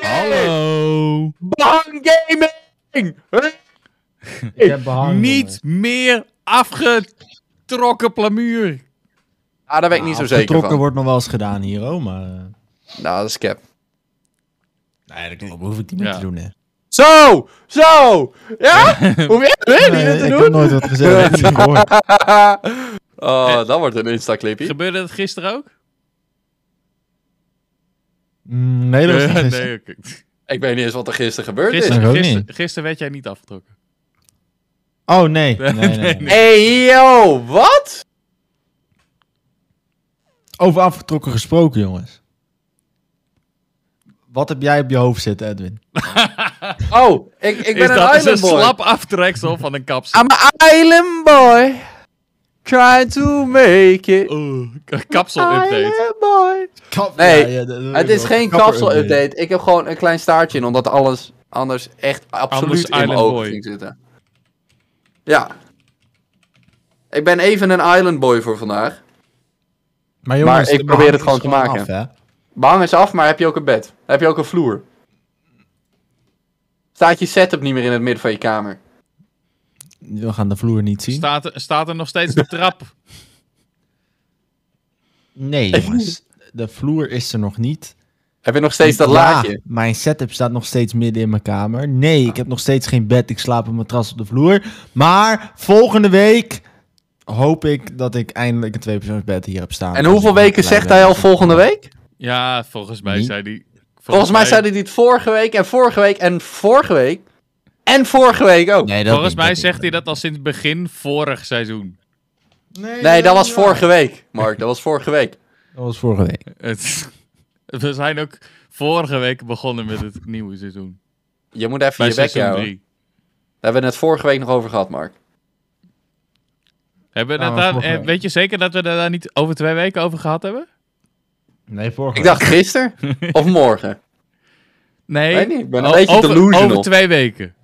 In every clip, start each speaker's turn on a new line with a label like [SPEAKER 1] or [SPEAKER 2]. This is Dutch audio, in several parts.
[SPEAKER 1] Hallo.
[SPEAKER 2] Bang Gaming! Huh?
[SPEAKER 3] Ik heb behang.
[SPEAKER 1] Niet meer afgetrokken plamuur.
[SPEAKER 2] Ah, daar ben ik niet zo zeker van.
[SPEAKER 3] Nou, wordt nog wel eens gedaan hier, oh, maar... eh,
[SPEAKER 2] Nou, dat is cap.
[SPEAKER 3] Nee, dat klopt. Hoef ik niet meer
[SPEAKER 1] Ja.
[SPEAKER 3] te doen, hè.
[SPEAKER 2] Zo! Zo! Ja? Hoef je het
[SPEAKER 3] Nee,
[SPEAKER 2] niet te
[SPEAKER 3] ik
[SPEAKER 2] doen?
[SPEAKER 3] heb nooit wat gezegd. ik heb het niet gehoord.
[SPEAKER 2] Oh, dat wordt een Insta-clipje.
[SPEAKER 1] Gebeurde dat gisteren ook?
[SPEAKER 3] Mm, Nee, dat was niet
[SPEAKER 1] Eh,
[SPEAKER 3] gisteren.
[SPEAKER 1] nee, oké.
[SPEAKER 2] Ik weet niet eens wat er gisteren gebeurd is.
[SPEAKER 3] Ik
[SPEAKER 1] Gisteren,
[SPEAKER 3] ook
[SPEAKER 1] gisteren,
[SPEAKER 3] niet.
[SPEAKER 1] gisteren werd jij niet afgetrokken.
[SPEAKER 3] Oh, nee. Nee, nee,
[SPEAKER 1] Nee,
[SPEAKER 3] nee.
[SPEAKER 1] nee.
[SPEAKER 2] hey, yo, wat?
[SPEAKER 3] Over afgetrokken gesproken, jongens. Wat heb jij op je hoofd zitten, Edwin?
[SPEAKER 2] Oh, ik, ik ben
[SPEAKER 1] is
[SPEAKER 2] een
[SPEAKER 1] dat is
[SPEAKER 2] island
[SPEAKER 1] een
[SPEAKER 2] boy.
[SPEAKER 1] slap aftreksel van een kapsel.
[SPEAKER 2] I'm an island boy. Trying to make it.
[SPEAKER 1] Oeh, Oh, k- kapsel-update.
[SPEAKER 2] Island boy. Nee, Het is geen kapsel-update. Ik heb gewoon een klein staartje in, omdat alles anders echt absoluut
[SPEAKER 1] Anders
[SPEAKER 2] in mijn
[SPEAKER 1] island
[SPEAKER 2] ogen
[SPEAKER 1] boy.
[SPEAKER 2] ging zitten. Ja. Ik ben even een island boy voor vandaag.
[SPEAKER 3] Maar, jongens,
[SPEAKER 2] Maar ik
[SPEAKER 3] de
[SPEAKER 2] probeer het
[SPEAKER 3] behang is
[SPEAKER 2] gewoon te
[SPEAKER 3] gewoon
[SPEAKER 2] maken.
[SPEAKER 3] af, hè.
[SPEAKER 2] Behang is af, maar heb je ook een bed? Heb je ook een vloer? Staat je setup niet meer in het midden van je kamer?
[SPEAKER 3] We gaan de vloer niet zien.
[SPEAKER 1] Staat, er- staat er nog steeds de trap?
[SPEAKER 3] Nee, jongens. De vloer is er nog niet.
[SPEAKER 2] Heb je nog steeds dat
[SPEAKER 3] Ja,
[SPEAKER 2] laadje? Ah.
[SPEAKER 3] Mijn setup staat nog steeds midden in mijn kamer. Nee, ik heb nog steeds geen bed. Ik slaap op een matras op de vloer. Maar volgende week hoop ik dat ik eindelijk een tweepersoonsbed hier heb staan.
[SPEAKER 2] En hoeveel weken zegt hij al volgende week?
[SPEAKER 1] Ja, volgens mij
[SPEAKER 3] Niet.
[SPEAKER 1] zei die. Volgens,
[SPEAKER 2] Volgens mij zei hij dit vorige week en vorige week en vorige week. En vorige week ook.
[SPEAKER 3] Nee, dat
[SPEAKER 1] Volgens
[SPEAKER 3] niet,
[SPEAKER 1] mij
[SPEAKER 3] dat
[SPEAKER 1] zegt hij
[SPEAKER 3] niet.
[SPEAKER 1] dat al sinds begin vorig seizoen.
[SPEAKER 2] Nee, dat was vorige week, Mark. Dat was vorige week.
[SPEAKER 3] Dat was vorige week.
[SPEAKER 1] Het, we zijn ook vorige week begonnen met het nieuwe seizoen.
[SPEAKER 2] Je moet even
[SPEAKER 1] Bij
[SPEAKER 2] je bek
[SPEAKER 1] seizoen
[SPEAKER 2] houden.
[SPEAKER 1] 3.
[SPEAKER 2] Daar hebben we het vorige week nog over gehad, Mark.
[SPEAKER 1] Hebben we
[SPEAKER 3] Ja,
[SPEAKER 1] dat
[SPEAKER 3] maar
[SPEAKER 1] daar-
[SPEAKER 3] vorige
[SPEAKER 1] eh,
[SPEAKER 3] week.
[SPEAKER 1] weet je zeker dat we daar daar niet over twee weken over gehad hebben?
[SPEAKER 3] Nee, vorige
[SPEAKER 2] Ik dacht gisteren of morgen.
[SPEAKER 1] Nee,
[SPEAKER 2] Weet niet, ik ben een
[SPEAKER 1] O-
[SPEAKER 2] beetje
[SPEAKER 1] Oh, over,
[SPEAKER 2] delusional.
[SPEAKER 1] Over twee weken.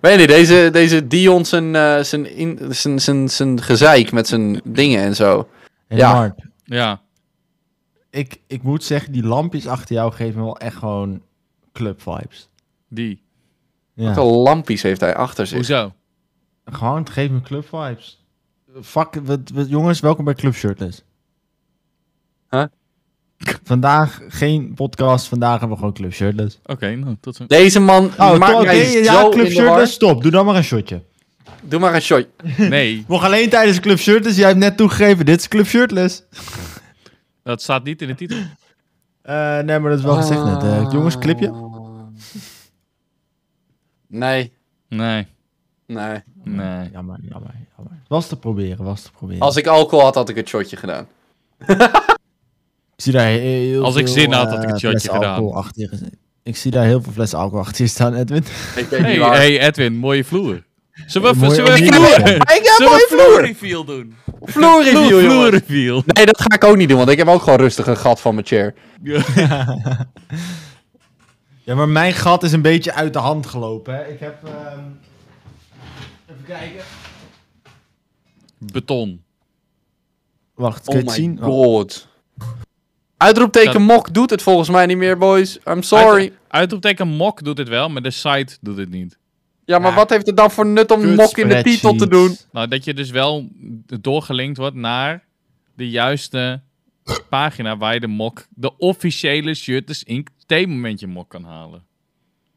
[SPEAKER 2] Weet niet, deze, deze Dion zijn, eh, zijn, in- zijn, zijn, zijn gezeik met zijn dingen en zo.
[SPEAKER 3] En
[SPEAKER 2] ja.
[SPEAKER 3] Mark,
[SPEAKER 1] Ja.
[SPEAKER 3] ik, ik moet zeggen, die lampjes achter jou geven me wel echt gewoon club vibes.
[SPEAKER 1] Die.
[SPEAKER 3] Ja.
[SPEAKER 2] Wat een lampjes heeft hij achter zich.
[SPEAKER 1] Hoezo?
[SPEAKER 3] Gewoon, het geeft me club vibes. Fuck, wat, wat- jongens, welkom bij Club Shirtless.
[SPEAKER 2] Huh?
[SPEAKER 3] Vandaag geen podcast, vandaag hebben we gewoon Club Shirtless.
[SPEAKER 1] Oké, nou, tot zo.
[SPEAKER 2] Deze man
[SPEAKER 3] Oh,
[SPEAKER 2] maakt
[SPEAKER 3] toch,
[SPEAKER 2] mij
[SPEAKER 3] oké,
[SPEAKER 2] zo
[SPEAKER 3] ja,
[SPEAKER 2] in
[SPEAKER 3] Club
[SPEAKER 2] de war.
[SPEAKER 1] dus-
[SPEAKER 3] Shirtless, stop. Doe dan maar een shotje.
[SPEAKER 2] Doe maar een shot.
[SPEAKER 1] Nee,
[SPEAKER 3] Nog alleen tijdens Club Shirtless. Jij hebt net toegegeven, dit is Club Shirtless.
[SPEAKER 1] dat staat niet in de titel.
[SPEAKER 3] Eh, nee, maar dat is wel gezegd net.
[SPEAKER 1] Ah.
[SPEAKER 3] eh. jongens, clipje.
[SPEAKER 2] Ah. Nee,
[SPEAKER 1] Nee,
[SPEAKER 2] nee.
[SPEAKER 1] nee.
[SPEAKER 3] Jammer, jammer, jammer. Was te proberen, was te proberen.
[SPEAKER 2] Als ik alcohol had, had ik het shotje gedaan.
[SPEAKER 3] Ik zie daar heel
[SPEAKER 1] Als ik
[SPEAKER 3] veel,
[SPEAKER 1] zin had, had ik
[SPEAKER 3] eh,
[SPEAKER 1] het shotje
[SPEAKER 3] flessen
[SPEAKER 1] gedaan.
[SPEAKER 3] alcohol achter je gezet. Ik zie daar heel veel flessen alcohol achter je staan, Edwin.
[SPEAKER 2] Ik weet
[SPEAKER 1] Hey,
[SPEAKER 2] niet waar.
[SPEAKER 1] hey, Edwin, mooie vloer. Zullen we,
[SPEAKER 3] Mooie
[SPEAKER 1] zullen we
[SPEAKER 3] opnieuw.
[SPEAKER 1] vloer?
[SPEAKER 2] Ah, ik heb
[SPEAKER 1] Zullen we
[SPEAKER 2] mooie vloer.
[SPEAKER 1] reveal doen?
[SPEAKER 2] Vloer review,
[SPEAKER 1] Vloer
[SPEAKER 2] jongen.
[SPEAKER 1] reveal.
[SPEAKER 2] Nee, dat ga ik ook niet doen, want ik heb ook gewoon rustig een gat van mijn chair.
[SPEAKER 3] Ja, maar mijn gat is een beetje uit de hand gelopen. Hè. Ik heb. ehm, Even kijken.
[SPEAKER 1] Beton.
[SPEAKER 3] Wacht, kun
[SPEAKER 2] Oh
[SPEAKER 3] je het
[SPEAKER 2] my
[SPEAKER 3] zien? Oh,
[SPEAKER 2] god. Uitroepteken
[SPEAKER 1] Dat-
[SPEAKER 2] Mok doet het volgens mij niet meer, boys. I'm sorry.
[SPEAKER 1] Uit- uitroepteken Mok doet het wel, maar de site doet het niet.
[SPEAKER 2] Ja, maar
[SPEAKER 3] Ja.
[SPEAKER 2] wat heeft het dan voor nut om
[SPEAKER 3] kut,
[SPEAKER 2] Mok in de titel te doen?
[SPEAKER 3] spreadsheets.
[SPEAKER 1] Nou, dat je dus wel doorgelinkt wordt naar de juiste pagina waar je de mok, de officiële Shirtless Inc. theemomentje mok kan halen.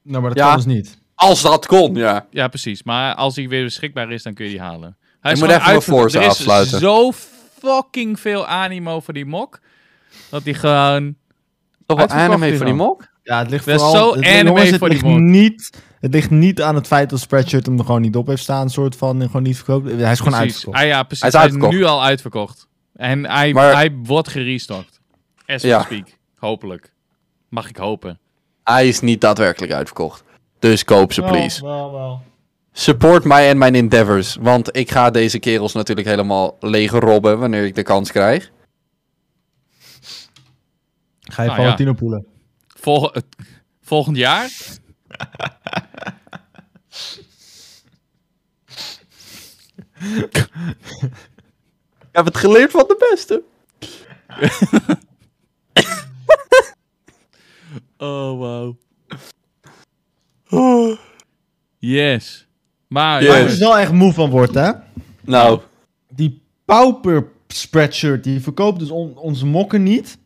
[SPEAKER 3] Nou, maar dat
[SPEAKER 2] Ja.
[SPEAKER 3] kan dus niet.
[SPEAKER 2] Als dat kon, ja.
[SPEAKER 1] Ja, precies. Maar als hij weer beschikbaar is, dan kun je die halen. Hij
[SPEAKER 2] Ik
[SPEAKER 1] is
[SPEAKER 2] moet
[SPEAKER 1] gewoon
[SPEAKER 2] even mijn
[SPEAKER 1] uitver-
[SPEAKER 2] Forza
[SPEAKER 1] er is
[SPEAKER 2] afsluiten.
[SPEAKER 1] zo fucking veel animo voor die mok, dat hij gewoon...
[SPEAKER 2] Toch wel
[SPEAKER 1] Uitverkocht
[SPEAKER 2] anime
[SPEAKER 1] is
[SPEAKER 2] voor die
[SPEAKER 1] dan.
[SPEAKER 2] Mok?
[SPEAKER 3] Ja, het ligt
[SPEAKER 1] Dat is
[SPEAKER 3] vooral...
[SPEAKER 1] zo
[SPEAKER 3] het,
[SPEAKER 1] anime
[SPEAKER 3] jongens, het
[SPEAKER 1] voor die
[SPEAKER 3] ligt
[SPEAKER 1] man.
[SPEAKER 3] niet, Het ligt niet aan het feit dat Spreadshirt hem er gewoon niet op heeft staan, soort van, en gewoon niet verkoopt. Hij is gewoon
[SPEAKER 1] Precies.
[SPEAKER 3] uitverkocht.
[SPEAKER 1] Ah, ja, precies.
[SPEAKER 2] Hij
[SPEAKER 1] Hij
[SPEAKER 2] is
[SPEAKER 1] is,
[SPEAKER 2] uitverkocht.
[SPEAKER 1] nu al uitverkocht. En hij,
[SPEAKER 2] Maar-
[SPEAKER 1] hij wordt gerestockt. As we
[SPEAKER 2] Ja.
[SPEAKER 1] speak. Hopelijk. Mag ik hopen.
[SPEAKER 2] Hij is niet daadwerkelijk uitverkocht. Dus koop
[SPEAKER 1] Oh,
[SPEAKER 2] ze, please.
[SPEAKER 3] Wel, wel, wel.
[SPEAKER 2] Support mij en mijn endeavors. Want ik ga deze kerels natuurlijk helemaal leeg robben wanneer ik de kans krijg.
[SPEAKER 3] Ga je
[SPEAKER 1] Nou,
[SPEAKER 3] Valentino poelen.
[SPEAKER 1] Volg- het- volgend jaar?
[SPEAKER 2] Ik heb het geleerd van de beste.
[SPEAKER 1] Oh, wow. Yes. Maar,
[SPEAKER 3] Waar ik
[SPEAKER 1] jongens,
[SPEAKER 3] dus wel echt moe van wordt, hè?
[SPEAKER 2] Nou,
[SPEAKER 3] Die pauper spreadshirt, die verkoopt dus on- onze mokken niet.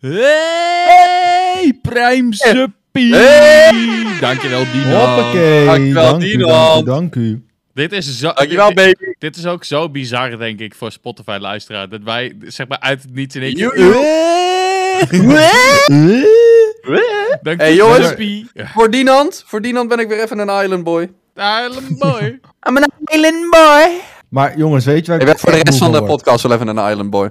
[SPEAKER 1] Hey, Prime Suppie.
[SPEAKER 2] Hey!
[SPEAKER 1] Dankjewel, Dino.
[SPEAKER 3] Hoppakee.
[SPEAKER 2] dankjewel,
[SPEAKER 3] Dank u,
[SPEAKER 2] Dino.
[SPEAKER 3] dank u, dank u.
[SPEAKER 1] Dit is zo...
[SPEAKER 2] dankjewel
[SPEAKER 1] dit,
[SPEAKER 2] baby.
[SPEAKER 1] dit is ook zo bizar, denk ik, voor Spotify-luisteraar. Dat wij, zeg maar, uit het niets in één keer...
[SPEAKER 2] Joe.
[SPEAKER 3] Eh?
[SPEAKER 1] Dank
[SPEAKER 2] Hey,
[SPEAKER 1] je,
[SPEAKER 2] jongens.
[SPEAKER 1] Suppie. Ja,
[SPEAKER 2] Voor Dinant, voor Dinant ben ik weer even een island boy.
[SPEAKER 1] helemaal mooi.
[SPEAKER 2] I'm an island boy.
[SPEAKER 3] Maar jongens, weet je waar
[SPEAKER 2] Ik
[SPEAKER 3] ik
[SPEAKER 2] werd voor de
[SPEAKER 3] echt
[SPEAKER 2] rest
[SPEAKER 3] moe
[SPEAKER 2] van de
[SPEAKER 3] word?
[SPEAKER 2] podcast wel even een island boy.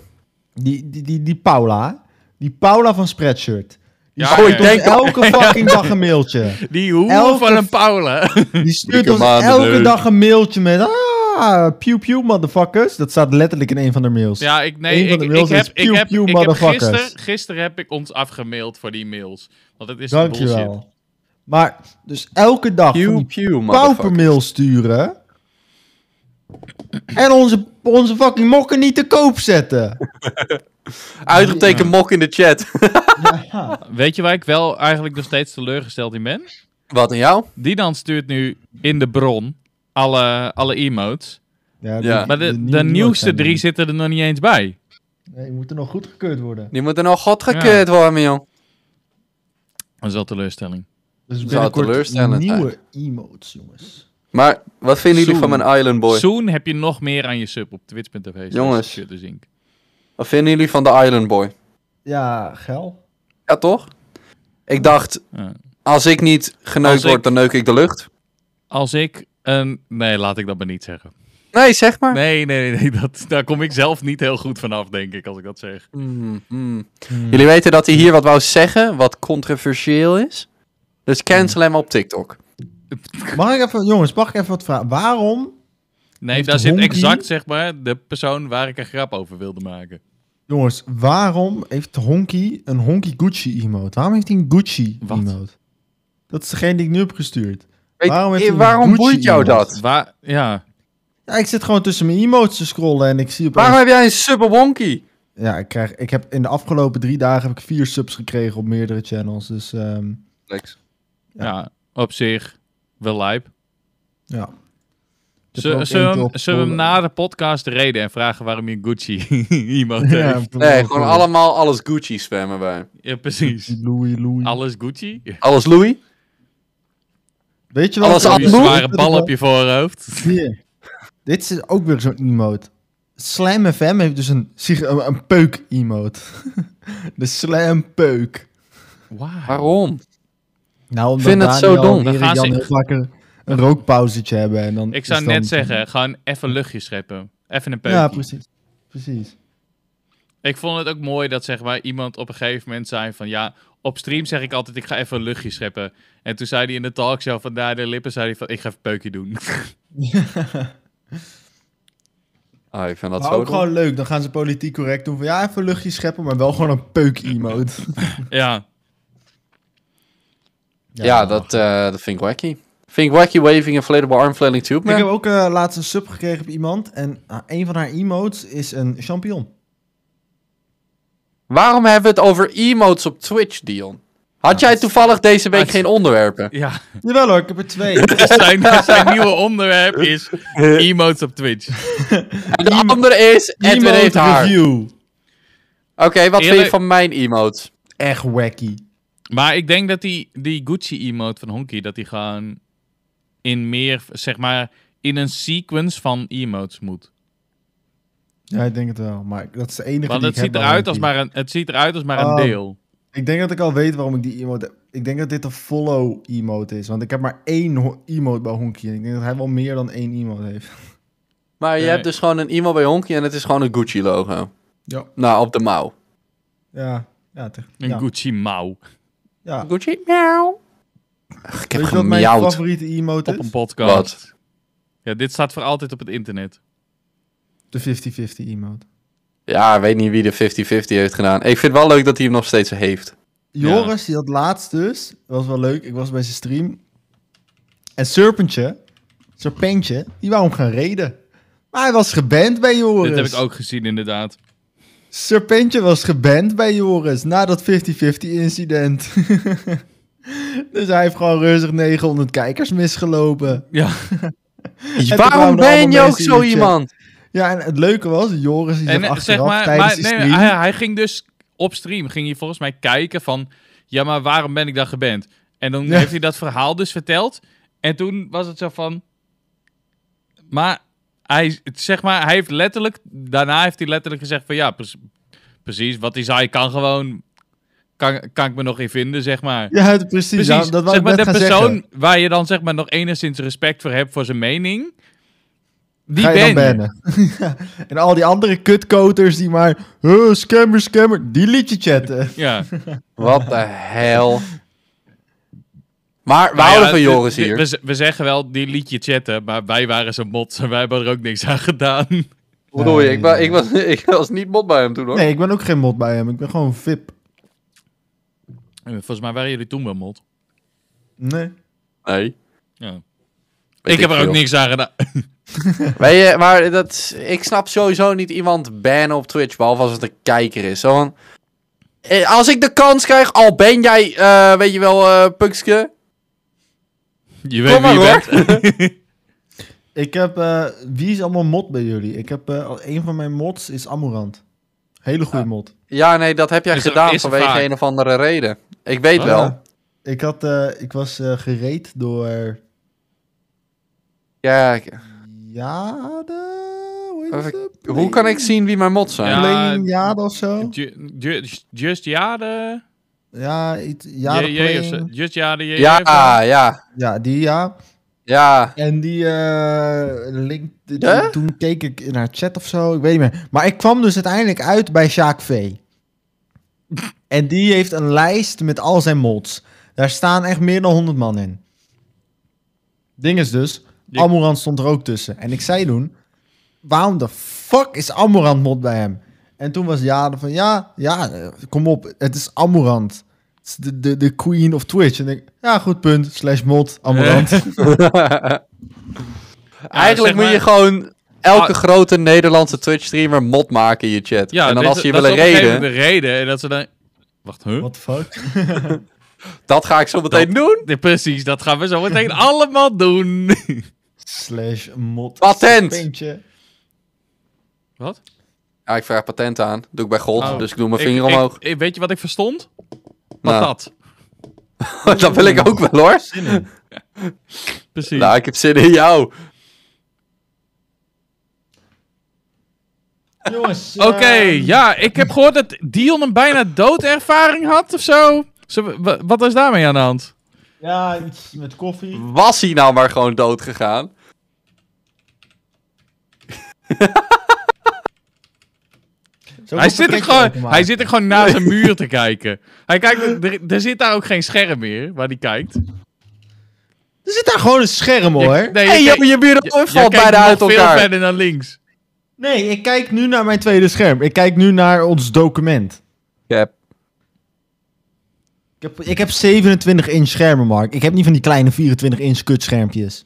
[SPEAKER 3] Die, die, die, die Paula. Die Paula van Spreadshirt. Die
[SPEAKER 1] Ja,
[SPEAKER 3] stuurt
[SPEAKER 1] ja,
[SPEAKER 3] ons
[SPEAKER 2] ja.
[SPEAKER 3] elke fucking dag een mailtje.
[SPEAKER 1] Die hoer
[SPEAKER 3] Elke-
[SPEAKER 1] van een Paula.
[SPEAKER 3] Die stuurt
[SPEAKER 2] Dikke
[SPEAKER 3] ons
[SPEAKER 2] maanden,
[SPEAKER 3] elke
[SPEAKER 2] leuk.
[SPEAKER 3] dag een mailtje met... Ah, pew pew motherfuckers. Dat staat letterlijk in een van de mails.
[SPEAKER 1] Ja, ik, nee,
[SPEAKER 3] Eén van
[SPEAKER 1] ik,
[SPEAKER 3] de
[SPEAKER 1] ik
[SPEAKER 3] mails
[SPEAKER 1] heb,
[SPEAKER 3] is
[SPEAKER 1] ik
[SPEAKER 3] pew,
[SPEAKER 1] heb,
[SPEAKER 3] pew,
[SPEAKER 1] ik heb
[SPEAKER 3] motherfuckers.
[SPEAKER 1] gisteren, gisteren heb ik ons afgemaild voor die mails. Want het is bullshit.
[SPEAKER 3] Dankjewel. Maar dus elke dag van die
[SPEAKER 2] pew,
[SPEAKER 3] paupermail sturen. En onze, onze fucking mokken niet te koop zetten.
[SPEAKER 2] Uitgetekend mok in de chat.
[SPEAKER 3] Ja.
[SPEAKER 1] Weet je waar ik wel eigenlijk nog steeds teleurgesteld in ben?
[SPEAKER 2] Wat aan jou?
[SPEAKER 1] Die dan stuurt nu in de bron alle, alle emotes.
[SPEAKER 3] Ja,
[SPEAKER 2] Ja.
[SPEAKER 1] Maar de, de,
[SPEAKER 3] nieuwe
[SPEAKER 1] nieuwste
[SPEAKER 3] zijn er
[SPEAKER 1] drie
[SPEAKER 3] niet.
[SPEAKER 1] zitten er nog niet eens bij.
[SPEAKER 3] Nee, die moeten nog goedgekeurd worden.
[SPEAKER 2] Die moet er nog godgekeurd worden, jong.
[SPEAKER 1] Dat is wel teleurstelling.
[SPEAKER 3] Dus
[SPEAKER 2] Zou
[SPEAKER 3] binnenkort
[SPEAKER 2] teleurstellend
[SPEAKER 3] nieuwe emotes, jongens.
[SPEAKER 2] Maar wat vinden jullie
[SPEAKER 1] Soon.
[SPEAKER 2] van mijn island boy?
[SPEAKER 1] Soon heb je nog meer aan je sub op twitch.tv. slash
[SPEAKER 2] Jongens.
[SPEAKER 1] shutterzink.
[SPEAKER 2] Wat vinden jullie van de island boy?
[SPEAKER 3] Ja, geil.
[SPEAKER 2] Ja, toch? Ik dacht,
[SPEAKER 1] Ja.
[SPEAKER 2] als ik niet geneukt
[SPEAKER 1] Als ik-
[SPEAKER 2] word, dan neuk ik de lucht.
[SPEAKER 1] Als ik een... Nee, laat ik dat maar niet zeggen.
[SPEAKER 2] Nee, zeg maar.
[SPEAKER 1] Nee, nee, nee. Dat, daar kom ik zelf niet heel goed vanaf, denk ik, als ik dat zeg.
[SPEAKER 2] Mm, mm. Jullie weten dat hij hier wat wou zeggen, wat controversieel is. Dus cancel hem op TikTok.
[SPEAKER 3] Mag ik even, jongens, mag ik even wat vragen? Waarom,
[SPEAKER 1] Nee,
[SPEAKER 3] Heeft
[SPEAKER 1] daar zit
[SPEAKER 3] Honky-
[SPEAKER 1] exact, zeg maar, de persoon waar ik een grap over wilde maken.
[SPEAKER 3] jongens, waarom heeft Honky een Honky Gucci emote? Waarom heeft hij een Gucci
[SPEAKER 1] Wat?
[SPEAKER 3] emote? Dat is degene die ik nu heb gestuurd.
[SPEAKER 2] Weet-
[SPEAKER 3] Waarom heeft
[SPEAKER 2] eh,
[SPEAKER 3] hij een
[SPEAKER 2] waarom
[SPEAKER 3] Gucci
[SPEAKER 2] boeit jou
[SPEAKER 3] iemand?
[SPEAKER 2] dat?
[SPEAKER 1] Waar... Ja.
[SPEAKER 3] Ja, ik zit gewoon tussen mijn emotes te scrollen en ik zie opeens...
[SPEAKER 2] Waarom heb jij een super wonky?
[SPEAKER 3] Ja, ik, krijg, ik heb in de afgelopen drie dagen heb ik vier subs gekregen op meerdere channels. Dus ehm,
[SPEAKER 1] Ja, op zich wel lijp.
[SPEAKER 3] ja. Ik heb er
[SPEAKER 1] Zullen zullen we
[SPEAKER 3] ook eentje
[SPEAKER 1] hem-
[SPEAKER 3] op-
[SPEAKER 1] zullen we hem na de podcast reden en vragen waarom je Gucci iemand
[SPEAKER 3] Ja,
[SPEAKER 1] heeft?
[SPEAKER 2] Nee, gewoon allemaal alles Gucci spammen wij.
[SPEAKER 1] Ja, precies.
[SPEAKER 3] Louis, Louis.
[SPEAKER 1] Alles Gucci?
[SPEAKER 2] Alles Louis?
[SPEAKER 3] Weet je wel?
[SPEAKER 2] Alles
[SPEAKER 1] Zo'n
[SPEAKER 2] Abdul?
[SPEAKER 1] zware bal op je voorhoofd.
[SPEAKER 3] Hier. Dit is ook weer zo'n emote. Slam FM heeft dus een, sig- een, een peuk emote. de slam peuk.
[SPEAKER 1] Wauw.
[SPEAKER 2] Waarom?
[SPEAKER 3] Nou, omdat
[SPEAKER 2] Vind het zo
[SPEAKER 3] Daniel
[SPEAKER 2] dom.
[SPEAKER 3] en
[SPEAKER 1] Dan
[SPEAKER 3] Erik
[SPEAKER 1] gaan
[SPEAKER 3] Jan
[SPEAKER 1] ze-
[SPEAKER 3] heel vaak een, een rookpauzetje hebben. En dan
[SPEAKER 1] Ik
[SPEAKER 3] is
[SPEAKER 1] zou
[SPEAKER 3] dan-
[SPEAKER 1] net zeggen, gewoon even luchtje scheppen. Even een peukje.
[SPEAKER 3] Ja, precies. Precies.
[SPEAKER 1] Ik vond het ook mooi dat zeg maar, iemand op een gegeven moment zei van ja, op stream zeg ik altijd ik ga even een luchtje scheppen. En toen zei hij in de talkshow van daar de lippen, zei hij van ik ga even een peukje doen.
[SPEAKER 2] Ah, ik vind dat
[SPEAKER 3] Maar
[SPEAKER 2] zo
[SPEAKER 3] ook gewoon leuk. Dan gaan ze politiek correct doen. Van ja, even luchtjes scheppen, maar wel gewoon een peuk-emote.
[SPEAKER 1] ja,
[SPEAKER 2] Ja, dat, eh, dat vind ik wacky. Vind ik wacky waving inflatable arm flailing tube
[SPEAKER 3] Ik
[SPEAKER 2] man.
[SPEAKER 3] heb ook eh, laatst een sub gekregen op iemand. En ah, een van haar emotes is een champignon.
[SPEAKER 2] Waarom hebben we het over emotes op Twitch, Dion? Had jij toevallig deze week
[SPEAKER 1] Ah,
[SPEAKER 2] geen onderwerpen?
[SPEAKER 1] ja.
[SPEAKER 3] Jawel hoor, ik heb er twee.
[SPEAKER 1] Dus zijn, zijn nieuwe onderwerp is emotes op Twitch.
[SPEAKER 2] En de andere is Edwin heeft
[SPEAKER 3] emote
[SPEAKER 2] haar. Oké,
[SPEAKER 3] review.
[SPEAKER 2] wat vind je
[SPEAKER 1] Eerlijk-
[SPEAKER 2] van mijn emotes?
[SPEAKER 3] Echt wacky.
[SPEAKER 1] Maar ik denk dat die, die Gucci emote van Honky, dat die gewoon in meer, zeg maar, in een sequence van emotes moet.
[SPEAKER 3] Ja, ik denk het wel. Maar dat is de enige
[SPEAKER 1] Want
[SPEAKER 3] die
[SPEAKER 1] het
[SPEAKER 3] ik
[SPEAKER 1] ziet,
[SPEAKER 3] heb
[SPEAKER 1] eruit
[SPEAKER 3] dan
[SPEAKER 1] als
[SPEAKER 3] wacky.
[SPEAKER 1] maar een, het ziet eruit als maar
[SPEAKER 3] Oh.
[SPEAKER 1] een deel.
[SPEAKER 3] Ik denk dat ik al weet waarom ik die emote heb. Ik denk dat dit een follow emote is. Want ik heb maar één ho- emote bij Honky. En ik denk dat hij wel meer dan één emote heeft.
[SPEAKER 2] Maar je
[SPEAKER 1] Nee.
[SPEAKER 2] hebt dus gewoon een emo bij Honky en het is gewoon een Gucci logo.
[SPEAKER 3] Ja.
[SPEAKER 2] Nou, op de mouw.
[SPEAKER 3] Ja. Ja, tegen-
[SPEAKER 1] Een
[SPEAKER 3] ja.
[SPEAKER 1] Gucci mouw
[SPEAKER 3] ja.
[SPEAKER 2] Gucci, miauw. Ach, ik heb
[SPEAKER 3] Weet je wat mijn
[SPEAKER 2] gemiauwd.
[SPEAKER 3] favoriete emote
[SPEAKER 1] op
[SPEAKER 3] is?
[SPEAKER 1] een podcast.
[SPEAKER 2] Wat?
[SPEAKER 1] Ja, dit staat voor altijd op het internet.
[SPEAKER 3] De 50-50 emote.
[SPEAKER 2] Ja, ik weet niet wie de 50-50 heeft gedaan. Ik vind het wel leuk dat hij hem nog steeds heeft.
[SPEAKER 3] Joris, die had laatst dus, dat was wel leuk, ik was bij zijn stream. En Serpentje, Serpentje, die wou hem gaan reden. Maar hij was geband bij Joris.
[SPEAKER 1] Dit heb ik ook gezien, inderdaad.
[SPEAKER 3] Serpentje was geband bij Joris na dat 50-50 incident. dus hij heeft gewoon rustig 900 kijkers misgelopen.
[SPEAKER 1] Ja.
[SPEAKER 2] Waarom ben je ook zo iemand?
[SPEAKER 3] Ja, en het leuke was, Joris die
[SPEAKER 1] En
[SPEAKER 3] zat
[SPEAKER 1] eh,
[SPEAKER 3] achteraf
[SPEAKER 1] zeg maar,
[SPEAKER 3] tijdens
[SPEAKER 1] maar
[SPEAKER 3] die
[SPEAKER 1] nee,
[SPEAKER 3] stream.
[SPEAKER 1] hij, hij ging dus op stream, ging hij volgens mij kijken van, ja, maar waarom ben ik dan geband? En dan
[SPEAKER 3] Ja.
[SPEAKER 1] heeft hij dat verhaal dus verteld. En toen was het zo van, maar hij, zeg maar, hij heeft letterlijk, daarna heeft hij letterlijk gezegd van, ja, pre- precies, wat hij zei kan gewoon, kan, kan ik me nog in vinden, zeg maar.
[SPEAKER 3] Ja, het- precies.
[SPEAKER 1] Precies,
[SPEAKER 3] ja, dat was
[SPEAKER 1] zeg maar, de
[SPEAKER 3] gaan
[SPEAKER 1] persoon
[SPEAKER 3] zeggen.
[SPEAKER 1] waar je dan zeg maar nog enigszins respect voor hebt voor zijn mening, die
[SPEAKER 3] Ga je dan
[SPEAKER 1] ben je.
[SPEAKER 3] bannen. en al die andere kutkoters die maar... "Huh, scammer, scammer, die liet je chatten.
[SPEAKER 1] Ja.
[SPEAKER 2] Wat de hel. Maar we
[SPEAKER 1] Nou ja,
[SPEAKER 2] houden van
[SPEAKER 1] d-
[SPEAKER 2] Joris
[SPEAKER 1] d-
[SPEAKER 2] hier.
[SPEAKER 1] We, z- we zeggen wel, die liet je chatten, maar wij waren zijn mods en wij hebben er ook niks aan gedaan.
[SPEAKER 2] Hoe bedoel je?
[SPEAKER 3] Nee,
[SPEAKER 2] Ik, wa-
[SPEAKER 3] nee.
[SPEAKER 2] ik, was, ik was niet bot bij hem toen hoor.
[SPEAKER 1] Oh.
[SPEAKER 3] Nee, ik ben ook geen mod bij hem. Ik ben gewoon VIP.
[SPEAKER 1] En Volgens mij waren jullie toen wel mod.
[SPEAKER 3] Nee.
[SPEAKER 2] Nee.
[SPEAKER 1] Ja. Ik,
[SPEAKER 2] Weet
[SPEAKER 1] heb er ook
[SPEAKER 2] veel.
[SPEAKER 1] niks aan gedaan.
[SPEAKER 2] Weet je, eh, maar dat, is- ik snap sowieso niet iemand bannen op Twitch, behalve als het een kijker is. Zo van, eh, als ik de kans krijg, al ben jij, eh, weet je wel, eh Pukske. Kom
[SPEAKER 1] Je weet wie
[SPEAKER 2] maar
[SPEAKER 1] je
[SPEAKER 2] hoor.
[SPEAKER 1] bent.
[SPEAKER 3] Ik heb... eh, wie is allemaal mod bij jullie? Ik heb... eh, al- een van mijn mods is Amorant. Hele goede
[SPEAKER 1] Ah.
[SPEAKER 3] mod.
[SPEAKER 2] Ja, nee, dat heb jij
[SPEAKER 1] Is er-
[SPEAKER 2] gedaan
[SPEAKER 1] is er
[SPEAKER 2] vanwege
[SPEAKER 1] vaak?
[SPEAKER 2] een of andere reden. Ik weet
[SPEAKER 1] Oh,
[SPEAKER 2] wel.
[SPEAKER 3] Ja. Ik, had, eh, ik was eh, gereed door...
[SPEAKER 2] Ja, ik-
[SPEAKER 3] Jade? Hoe heet
[SPEAKER 2] Even-
[SPEAKER 3] ze?
[SPEAKER 2] hoe kan ik zien wie mijn mods zijn?
[SPEAKER 1] Ja.
[SPEAKER 3] Plain Jade of zo?
[SPEAKER 1] Ju- ju- Just Jade?
[SPEAKER 3] Ja, iets, Jade
[SPEAKER 1] J- J of zo.
[SPEAKER 3] Plain.
[SPEAKER 1] Just Jade? J-
[SPEAKER 2] Ja, ah,
[SPEAKER 1] J of zo.
[SPEAKER 2] ja, ja.
[SPEAKER 3] Ja, die ja.
[SPEAKER 2] ja.
[SPEAKER 3] En die eh, link, die-
[SPEAKER 2] Ja?
[SPEAKER 3] die- toen keek ik in haar chat of zo, ik weet niet meer. Maar ik kwam dus uiteindelijk uit bij Sjaak V. En die heeft een lijst met al zijn mods. Daar staan echt meer dan 100 man in. Ding is dus,
[SPEAKER 1] Die-
[SPEAKER 3] Amorant stond er ook tussen. En ik zei toen, waarom de fuck is Amorant mod bij hem? En toen was Jade van, ja, ja, eh, kom op, het is Amorant. Het is de, de, de queen of Twitch. En ik, ja, goed punt, slash mod, Amorant.
[SPEAKER 2] Eigenlijk
[SPEAKER 1] zeg maar-
[SPEAKER 2] moet je gewoon elke
[SPEAKER 1] Ah.
[SPEAKER 2] grote Nederlandse Twitch-streamer mod maken in je chat.
[SPEAKER 1] Ja,
[SPEAKER 2] en dan
[SPEAKER 1] dit-
[SPEAKER 2] als ze je
[SPEAKER 1] dat
[SPEAKER 2] willen
[SPEAKER 1] is op een gegeven
[SPEAKER 2] reden,
[SPEAKER 1] moment de reden. En dat ze dan... Wacht, huh?
[SPEAKER 3] What the fuck?
[SPEAKER 2] dat ga ik zo meteen doen.
[SPEAKER 1] Ja, precies, dat gaan we zo meteen allemaal doen.
[SPEAKER 3] Slash mod.
[SPEAKER 2] Patent!
[SPEAKER 3] serpentje.
[SPEAKER 1] Wat?
[SPEAKER 2] Ja, ik vraag patent aan. Doe ik bij God,
[SPEAKER 1] Oh.
[SPEAKER 2] dus ik doe mijn
[SPEAKER 1] Ik-
[SPEAKER 2] vinger
[SPEAKER 1] ik-
[SPEAKER 2] omhoog.
[SPEAKER 1] ik- weet je wat ik verstond?
[SPEAKER 2] Nou.
[SPEAKER 1] Patat.
[SPEAKER 2] dat wil ik ook wel hoor.
[SPEAKER 3] Zin in.
[SPEAKER 1] Precies.
[SPEAKER 2] Nou, ik heb zin in jou.
[SPEAKER 3] Jongens.
[SPEAKER 1] Oké, ja, ik heb gehoord dat Dion een bijna doodervaring had of zo. Zo, wa- Wat is daarmee aan de hand?
[SPEAKER 3] Ja, iets met koffie.
[SPEAKER 2] Was hij nou maar gewoon dood gegaan?
[SPEAKER 1] Hij zit, er gewoon, hij zit er gewoon naast een muur te kijken. Hij kijkt, er, er zit daar ook geen scherm meer waar hij kijkt.
[SPEAKER 3] Er zit daar gewoon een scherm
[SPEAKER 1] Je-
[SPEAKER 3] hoor.
[SPEAKER 1] nee,
[SPEAKER 2] Hé, hey,
[SPEAKER 1] kijkt-
[SPEAKER 2] joh, je
[SPEAKER 1] je-
[SPEAKER 2] buurt
[SPEAKER 1] jij
[SPEAKER 2] valt
[SPEAKER 1] kijkt
[SPEAKER 2] bijna
[SPEAKER 1] nog
[SPEAKER 2] uit
[SPEAKER 1] veel
[SPEAKER 2] elkaar.
[SPEAKER 1] verder naar links.
[SPEAKER 3] Nee, ik kijk nu naar mijn tweede scherm. Ik kijk nu naar ons document.
[SPEAKER 2] Cap.
[SPEAKER 3] Ik heb, ik heb 27 inch schermen, Mark. Ik heb niet van die kleine 24 inch kutschermpjes.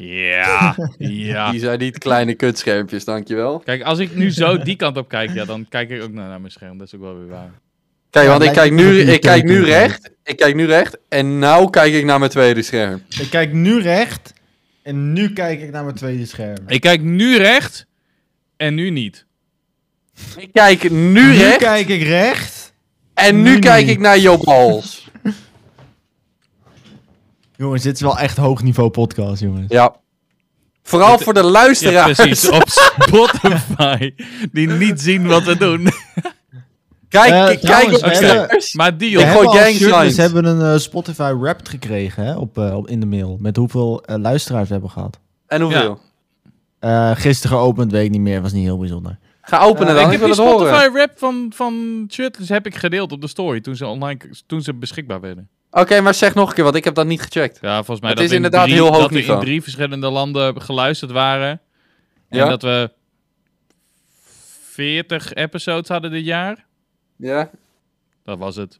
[SPEAKER 1] Ja, ja.
[SPEAKER 2] Die zijn niet kleine kutschermpjes, dankjewel.
[SPEAKER 1] Kijk, als ik nu zo die kant op kijk, ja, dan kijk ik ook naar, naar mijn scherm. Dat is ook wel weer waar.
[SPEAKER 2] Kijk,
[SPEAKER 3] Ja,
[SPEAKER 2] want ik
[SPEAKER 3] lijkt
[SPEAKER 2] kijk,
[SPEAKER 3] me dat
[SPEAKER 2] nu,
[SPEAKER 3] je niet
[SPEAKER 2] ik kijk nu
[SPEAKER 3] telefoon
[SPEAKER 2] recht. Ik kijk nu recht. En nou kijk ik naar mijn tweede scherm.
[SPEAKER 3] Ik kijk nu recht. En nu kijk ik naar mijn tweede scherm.
[SPEAKER 1] Ik kijk nu recht en nu niet.
[SPEAKER 2] Ik kijk nu
[SPEAKER 3] nu
[SPEAKER 2] recht.
[SPEAKER 3] kijk ik recht.
[SPEAKER 2] En nu
[SPEAKER 3] nu
[SPEAKER 2] kijk
[SPEAKER 3] niet.
[SPEAKER 2] ik naar Joop Hals.
[SPEAKER 3] Jongens, dit is wel echt hoog niveau podcast, jongens.
[SPEAKER 2] Ja. Vooral
[SPEAKER 1] Het-
[SPEAKER 2] voor de
[SPEAKER 1] Ja,
[SPEAKER 2] luisteraars.
[SPEAKER 1] precies. Op Spotify. Die niet zien wat we doen.
[SPEAKER 2] Kijk,
[SPEAKER 3] Eh,
[SPEAKER 2] kijk
[SPEAKER 3] trouwens,
[SPEAKER 2] op
[SPEAKER 1] we
[SPEAKER 2] kijkers.
[SPEAKER 1] Maar
[SPEAKER 3] We
[SPEAKER 1] Dion,
[SPEAKER 2] Ja. gooi
[SPEAKER 3] hebben als
[SPEAKER 2] gang
[SPEAKER 3] shirtless
[SPEAKER 2] signs.
[SPEAKER 3] hebben een eh, Spotify Wrapped gekregen hè, op, eh, op, in de mail. Met hoeveel eh, luisteraars we hebben gehad.
[SPEAKER 2] En hoeveel?
[SPEAKER 3] Eh, gisteren geopend, weet ik niet meer. Was niet heel bijzonder.
[SPEAKER 2] Ga openen
[SPEAKER 1] Eh, ik
[SPEAKER 2] dan, ik
[SPEAKER 1] heb
[SPEAKER 2] wil
[SPEAKER 1] die
[SPEAKER 2] het horen.
[SPEAKER 1] Spotify-rap van, van Shirtless heb ik gedeeld op de story toen ze online toen ze beschikbaar werden.
[SPEAKER 2] Oké, maar zeg nog een keer, want ik heb dat niet gecheckt.
[SPEAKER 1] Ja, volgens mij
[SPEAKER 2] Het
[SPEAKER 1] dat
[SPEAKER 2] is
[SPEAKER 1] in
[SPEAKER 2] inderdaad
[SPEAKER 1] drie,
[SPEAKER 2] heel hoog
[SPEAKER 1] dat we in
[SPEAKER 2] niveau.
[SPEAKER 1] drie verschillende landen geluisterd waren en
[SPEAKER 2] Ja?
[SPEAKER 1] dat we 40 episodes hadden dit jaar.
[SPEAKER 2] Ja?
[SPEAKER 1] Dat was het.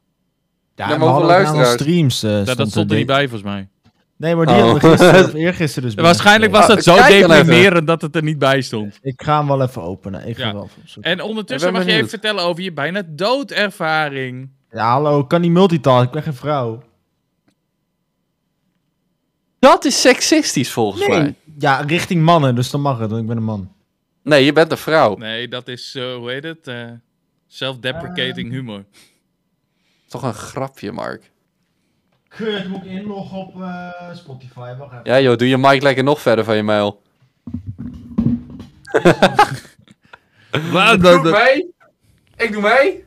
[SPEAKER 3] Ja,
[SPEAKER 2] maar
[SPEAKER 3] we
[SPEAKER 2] hoeveel
[SPEAKER 3] hadden ook een aantal
[SPEAKER 2] luisteraars?
[SPEAKER 3] streams. eh,
[SPEAKER 1] Ja,
[SPEAKER 3] stond
[SPEAKER 1] dat stond er
[SPEAKER 3] dik.
[SPEAKER 1] niet bij volgens mij.
[SPEAKER 3] Nee, maar die
[SPEAKER 2] Oh.
[SPEAKER 3] hebben we gisteren of eergisteren dus
[SPEAKER 1] Waarschijnlijk was dat
[SPEAKER 2] Ah,
[SPEAKER 1] zo
[SPEAKER 2] kijk dan even.
[SPEAKER 1] deprimerend dat het er niet bij stond.
[SPEAKER 3] Ik ga hem wel even openen. Ik ga
[SPEAKER 1] Ja.
[SPEAKER 3] wel even opzoeken.
[SPEAKER 1] En ondertussen
[SPEAKER 2] Ik ben
[SPEAKER 1] mag je even
[SPEAKER 2] benieuwd.
[SPEAKER 1] vertellen over je bijna doodervaring.
[SPEAKER 3] Ja, hallo, ik kan niet multitasken. Ik ben geen vrouw.
[SPEAKER 2] Dat is seksistisch volgens mij.
[SPEAKER 3] Ja, richting mannen, dus dan mag het, want ik ben een man.
[SPEAKER 2] Nee, je bent een vrouw.
[SPEAKER 1] Nee, dat is, eh, hoe heet het? Eh, Self-deprecating humor.
[SPEAKER 2] Toch een grapje, Mark.
[SPEAKER 3] Kut, moet ik inloggen op eh, Spotify? Wacht even.
[SPEAKER 2] Ja joh, doe je mic lekker nog verder van je mail.
[SPEAKER 1] Wat
[SPEAKER 2] mee. Ik doe mee.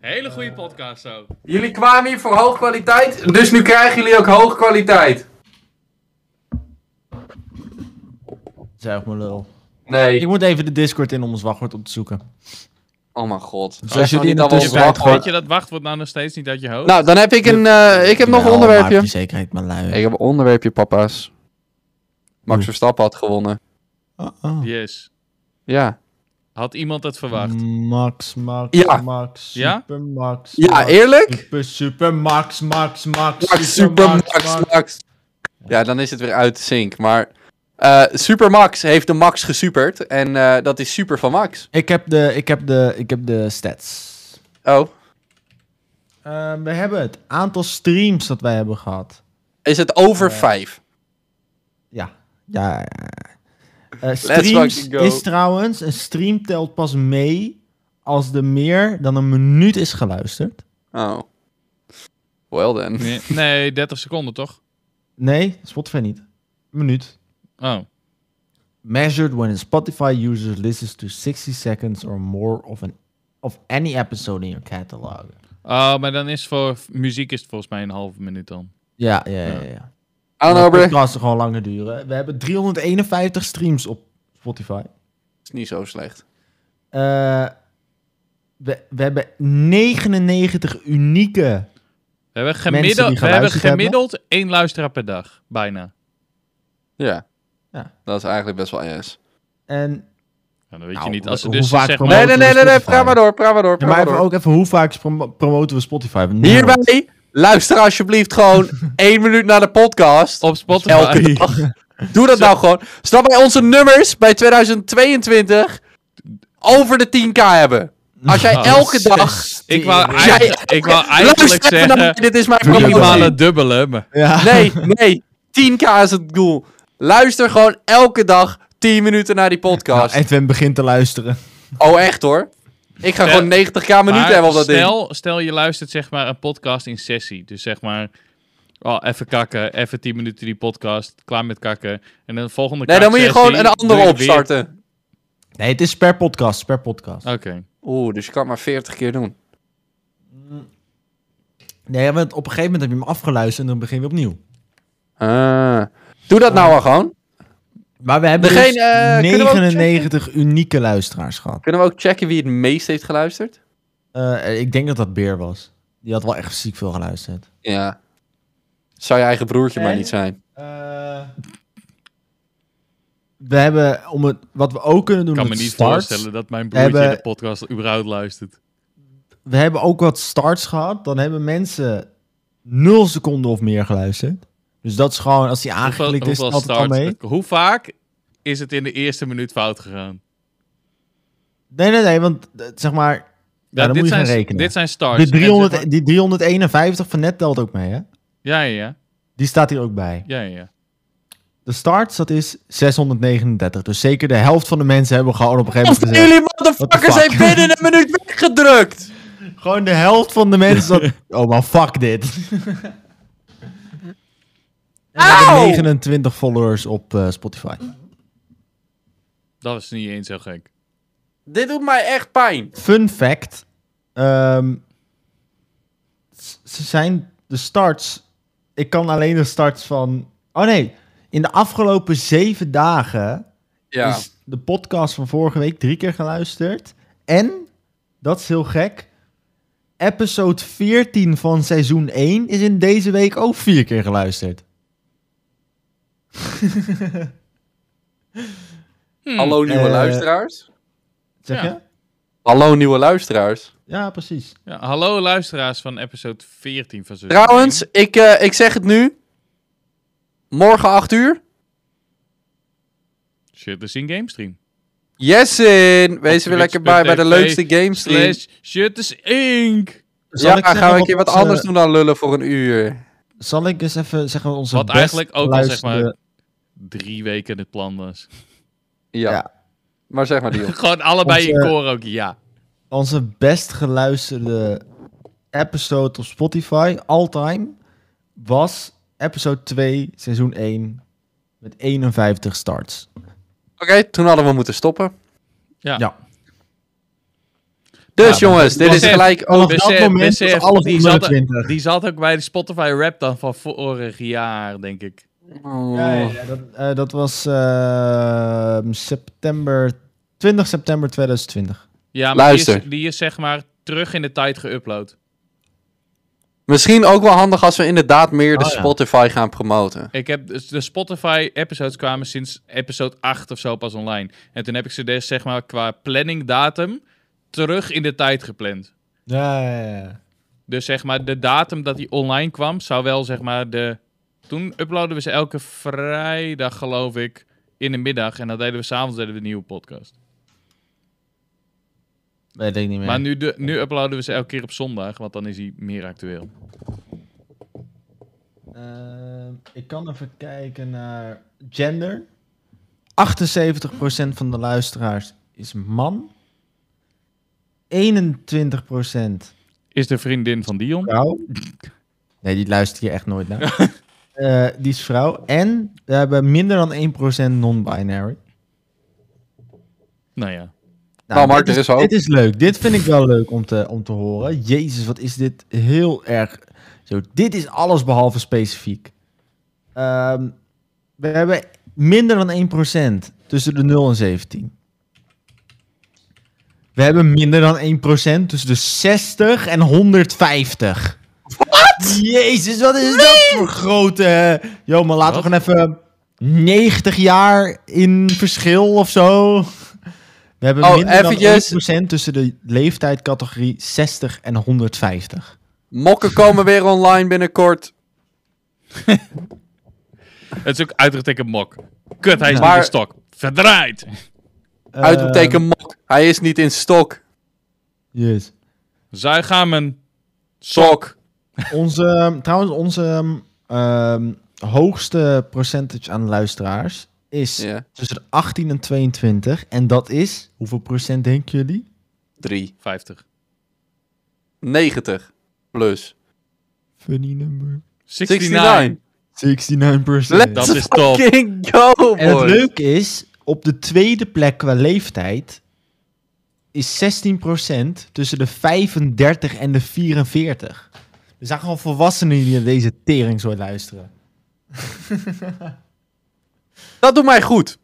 [SPEAKER 1] Hele goede podcast zo.
[SPEAKER 2] Jullie kwamen hier voor hoge kwaliteit, dus nu krijgen jullie ook hoge kwaliteit.
[SPEAKER 3] Zeg maar lul. Ik
[SPEAKER 2] Nee.
[SPEAKER 3] moet even de Discord in om ons wachtwoord op te zoeken.
[SPEAKER 2] Oh mijn god.
[SPEAKER 3] Dus als
[SPEAKER 2] Zeg
[SPEAKER 3] jullie in
[SPEAKER 2] maar
[SPEAKER 3] de
[SPEAKER 2] niet allemaal
[SPEAKER 3] tussentijd
[SPEAKER 2] wachtwoord.
[SPEAKER 1] Weet je dat wachtwoord nou nog steeds niet uit je hoofd?
[SPEAKER 2] Nou, dan heb ik een, eh, ik heb
[SPEAKER 3] Nou,
[SPEAKER 2] nog een onderwerpje.
[SPEAKER 3] zekerheid maar
[SPEAKER 2] Ik heb een onderwerpje, papa's. Max
[SPEAKER 3] Oeh.
[SPEAKER 2] Verstappen had gewonnen.
[SPEAKER 3] Uh-uh. Nou.
[SPEAKER 1] Yes.
[SPEAKER 2] Ja.
[SPEAKER 1] Had iemand het verwacht?
[SPEAKER 3] Mm. Max, Max,
[SPEAKER 2] Ja.
[SPEAKER 3] Max,
[SPEAKER 1] Ja?
[SPEAKER 3] Super Max.
[SPEAKER 2] Ja,
[SPEAKER 3] Max,
[SPEAKER 2] eerlijk?
[SPEAKER 3] Super, super Max, Max, Max,
[SPEAKER 2] Max, Super Max, Max. Ja, dan is het weer uit de zink. Maar eh, Super Max heeft de Max gesuperd. En eh, dat is super van Max.
[SPEAKER 3] Ik heb de, ik heb de, ik heb de stats.
[SPEAKER 2] Oh,
[SPEAKER 3] Eh, we hebben het aantal streams dat wij hebben gehad.
[SPEAKER 2] is het over 5?
[SPEAKER 3] Ja. Ja. ja, ja. Eh, streams
[SPEAKER 2] fucking go.
[SPEAKER 3] is trouwens, een stream telt pas mee als er meer dan een minuut is geluisterd.
[SPEAKER 2] Oh. Well then.
[SPEAKER 1] Nee, nee, 30 seconden toch?
[SPEAKER 3] Nee, Spotify niet. Een minuut.
[SPEAKER 1] Oh.
[SPEAKER 3] Measured when a Spotify user listens to 60 seconds or more of, an, of any episode in your catalog.
[SPEAKER 1] Oh, maar dan is voor muziek is het volgens mij een halve minuut dan.
[SPEAKER 3] Ja, ja, ja. ja.
[SPEAKER 2] I don't know, bruh.
[SPEAKER 3] kan gewoon langer duren. We hebben 351 streams op Spotify.
[SPEAKER 2] is niet zo slecht.
[SPEAKER 3] Eh, we, we hebben 99 unieke.
[SPEAKER 1] We hebben
[SPEAKER 3] die
[SPEAKER 1] gemiddeld, we hebben
[SPEAKER 3] geluisterd hebben.
[SPEAKER 1] gemiddeld één luisteraar per dag. Bijna.
[SPEAKER 2] Ja.
[SPEAKER 3] Ja.
[SPEAKER 2] Dat is eigenlijk best wel yes.
[SPEAKER 3] En
[SPEAKER 1] Nou, dan weet je
[SPEAKER 3] Nou,
[SPEAKER 1] niet.
[SPEAKER 3] hoe-
[SPEAKER 1] Als ze
[SPEAKER 3] hoe
[SPEAKER 1] dus
[SPEAKER 3] vaak
[SPEAKER 1] zeg
[SPEAKER 3] promo-
[SPEAKER 1] maar...
[SPEAKER 2] Nee,
[SPEAKER 3] Promoten
[SPEAKER 2] nee, nee, nee,
[SPEAKER 3] we
[SPEAKER 2] nee.
[SPEAKER 3] Spotify.
[SPEAKER 2] Praat maar door, praat maar door.
[SPEAKER 3] ja,
[SPEAKER 2] Praat
[SPEAKER 3] maar
[SPEAKER 2] maar
[SPEAKER 3] even,
[SPEAKER 2] door.
[SPEAKER 3] ook even hoe vaak prom- promoten we Nou. Spotify? Want niemand-
[SPEAKER 2] Hierbij, luister alsjeblieft gewoon één minuut naar de podcast.
[SPEAKER 1] Op Spotify.
[SPEAKER 2] Elke dag. Doe dat nou gewoon. Snap bij onze nummers bij 2022 over de 10k hebben. Als jij
[SPEAKER 1] Oh,
[SPEAKER 2] elke dag.
[SPEAKER 1] Ik wou
[SPEAKER 2] Jij-
[SPEAKER 1] eigenlijk, ik wou eigenlijk
[SPEAKER 2] Luister even naar
[SPEAKER 1] zeggen...
[SPEAKER 2] mij, dit is mijn
[SPEAKER 3] Doe dat
[SPEAKER 2] minimale.
[SPEAKER 1] Minimale dubbele, maar...
[SPEAKER 3] Ja.
[SPEAKER 2] Nee, nee. 10k is het doel. Luister gewoon elke dag 10 minuten naar die podcast.
[SPEAKER 3] Nou,
[SPEAKER 1] Nou,
[SPEAKER 3] Edwin begint te luisteren.
[SPEAKER 2] Oh, echt hoor. Ik ga
[SPEAKER 1] Ja,
[SPEAKER 2] gewoon 90k minuten
[SPEAKER 1] Maar
[SPEAKER 2] hebben op dat ding.
[SPEAKER 1] stel, stel je luistert zeg maar een podcast in sessie. Dus zeg maar, oh, even kakken, even 10 minuten die podcast, klaar met kakken. En dan de volgende
[SPEAKER 2] Nee, dan moet je
[SPEAKER 1] kaksessie
[SPEAKER 2] gewoon een
[SPEAKER 1] doe
[SPEAKER 2] andere
[SPEAKER 1] je weer-
[SPEAKER 2] opstarten.
[SPEAKER 3] Nee, het is per podcast, per podcast.
[SPEAKER 1] Oké.
[SPEAKER 2] Oeh, dus je kan het maar 40 keer doen.
[SPEAKER 3] Nee, want op een gegeven moment heb je hem afgeluisterd en dan begin je weer opnieuw.
[SPEAKER 2] Ah. Doe dat nou al gewoon.
[SPEAKER 3] Maar we hebben
[SPEAKER 2] Degene,
[SPEAKER 3] dus
[SPEAKER 2] eh, kunnen we ook
[SPEAKER 3] 99 unieke luisteraars gehad.
[SPEAKER 2] Kunnen we ook checken wie het meest heeft geluisterd?
[SPEAKER 3] Eh, ik denk dat dat Beer was. Die had wel echt ziek veel geluisterd.
[SPEAKER 2] Ja. Zou je eigen broertje maar
[SPEAKER 3] En?
[SPEAKER 2] niet zijn.
[SPEAKER 3] Eh, we hebben, om het, wat we ook kunnen doen
[SPEAKER 1] Ik kan me
[SPEAKER 3] met
[SPEAKER 1] niet
[SPEAKER 3] starts,
[SPEAKER 1] voorstellen dat mijn broertje
[SPEAKER 3] hebben-
[SPEAKER 1] de podcast überhaupt luistert.
[SPEAKER 3] We hebben ook wat starts gehad. Dan hebben mensen 0 seconden of meer geluisterd. Dus dat is gewoon, als die
[SPEAKER 1] Hoeveel,
[SPEAKER 3] aangeklikt is,
[SPEAKER 1] hoeveel
[SPEAKER 3] altijd al
[SPEAKER 1] starts?
[SPEAKER 3] mee.
[SPEAKER 1] Hoe vaak is het in de eerste minuut fout gegaan?
[SPEAKER 3] Nee, nee, nee, want eh, zeg maar, Ja, dan
[SPEAKER 1] dit,
[SPEAKER 3] moet je
[SPEAKER 1] zijn,
[SPEAKER 3] gaan rekenen.
[SPEAKER 1] dit zijn starts.
[SPEAKER 3] de
[SPEAKER 1] En zeg
[SPEAKER 3] 300,
[SPEAKER 1] maar-
[SPEAKER 3] die 351 van net telt ook mee, hè?
[SPEAKER 1] ja, ja, ja,
[SPEAKER 3] Die staat hier ook bij.
[SPEAKER 1] ja, ja, ja.
[SPEAKER 3] De starts, dat is 639. Dus zeker de helft van de mensen hebben gewoon op een gegeven
[SPEAKER 2] Of
[SPEAKER 3] moment gezegd...
[SPEAKER 2] jullie
[SPEAKER 3] What the
[SPEAKER 2] motherfuckers
[SPEAKER 3] fuck?
[SPEAKER 2] zijn binnen een minuut weggedrukt.
[SPEAKER 3] Gewoon de helft van de mensen dat... Oh man, fuck dit. En we hebben
[SPEAKER 2] Auw!
[SPEAKER 3] 29 followers op eh, Spotify.
[SPEAKER 1] Dat is niet eens zo gek.
[SPEAKER 2] Dit doet mij echt pijn.
[SPEAKER 3] Fun fact. ehm, s- ze zijn de starts. Ik kan alleen de starts van. Oh nee, in de afgelopen zeven dagen
[SPEAKER 2] Ja.
[SPEAKER 3] is de podcast van vorige week drie keer geluisterd. En, dat is heel gek, episode 14 van seizoen 1 is in deze week ook vier keer geluisterd.
[SPEAKER 2] Hallo nieuwe
[SPEAKER 3] Eh.
[SPEAKER 2] luisteraars.
[SPEAKER 3] Zeg
[SPEAKER 1] Ja.
[SPEAKER 3] je?
[SPEAKER 2] Hallo nieuwe luisteraars.
[SPEAKER 3] Ja, precies.
[SPEAKER 1] Hmm. Ja, hallo luisteraars van episode 14 van seizoen
[SPEAKER 2] Trouwens, ik, eh, ik zeg het nu. Morgen 8 uur.
[SPEAKER 1] Shutters in GameStream.
[SPEAKER 2] Yesin! Wees er weer
[SPEAKER 1] Twitch.tv
[SPEAKER 2] lekker bij bij de leukste gamestream.
[SPEAKER 1] Slash Shutters Inc.
[SPEAKER 3] Zal
[SPEAKER 2] Ja,
[SPEAKER 3] ik
[SPEAKER 2] gaan
[SPEAKER 3] zeggen
[SPEAKER 2] we een keer wat
[SPEAKER 3] onze-
[SPEAKER 2] anders doen dan lullen voor een uur.
[SPEAKER 3] Zal ik eens even zeggen wat onze
[SPEAKER 1] Wat
[SPEAKER 3] best
[SPEAKER 1] eigenlijk ook al zeg maar
[SPEAKER 3] beluisterde-
[SPEAKER 1] drie weken in het plan was.
[SPEAKER 2] Ja.
[SPEAKER 3] Ja.
[SPEAKER 2] Maar zeg maar, Dion.
[SPEAKER 1] Gewoon allebei
[SPEAKER 3] Onze-
[SPEAKER 1] in koor ook, ja.
[SPEAKER 3] onze best geluisterde episode op Spotify, all time, was episode 2, seizoen 1, met 51 starts.
[SPEAKER 2] Oké, toen hadden we moeten stoppen.
[SPEAKER 1] Ja.
[SPEAKER 3] Ja.
[SPEAKER 2] Dus
[SPEAKER 3] Ja,
[SPEAKER 2] jongens, dit is
[SPEAKER 1] Besef,
[SPEAKER 2] gelijk ook...
[SPEAKER 3] Op dat
[SPEAKER 1] Besef,
[SPEAKER 3] moment was
[SPEAKER 1] besef,
[SPEAKER 3] alles
[SPEAKER 1] die,
[SPEAKER 3] onder de
[SPEAKER 1] zat,
[SPEAKER 3] 20.
[SPEAKER 1] die zat ook bij de Spotify rap dan van vorig jaar, denk ik.
[SPEAKER 2] Oh.
[SPEAKER 3] Ja, ja, ja, dat, eh, dat was eh, september, 20 september 2020.
[SPEAKER 1] Ja, maar Die,
[SPEAKER 2] Luister.
[SPEAKER 1] is, die is zeg maar terug in de tijd geüpload.
[SPEAKER 2] Misschien ook wel handig als we inderdaad meer de
[SPEAKER 3] Oh, ja.
[SPEAKER 2] Spotify gaan promoten.
[SPEAKER 1] Ik heb dus de Spotify-episodes kwamen sinds episode 8 of zo pas online. En toen heb ik ze dus zeg maar qua planningdatum terug in de tijd gepland.
[SPEAKER 3] Ja, ja, ja.
[SPEAKER 1] Dus zeg maar de datum dat die online kwam zou wel zeg maar de... Toen uploaden we ze elke vrijdag geloof ik in de middag. En dan deden we s'avonds deden we een nieuwe podcast.
[SPEAKER 3] Weet ik niet meer.
[SPEAKER 1] Maar nu, de, nu uploaden we ze elke keer op zondag, want dan is hij meer actueel.
[SPEAKER 3] Eh, ik kan even kijken naar gender. 78% van de luisteraars is man. 21%
[SPEAKER 1] Is de vriendin van Dion?
[SPEAKER 3] vrouw. Nee, die luistert hier echt nooit naar. Eh, die is vrouw. En we hebben minder dan 1% non-binary.
[SPEAKER 1] Nou ja.
[SPEAKER 2] Nou, Mark,
[SPEAKER 3] dit
[SPEAKER 2] er is hoop.
[SPEAKER 3] Dit is leuk. Dit vind ik wel leuk om te, om te horen. Jezus, wat is dit heel erg... Zo, dit is alles behalve specifiek. Ehm, we hebben minder dan 1% tussen de 0 en 17. We hebben minder dan 1% tussen de 60 en 150. Wat? Jezus, wat is dat voor grote... Yo, maar laten we
[SPEAKER 1] Wat?
[SPEAKER 3] gewoon even 90 jaar in verschil of zo. We hebben
[SPEAKER 2] Oh,
[SPEAKER 3] minder
[SPEAKER 2] eventjes.
[SPEAKER 3] dan 1% tussen de leeftijdcategorie 60 en 150.
[SPEAKER 2] Mokken komen weer online binnenkort.
[SPEAKER 1] Het is ook uitgetekend mok. Kut, hij is
[SPEAKER 2] Maar-
[SPEAKER 1] niet in stok. Verdraaid!
[SPEAKER 3] Eh.
[SPEAKER 2] Uitroepteken mok. Hij is niet in stok.
[SPEAKER 3] Ehm, yes.
[SPEAKER 1] Zuig aan mijn
[SPEAKER 2] Sok.
[SPEAKER 3] Onze, ehm, trouwens, onze ehm, hoogste percentage aan luisteraars is
[SPEAKER 2] Ja,
[SPEAKER 3] tussen de 18 en 22. En dat is, hoeveel procent denken jullie?
[SPEAKER 2] 3.
[SPEAKER 1] 50.
[SPEAKER 2] 90. Plus.
[SPEAKER 3] Funny number.
[SPEAKER 1] 69.
[SPEAKER 3] 69
[SPEAKER 2] Let's
[SPEAKER 1] Dat is top.
[SPEAKER 2] fucking go, boys.
[SPEAKER 3] En het leuke is, op de tweede plek qua leeftijd is 16% tussen de 35 en de 44. Er zijn gewoon volwassenen die naar deze tering zo luisteren.
[SPEAKER 2] Dat doet mij goed.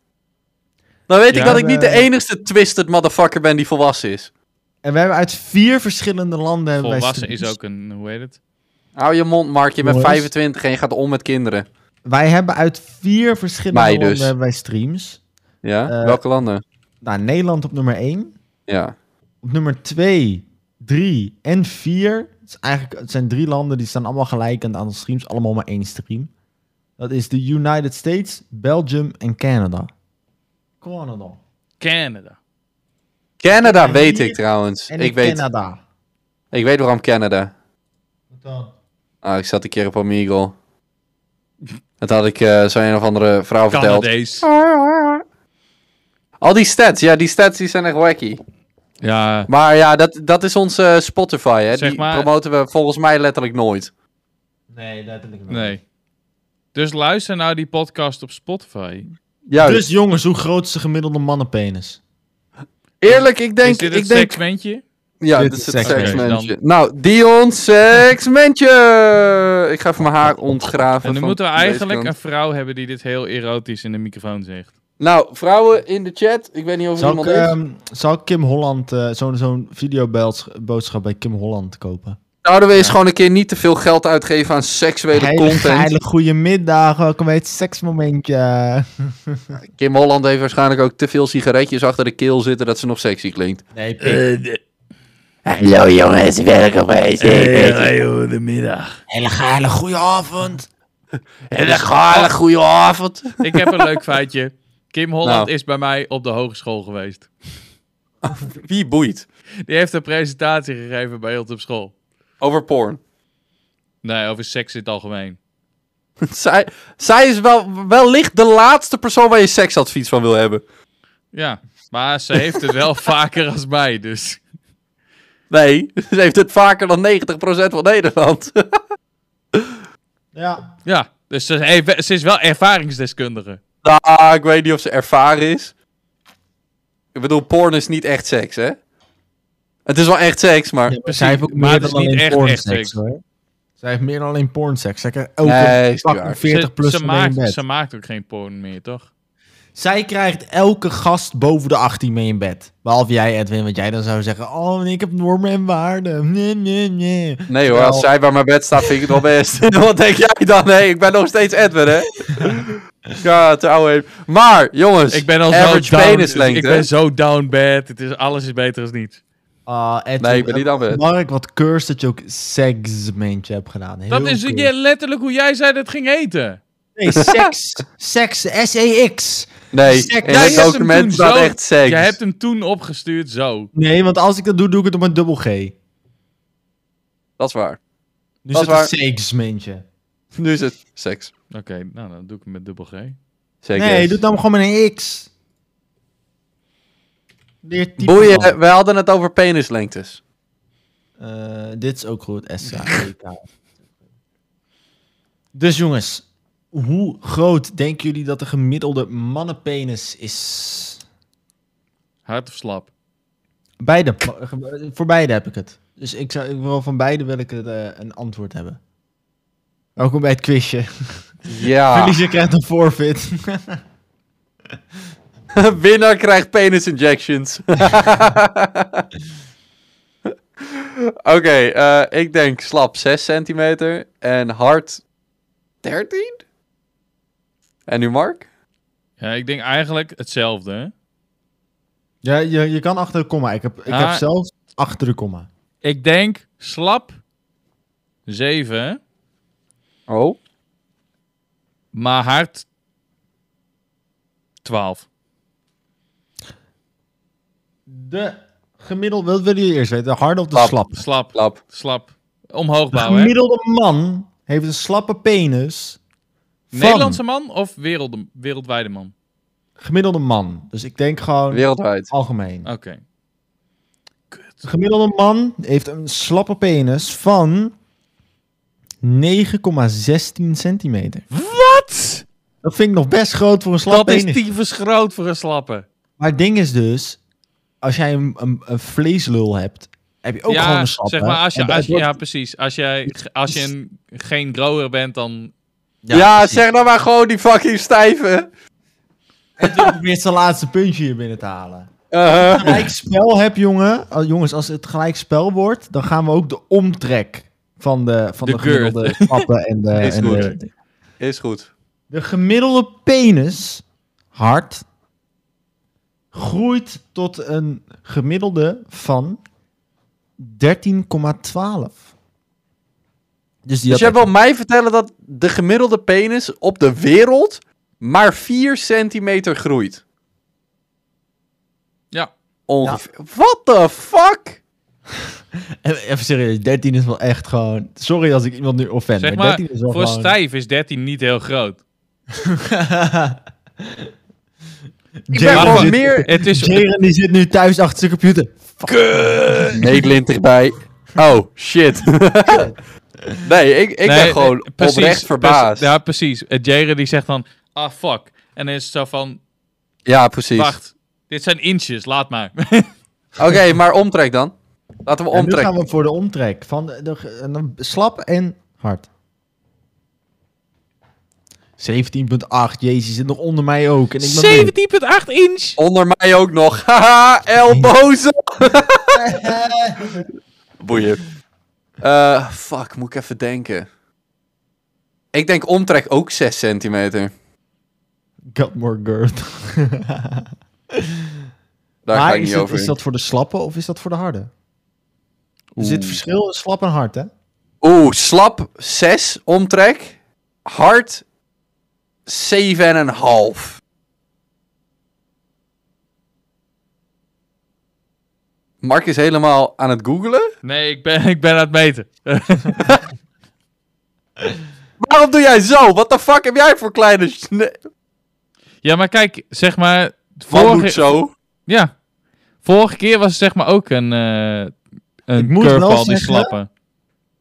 [SPEAKER 2] Dan weet ik
[SPEAKER 1] Ja,
[SPEAKER 2] dat ik niet de
[SPEAKER 3] eh,
[SPEAKER 2] enigste twisted motherfucker ben die volwassen is.
[SPEAKER 3] En we hebben uit vier verschillende landen... hebben wij
[SPEAKER 1] Volwassen is
[SPEAKER 3] studies.
[SPEAKER 1] ook een, hoe heet het?
[SPEAKER 2] Hou je mond, Mark. Je bent
[SPEAKER 3] Jongens.
[SPEAKER 2] 25 en je gaat om met kinderen.
[SPEAKER 3] Wij hebben uit vier verschillende
[SPEAKER 2] Mij
[SPEAKER 3] landen
[SPEAKER 2] dus.
[SPEAKER 3] hebben wij streams.
[SPEAKER 2] Ja?
[SPEAKER 3] Eh,
[SPEAKER 2] Welke landen?
[SPEAKER 3] Nou, Nederland op nummer 1.
[SPEAKER 2] Ja.
[SPEAKER 3] Op nummer 2, 3 en 4. Het, is eigenlijk, het zijn drie landen die staan allemaal gelijk aan het aantal streams. Allemaal maar één stream. Dat is de United States, Belgium en Canada. Canada.
[SPEAKER 1] Canada.
[SPEAKER 2] Canada
[SPEAKER 3] en
[SPEAKER 2] weet
[SPEAKER 3] hier-
[SPEAKER 2] ik trouwens.
[SPEAKER 3] En
[SPEAKER 2] Ik weet,
[SPEAKER 3] Canada.
[SPEAKER 2] ik weet waarom Canada.
[SPEAKER 3] Wat dan?
[SPEAKER 2] Ah, ik zat een keer op Omegle. Dat had ik eh zo'n een of andere vrouw verteld.
[SPEAKER 1] Canadees.
[SPEAKER 2] Al die stats. Ja, die stats die zijn echt wacky.
[SPEAKER 1] Ja,
[SPEAKER 2] Maar ja, dat, dat is onze eh, Spotify. Hè?
[SPEAKER 1] Zeg
[SPEAKER 2] die
[SPEAKER 1] maar-
[SPEAKER 2] promoten we volgens mij letterlijk nooit.
[SPEAKER 3] Nee, letterlijk niet.
[SPEAKER 1] nee. Dus luister naar die podcast op Spotify.
[SPEAKER 2] Juist.
[SPEAKER 3] Dus jongens, hoe groot is de gemiddelde mannenpenis?
[SPEAKER 2] Eerlijk, ik denk...
[SPEAKER 1] is dit
[SPEAKER 2] ik
[SPEAKER 1] het
[SPEAKER 2] denk
[SPEAKER 1] segmentje?
[SPEAKER 2] Ja,
[SPEAKER 3] Dit
[SPEAKER 2] dit is
[SPEAKER 3] is
[SPEAKER 2] het
[SPEAKER 3] seks-
[SPEAKER 2] seksmentje.
[SPEAKER 1] Oké,
[SPEAKER 2] Nou, Dion seksmentje! Ik ga even mijn haar ontgraven.
[SPEAKER 1] En dan
[SPEAKER 2] van
[SPEAKER 1] moeten we
[SPEAKER 2] deze
[SPEAKER 1] eigenlijk
[SPEAKER 2] kant.
[SPEAKER 1] een vrouw hebben die dit heel erotisch in de microfoon zegt.
[SPEAKER 2] Nou, vrouwen in de chat. Ik eh, weet niet of er
[SPEAKER 3] Zal ik,
[SPEAKER 2] iemand is.
[SPEAKER 3] ehm, zal ik Kim Holland, eh, zo'n zo'n videoboodschap bij Kim Holland kopen?
[SPEAKER 2] Zouden we eens gewoon een keer niet te veel geld uitgeven aan seksuele
[SPEAKER 3] Heilige,
[SPEAKER 2] content.
[SPEAKER 3] heilige goedemiddag, welkom bij het seksmomentje.
[SPEAKER 2] Kim Holland heeft waarschijnlijk ook te veel sigaretjes achter de keel zitten dat ze nog sexy klinkt.
[SPEAKER 3] Nee,
[SPEAKER 2] Eh.
[SPEAKER 4] Hallo jongens, welkom bij Zeker.
[SPEAKER 1] goedemiddag.
[SPEAKER 3] Hele geile goeie avond.
[SPEAKER 2] Hele gale goede avond.
[SPEAKER 1] Ik heb een leuk feitje. Kim Holland
[SPEAKER 2] Nou.
[SPEAKER 1] is bij mij op de hogeschool geweest.
[SPEAKER 2] Wie boeit?
[SPEAKER 1] Die heeft een presentatie gegeven bij ons op school.
[SPEAKER 2] Over porn.
[SPEAKER 1] Nee, over seks in het algemeen.
[SPEAKER 2] zij, zij is wel, wellicht de laatste persoon waar je seksadvies van wil hebben.
[SPEAKER 1] Ja, maar ze heeft het wel vaker als mij, dus...
[SPEAKER 2] Nee, ze heeft het vaker dan 90% van Nederland.
[SPEAKER 3] Ja.
[SPEAKER 1] Ja, dus ze, heeft we- ze is wel ervaringsdeskundige.
[SPEAKER 2] nou, ik weet niet of ze ervaren is. Ik bedoel, porn is niet echt seks, hè? Het is wel echt seks, maar...
[SPEAKER 1] precies,
[SPEAKER 3] Zij heeft ook
[SPEAKER 1] maar
[SPEAKER 3] meer
[SPEAKER 1] het is
[SPEAKER 3] dan alleen
[SPEAKER 1] niet echt echt
[SPEAKER 3] pornseks,
[SPEAKER 1] seks.
[SPEAKER 3] hoor. Zij heeft meer dan alleen pornseks. Zij krijgt elke
[SPEAKER 2] Nee, is niet
[SPEAKER 3] fucking
[SPEAKER 2] waar.
[SPEAKER 3] 40
[SPEAKER 1] Ze-
[SPEAKER 3] plus
[SPEAKER 1] ze,
[SPEAKER 3] van
[SPEAKER 1] maakt,
[SPEAKER 3] in bed.
[SPEAKER 1] ze maakt ook geen porn meer, toch?
[SPEAKER 3] Zij krijgt elke gast boven de 18 mee in bed. Behalve jij, Edwin, want jij dan zou zeggen... Oh, nee, ik heb normen en waarden. Nee, nee, nee.
[SPEAKER 2] Nee hoor,
[SPEAKER 3] Wel-
[SPEAKER 2] als zij bij mijn bed staat, vind ik het wel best. Wat denk jij dan? Nee, ik ben nog steeds Edwin, hè? ja, het ouwe heeft- Maar, jongens,
[SPEAKER 1] Ik ben al
[SPEAKER 2] Dus average
[SPEAKER 1] zo down. dus
[SPEAKER 2] penislengte.
[SPEAKER 1] Ik ben zo down bad. Het is, alles is beter als niets.
[SPEAKER 3] Ah, Edwin,
[SPEAKER 2] Nee, ik ben niet aan bed.
[SPEAKER 3] Mark, wat curse dat je ook segmentje hebt gedaan. Heel
[SPEAKER 1] dat is
[SPEAKER 3] curse.
[SPEAKER 1] je- letterlijk hoe jij zei dat het ging heten.
[SPEAKER 3] Nee, seks. seks. E S-E-X.
[SPEAKER 2] Nee,
[SPEAKER 3] Seks.
[SPEAKER 2] in het
[SPEAKER 3] Jij hebt hem
[SPEAKER 2] document
[SPEAKER 1] toen
[SPEAKER 2] staat
[SPEAKER 1] zo-
[SPEAKER 2] echt seks.
[SPEAKER 1] Jij hebt hem toen opgestuurd zo.
[SPEAKER 3] Nee, want als ik dat doe, doe ik het op een dubbel G. Dus
[SPEAKER 2] Dat is waar.
[SPEAKER 3] Nu
[SPEAKER 2] Dat
[SPEAKER 3] zit
[SPEAKER 2] is
[SPEAKER 3] een
[SPEAKER 2] waar.
[SPEAKER 3] segmentje.
[SPEAKER 2] Nu is het seks.
[SPEAKER 1] Oké, nou dan doe ik hem met dubbel G.
[SPEAKER 2] Zeker.
[SPEAKER 3] Nee, doe het dan gewoon met een X. Leer typen,
[SPEAKER 2] Boeien,
[SPEAKER 3] man.
[SPEAKER 2] we hadden het over penislengtes.
[SPEAKER 3] Eh, dit is ook goed, S-A-E-K. dus jongens, hoe groot denken jullie dat de gemiddelde mannenpenis is?
[SPEAKER 1] Hard of slap?
[SPEAKER 3] Beide. Voor beide heb ik het. Dus ik zou, ik wil van beide wil ik het, eh, een antwoord hebben. Welkom bij het quizje.
[SPEAKER 2] Ja.
[SPEAKER 3] Verliezer krijgt een forfeit.
[SPEAKER 2] Winnaar krijgt penis injections. Oké, eh, ik denk slap 6 centimeter en hard 13? En nu Mark?
[SPEAKER 1] Ja, ik denk eigenlijk hetzelfde. hè?
[SPEAKER 3] ja, je, je kan achter de komma. Ik heb, ik
[SPEAKER 1] Ah.
[SPEAKER 3] heb zelfs achter de komma.
[SPEAKER 1] Ik denk slap 7,
[SPEAKER 2] Oh.
[SPEAKER 1] maar hard 12.
[SPEAKER 3] De gemiddelde, wat willen jullie eerst weten? De harde of de
[SPEAKER 2] Slap.
[SPEAKER 3] slap?
[SPEAKER 1] Slap,
[SPEAKER 2] Slap.
[SPEAKER 1] slap. Omhoog
[SPEAKER 3] De
[SPEAKER 1] bouwen. hè?
[SPEAKER 3] gemiddelde man heeft een slappe penis. van-
[SPEAKER 1] Nederlandse man of wereld, wereldwijde man?
[SPEAKER 3] Gemiddelde man. Dus ik denk gewoon
[SPEAKER 2] Wereldwijd.
[SPEAKER 3] algemeen.
[SPEAKER 1] Oké.
[SPEAKER 3] De gemiddelde man heeft een slappe penis van 9,16 centimeter.
[SPEAKER 1] Wat?
[SPEAKER 3] Dat vind ik nog best groot voor een slappe
[SPEAKER 1] Dat is
[SPEAKER 3] penis.
[SPEAKER 1] tyfus groot voor een slappe.
[SPEAKER 3] Maar het ding is dus, als jij een, een, een vleeslul hebt, heb je ook gewoon
[SPEAKER 1] ja,
[SPEAKER 3] een slappe.
[SPEAKER 1] zeg maar, als je,
[SPEAKER 3] En dat
[SPEAKER 1] als je-
[SPEAKER 3] wordt-
[SPEAKER 1] ja, precies. Als je, als je een, geen grower bent, dan...
[SPEAKER 2] Ja,
[SPEAKER 3] precies.
[SPEAKER 2] zeg nou maar gewoon die fucking stijve.
[SPEAKER 3] En toen probeert zijn laatste puntje hier binnen te halen.
[SPEAKER 2] Eh,
[SPEAKER 3] Gelijk spel heb, jongen. Oh, jongens, als het gelijk spel wordt, dan gaan we ook de omtrek van de, van
[SPEAKER 1] De
[SPEAKER 3] de,
[SPEAKER 1] girth.
[SPEAKER 3] gemiddelde slappe en de...
[SPEAKER 2] Is
[SPEAKER 3] en
[SPEAKER 2] goed.
[SPEAKER 3] de,
[SPEAKER 2] is goed.
[SPEAKER 3] De gemiddelde penis, hard, groeit tot een gemiddelde van 13,12. Dus die
[SPEAKER 2] Dus
[SPEAKER 3] had
[SPEAKER 2] jij wil mij vertellen dat de gemiddelde penis op de wereld maar 4 centimeter groeit?
[SPEAKER 1] Ja.
[SPEAKER 2] Ongeveer. What the fuck?
[SPEAKER 3] even, even serieus, 13 is wel echt gewoon... Sorry als ik iemand nu offend,
[SPEAKER 1] Zeg
[SPEAKER 3] maar
[SPEAKER 1] maar,
[SPEAKER 3] 13 is wel
[SPEAKER 1] voor
[SPEAKER 3] gewoon...
[SPEAKER 1] stijf is 13 niet heel groot.
[SPEAKER 2] Ik
[SPEAKER 3] Jaren
[SPEAKER 2] ben gewoon
[SPEAKER 3] zit-
[SPEAKER 2] meer...
[SPEAKER 1] Het is,
[SPEAKER 3] Jaren die zit nu thuis achter zijn computer.
[SPEAKER 2] Nederland erbij. Oh, shit. nee, ik, ik ben
[SPEAKER 1] Nee,
[SPEAKER 2] gewoon
[SPEAKER 1] eh, precies,
[SPEAKER 2] oprecht verbaasd.
[SPEAKER 1] precies- Ja, precies. Eh, Jaren die zegt dan, ah fuck. En dan is het zo van,
[SPEAKER 2] Ja, precies.
[SPEAKER 1] wacht, dit zijn inches, laat maar.
[SPEAKER 2] Oké, maar omtrek dan. Laten we
[SPEAKER 3] En nu
[SPEAKER 2] omtrek.
[SPEAKER 3] gaan we voor de omtrek. Van de, de, ge- en dan slap en hard. 17,8. Jezus, je zit nog onder mij ook. En ik ben weer-
[SPEAKER 1] 17,8 inch!
[SPEAKER 2] Onder mij ook nog. Haha, elbozen. Boeien. Eh, fuck, moet ik even denken. Ik denk omtrek ook 6 centimeter.
[SPEAKER 3] Got more girth.
[SPEAKER 2] Daar ga
[SPEAKER 3] maar
[SPEAKER 2] ik
[SPEAKER 3] is,
[SPEAKER 2] niet
[SPEAKER 3] het-
[SPEAKER 2] over.
[SPEAKER 3] is dat voor de slappe of is dat voor de harde? Er
[SPEAKER 2] Oeh.
[SPEAKER 3] zit verschil in slap en hard, hè?
[SPEAKER 2] Oeh, slap 6 omtrek. hard 7,5. Mark is helemaal aan het googelen.
[SPEAKER 1] Nee, ik ben, ik ben aan het meten.
[SPEAKER 2] Waarom doe jij zo? Wat de fuck heb jij voor kleine... sne-
[SPEAKER 1] ja, maar kijk, zeg maar...
[SPEAKER 2] Man doet
[SPEAKER 1] Vorige,
[SPEAKER 2] zo.
[SPEAKER 1] ja. Vorige keer was het zeg maar ook een, eh
[SPEAKER 3] Ik
[SPEAKER 1] een
[SPEAKER 3] moet wel
[SPEAKER 1] curveball die
[SPEAKER 3] zeggen-
[SPEAKER 1] slappen.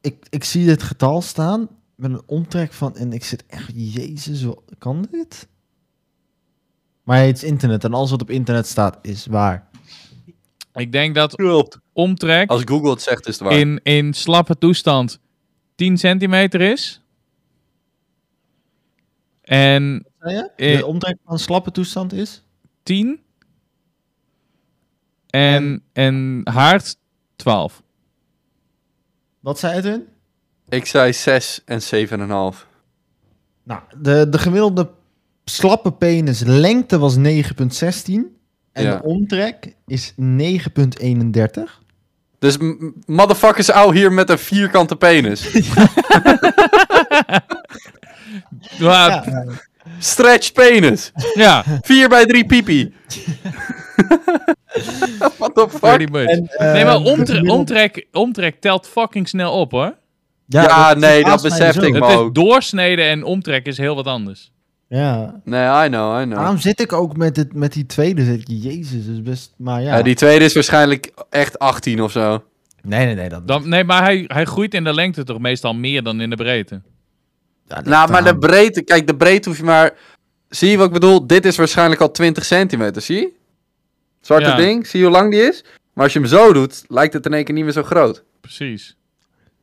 [SPEAKER 3] Ik, ik zie dit getal staan met een omtrek van... En ik zit echt... Jezus, wat- kan dit? Maar het is internet. En alles wat op internet staat is waar.
[SPEAKER 1] Ik denk dat
[SPEAKER 2] Klopt.
[SPEAKER 1] omtrek
[SPEAKER 2] Als Google het zegt, is het waar.
[SPEAKER 1] in, in slappe toestand 10 centimeter is. En
[SPEAKER 3] Zei je?
[SPEAKER 1] Eh.
[SPEAKER 3] De omtrek van slappe toestand is?
[SPEAKER 1] 10. En, en haard 12.
[SPEAKER 3] Wat zei het hun?
[SPEAKER 2] Ik zei 6 en 7,5.
[SPEAKER 3] Nou, de, de gemiddelde slappe penis lengte was 9,16. En
[SPEAKER 2] Ja.
[SPEAKER 3] de omtrek is 9,31.
[SPEAKER 2] Dus m- m- motherfuckers out hier met een vierkante penis.
[SPEAKER 1] Ja, p-
[SPEAKER 3] Ja,
[SPEAKER 2] Stretched penis.
[SPEAKER 1] ja
[SPEAKER 2] 4 bij 3 pipi. What the fuck?
[SPEAKER 1] pretty much.
[SPEAKER 3] en, eh,
[SPEAKER 1] nee, maar
[SPEAKER 3] de
[SPEAKER 1] omtre-
[SPEAKER 3] gemiddelde-
[SPEAKER 1] omtrek, omtrek telt fucking snel op hoor.
[SPEAKER 2] Ja,
[SPEAKER 3] dat
[SPEAKER 2] nee, dat
[SPEAKER 3] verbaast mij dus
[SPEAKER 2] besef
[SPEAKER 3] zo.
[SPEAKER 2] ik.
[SPEAKER 1] Het is
[SPEAKER 2] ook.
[SPEAKER 1] doorsneden en omtrek is heel wat anders.
[SPEAKER 3] Ja.
[SPEAKER 2] Nee, I know, I know.
[SPEAKER 3] Waarom zit ik ook met, dit, met die tweede? Zit ik, jezus, dat is best... Maar ja.
[SPEAKER 2] Ja, die tweede is waarschijnlijk echt 18 of zo.
[SPEAKER 3] Nee, nee, nee. Dat,
[SPEAKER 1] Dan, nee, maar hij, hij groeit in de lengte toch meestal meer dan in de breedte.
[SPEAKER 3] Ja, dat-
[SPEAKER 2] Nou, maar de
[SPEAKER 3] daarom.
[SPEAKER 2] breedte, kijk, de breedte hoef je maar. Zie je wat ik bedoel? Dit is waarschijnlijk al 20 centimeter, zie je? Zwarte
[SPEAKER 1] Ja.
[SPEAKER 2] ding, zie je hoe lang die is? Maar als je hem zo doet, lijkt het in één keer niet meer zo groot.
[SPEAKER 1] Precies.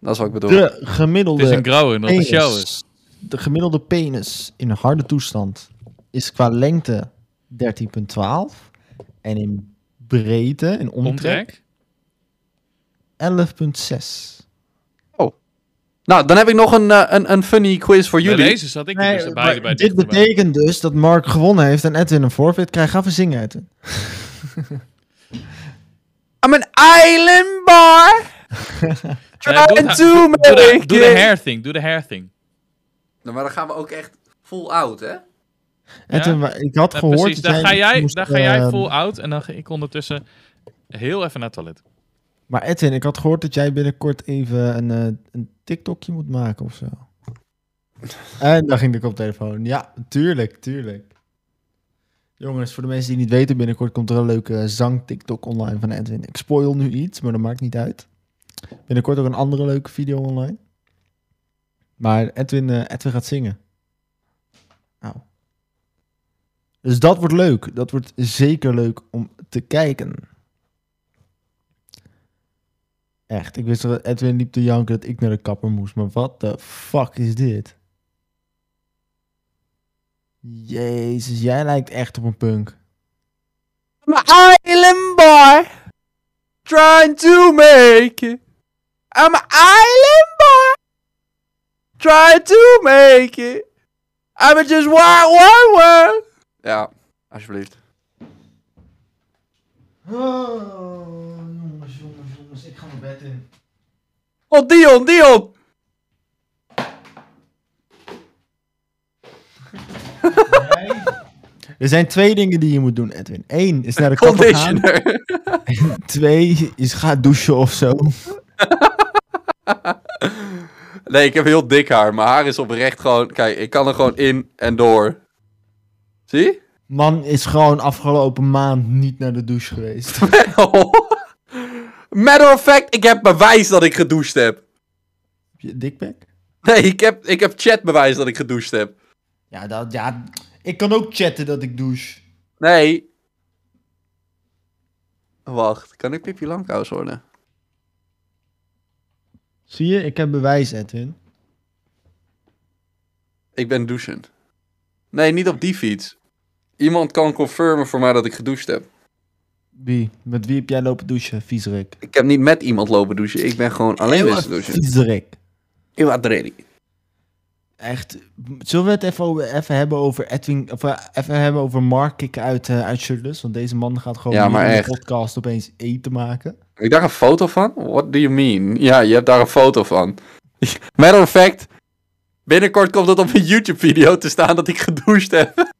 [SPEAKER 2] Dat is wat ik bedoel.
[SPEAKER 3] De
[SPEAKER 1] Het
[SPEAKER 3] gemiddelde
[SPEAKER 1] is een grower, dat
[SPEAKER 3] penis,
[SPEAKER 1] is show is.
[SPEAKER 3] de gemiddelde penis in een harde toestand is qua lengte 13,12. En in breedte, in omtrek,
[SPEAKER 1] Omtrek?
[SPEAKER 3] 11,6.
[SPEAKER 2] Nou, dan heb ik nog een, eh, een, een funny quiz voor
[SPEAKER 1] Bij
[SPEAKER 2] jullie.
[SPEAKER 1] deze zat ik er dus
[SPEAKER 3] Nee,
[SPEAKER 1] bij,
[SPEAKER 3] maar
[SPEAKER 1] bij
[SPEAKER 3] dit
[SPEAKER 1] dichterbij.
[SPEAKER 3] betekent dus dat Mark gewonnen heeft en Edwin een forfeit krijgt. Ga verzingen, Edwin.
[SPEAKER 2] I'm an island bar.
[SPEAKER 3] Ah,
[SPEAKER 1] Nee, doe
[SPEAKER 2] Trying
[SPEAKER 1] het-
[SPEAKER 2] to
[SPEAKER 1] Doe de,
[SPEAKER 2] make
[SPEAKER 1] doe de
[SPEAKER 2] it.
[SPEAKER 1] hair thing, doe de hair thing.
[SPEAKER 2] Nou, maar dan gaan we ook echt full out, hè?
[SPEAKER 3] Edwin, wa- ik had
[SPEAKER 1] Eh,
[SPEAKER 3] gehoord
[SPEAKER 1] precies,
[SPEAKER 3] dat
[SPEAKER 1] daar ga jij,
[SPEAKER 3] moest,
[SPEAKER 1] daar ga jij
[SPEAKER 3] eh,
[SPEAKER 1] full out en dan ga ik ondertussen heel even naar het toilet.
[SPEAKER 3] Maar Edwin, ik had gehoord dat jij binnenkort even een, eh, een TikTokje moet maken of zo. En daar ging de koptelefoon. Ja, tuurlijk, tuurlijk. Jongens, voor de mensen die niet weten, binnenkort komt er een leuke zang-TikTok online van Edwin. Ik spoil nu iets, maar dat maakt niet uit. Binnenkort ook een andere leuke video online. Maar Edwin, eh, Edwin gaat zingen. Nou. Dus dat wordt leuk. Dat wordt zeker leuk om te kijken. Echt, ik wist dat Edwin liep te janken dat ik naar de kapper moest. Maar wat de fuck is dit? Jezus, jij lijkt echt op een punk.
[SPEAKER 2] I'm an island bar. Trying to make it. I'm an island bar. Trying to make it. I'm just one, one, one. Ja, alsjeblieft.
[SPEAKER 3] Oh, jongens, jongens, jongens, ik ga mijn bed in.
[SPEAKER 2] Oh, Dion, Dion.
[SPEAKER 3] Er zijn twee dingen die je moet doen, Edwin. Eén is naar de kapper gaan.
[SPEAKER 2] Conditioner.
[SPEAKER 3] Twee is ga douchen of zo.
[SPEAKER 2] Nee, ik heb heel dik haar. Mijn haar is oprecht gewoon... Kijk, ik kan er gewoon in en door. Zie?
[SPEAKER 3] Man is gewoon afgelopen maand niet naar de douche geweest.
[SPEAKER 2] Matter of fact, ik heb bewijs dat ik gedoucht heb.
[SPEAKER 3] Je dikbek?
[SPEAKER 2] Nee, ik heb, ik heb chatbewijs dat ik gedoucht heb.
[SPEAKER 3] Ja, dat, ja, ik kan ook chatten dat ik douche.
[SPEAKER 2] Nee. Wacht, kan ik Pippi Langkous worden?
[SPEAKER 3] Zie je, ik heb bewijs, Edwin.
[SPEAKER 2] Ik ben douchen. Nee, niet op die fiets. Iemand kan confirmen voor mij dat ik gedoucht heb.
[SPEAKER 3] Wie? Met wie heb jij lopen douchen, viezerik?
[SPEAKER 2] Ik heb niet met iemand lopen douchen. Ik ben gewoon alleen wezen douchen.
[SPEAKER 3] Viezerik.
[SPEAKER 2] Ik was ready.
[SPEAKER 3] Echt. Zullen we het even, over- even hebben over Edwin... Of eh, even hebben over Mark kicken uit, eh uit Shirtless? Want deze man gaat gewoon
[SPEAKER 2] Ja,
[SPEAKER 3] hier
[SPEAKER 2] maar
[SPEAKER 3] in
[SPEAKER 2] echt.
[SPEAKER 3] de podcast opeens eten maken.
[SPEAKER 2] Ik daar een foto van? What do you mean? Ja, je hebt daar een foto van. Matter of fact, Binnenkort komt het op een YouTube-video te staan dat ik gedoucht heb.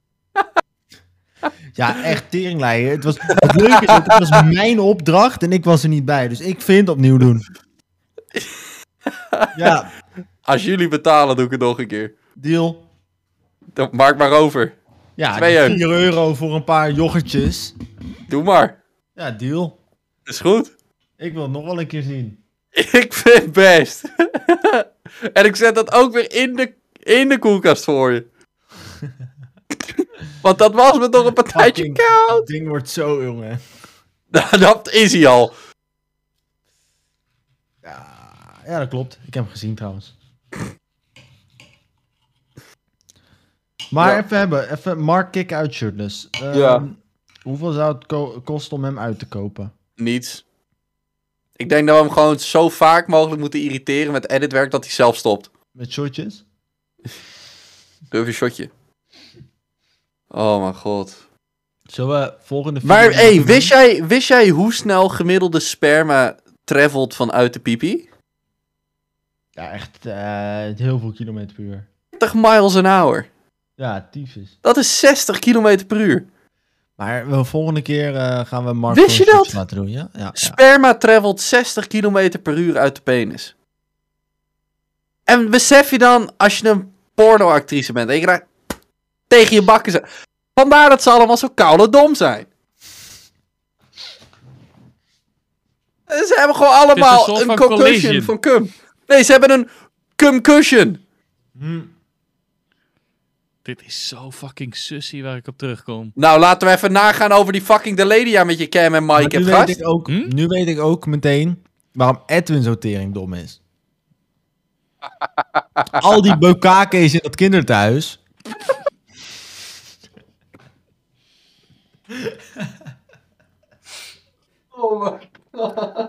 [SPEAKER 3] Ja, echt teringleier. Het, was, het leuke is ook, het was mijn opdracht en ik was er niet bij. Dus ik vind opnieuw doen. Ja,
[SPEAKER 2] Als jullie betalen, doe ik het nog een keer.
[SPEAKER 3] deal.
[SPEAKER 2] Dan maak maar over.
[SPEAKER 3] Ja,
[SPEAKER 2] Twee euro.
[SPEAKER 3] 4 euro voor een paar yoghurtjes.
[SPEAKER 2] Doe maar.
[SPEAKER 3] Ja, deal.
[SPEAKER 2] Is goed.
[SPEAKER 3] Ik wil het nog wel een keer zien.
[SPEAKER 2] Ik vind het best. en ik zet dat ook weer in de, in de koelkast voor je. Want dat was me toch een partijtje
[SPEAKER 3] Fucking-
[SPEAKER 2] koud.
[SPEAKER 3] Het ding wordt zo, jongen.
[SPEAKER 2] Nou, dat is hij al.
[SPEAKER 3] Ja, ja, dat klopt. Ik heb hem gezien trouwens. Maar
[SPEAKER 2] Ja.
[SPEAKER 3] even hebben, even Mark kick out shirtless. Ehm,
[SPEAKER 2] Ja.
[SPEAKER 3] Hoeveel zou het ko- kosten om hem uit te kopen?
[SPEAKER 2] Niets. Ik denk dat we hem gewoon zo vaak mogelijk moeten irriteren met editwerk dat hij zelf stopt.
[SPEAKER 3] Met shortjes?
[SPEAKER 2] Durf je een shotje. Oh mijn god.
[SPEAKER 3] Zullen we volgende video...
[SPEAKER 2] Maar hey,
[SPEAKER 3] doen?
[SPEAKER 2] wist jij, wist jij hoe snel gemiddelde sperma travelt vanuit de pipi?
[SPEAKER 3] Ja, echt eh, heel veel kilometer per uur.
[SPEAKER 2] 30 miles an hour.
[SPEAKER 3] Ja, tyfus.
[SPEAKER 2] Dat is 60 km per uur.
[SPEAKER 3] Maar de volgende keer eh, gaan we Mark
[SPEAKER 2] Wist
[SPEAKER 3] gewoon
[SPEAKER 2] je dat?
[SPEAKER 3] shorts laten doen, ja? Ja, ja.
[SPEAKER 2] Sperma travelt 60 km per uur uit de penis. En besef je dan, als je een pornoactrice bent en je krijgt tegen je bakken ze. Vandaar dat ze allemaal zo koude dom zijn. En Ze hebben gewoon
[SPEAKER 1] Het is een
[SPEAKER 2] allemaal
[SPEAKER 1] soort
[SPEAKER 2] een,
[SPEAKER 1] van
[SPEAKER 2] concussion
[SPEAKER 1] collision.
[SPEAKER 2] van cum. Nee, ze hebben een cumcussion.
[SPEAKER 1] Dit is zo fucking sussy waar ik op terugkom.
[SPEAKER 2] Nou, laten we even nagaan over die fucking Deledia met je Cam en
[SPEAKER 3] Maar
[SPEAKER 2] Mike.
[SPEAKER 3] nu,
[SPEAKER 2] hebt
[SPEAKER 3] weet
[SPEAKER 2] gast.
[SPEAKER 3] ik ook,
[SPEAKER 1] Hm?
[SPEAKER 3] nu weet ik ook meteen waarom Edwin zo teringdom is. Al die bukkakees in dat kinderthuis.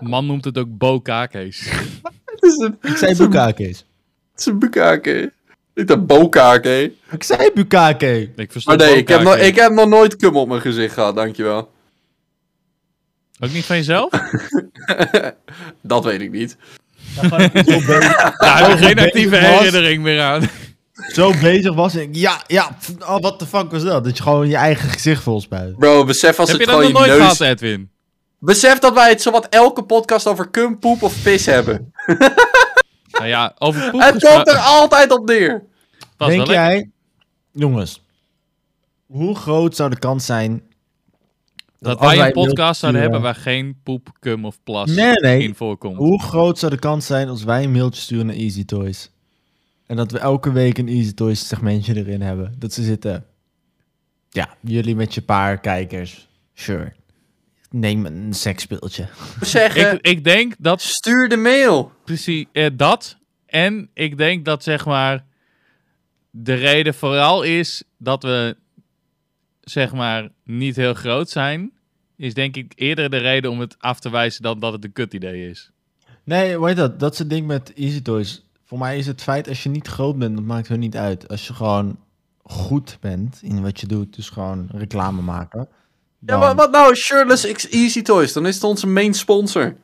[SPEAKER 1] Man noemt het ook bo-kakees.
[SPEAKER 2] Het is een,
[SPEAKER 3] Ik zei bukkakees.
[SPEAKER 2] het is een bukake. Niet een bokake.
[SPEAKER 3] Ik zei bukkake.
[SPEAKER 1] Ik
[SPEAKER 2] Maar
[SPEAKER 1] verstond
[SPEAKER 2] nee, ik heb,
[SPEAKER 1] bo-kake.
[SPEAKER 2] nog, ik heb nog nooit cum op mijn gezicht gehad, dankjewel.
[SPEAKER 1] Ook niet van jezelf?
[SPEAKER 2] Dat weet ik niet.
[SPEAKER 1] Daar heb ik geen
[SPEAKER 3] bezig
[SPEAKER 1] actieve
[SPEAKER 3] was.
[SPEAKER 1] herinnering meer aan.
[SPEAKER 3] Zo bezig was ik. Ja, ja. pff, Oh, wat de fuck was dat? Dat je gewoon je eigen gezicht volspuit.
[SPEAKER 2] Bro, besef als
[SPEAKER 1] heb je
[SPEAKER 2] het
[SPEAKER 1] dat
[SPEAKER 2] gewoon
[SPEAKER 1] nog
[SPEAKER 2] je
[SPEAKER 1] nooit
[SPEAKER 2] neus...
[SPEAKER 1] gehad, Edwin?
[SPEAKER 2] Besef dat wij het zowat elke podcast over cum, poep of pis hebben.
[SPEAKER 1] Nou ja, over poep
[SPEAKER 2] Het komt er
[SPEAKER 1] gesproken-
[SPEAKER 2] altijd op neer.
[SPEAKER 1] Dat is
[SPEAKER 3] Denk
[SPEAKER 1] wel
[SPEAKER 3] jij, jongens, hoe groot zou de kans zijn
[SPEAKER 1] Dat
[SPEAKER 3] als
[SPEAKER 1] wij een
[SPEAKER 3] mail
[SPEAKER 1] podcast zouden
[SPEAKER 3] sturen-
[SPEAKER 1] hebben waar geen poep, cum of plas
[SPEAKER 3] eh, Nee, nee.
[SPEAKER 1] in voorkomt.
[SPEAKER 3] Hoe groot zou de kans zijn als wij een mailtje sturen naar Easy Toys? En dat we elke week een Easy Toys segmentje erin hebben. Dat ze zitten. Ja, jullie met je paar kijkers. Sure. Neem een seksspeeltje.
[SPEAKER 2] We Zeggen,
[SPEAKER 1] Ik, ik denk dat
[SPEAKER 2] stuur de mail.
[SPEAKER 1] precies eh, dat. En ik denk dat zeg maar de reden vooral is dat we zeg maar niet heel groot zijn. Is denk ik eerder de reden om het af te wijzen dan dat het een kut idee is.
[SPEAKER 3] Nee, weet dat? Dat is het ding met Easy Toys. Voor mij is het feit als je niet groot bent, dat maakt hun niet uit. Als je gewoon goed bent in wat je doet, dus gewoon reclame maken.
[SPEAKER 2] Ja,
[SPEAKER 3] dan-
[SPEAKER 2] wat, wat nou? Shirtless X Easy Toys. Dan is het onze main sponsor.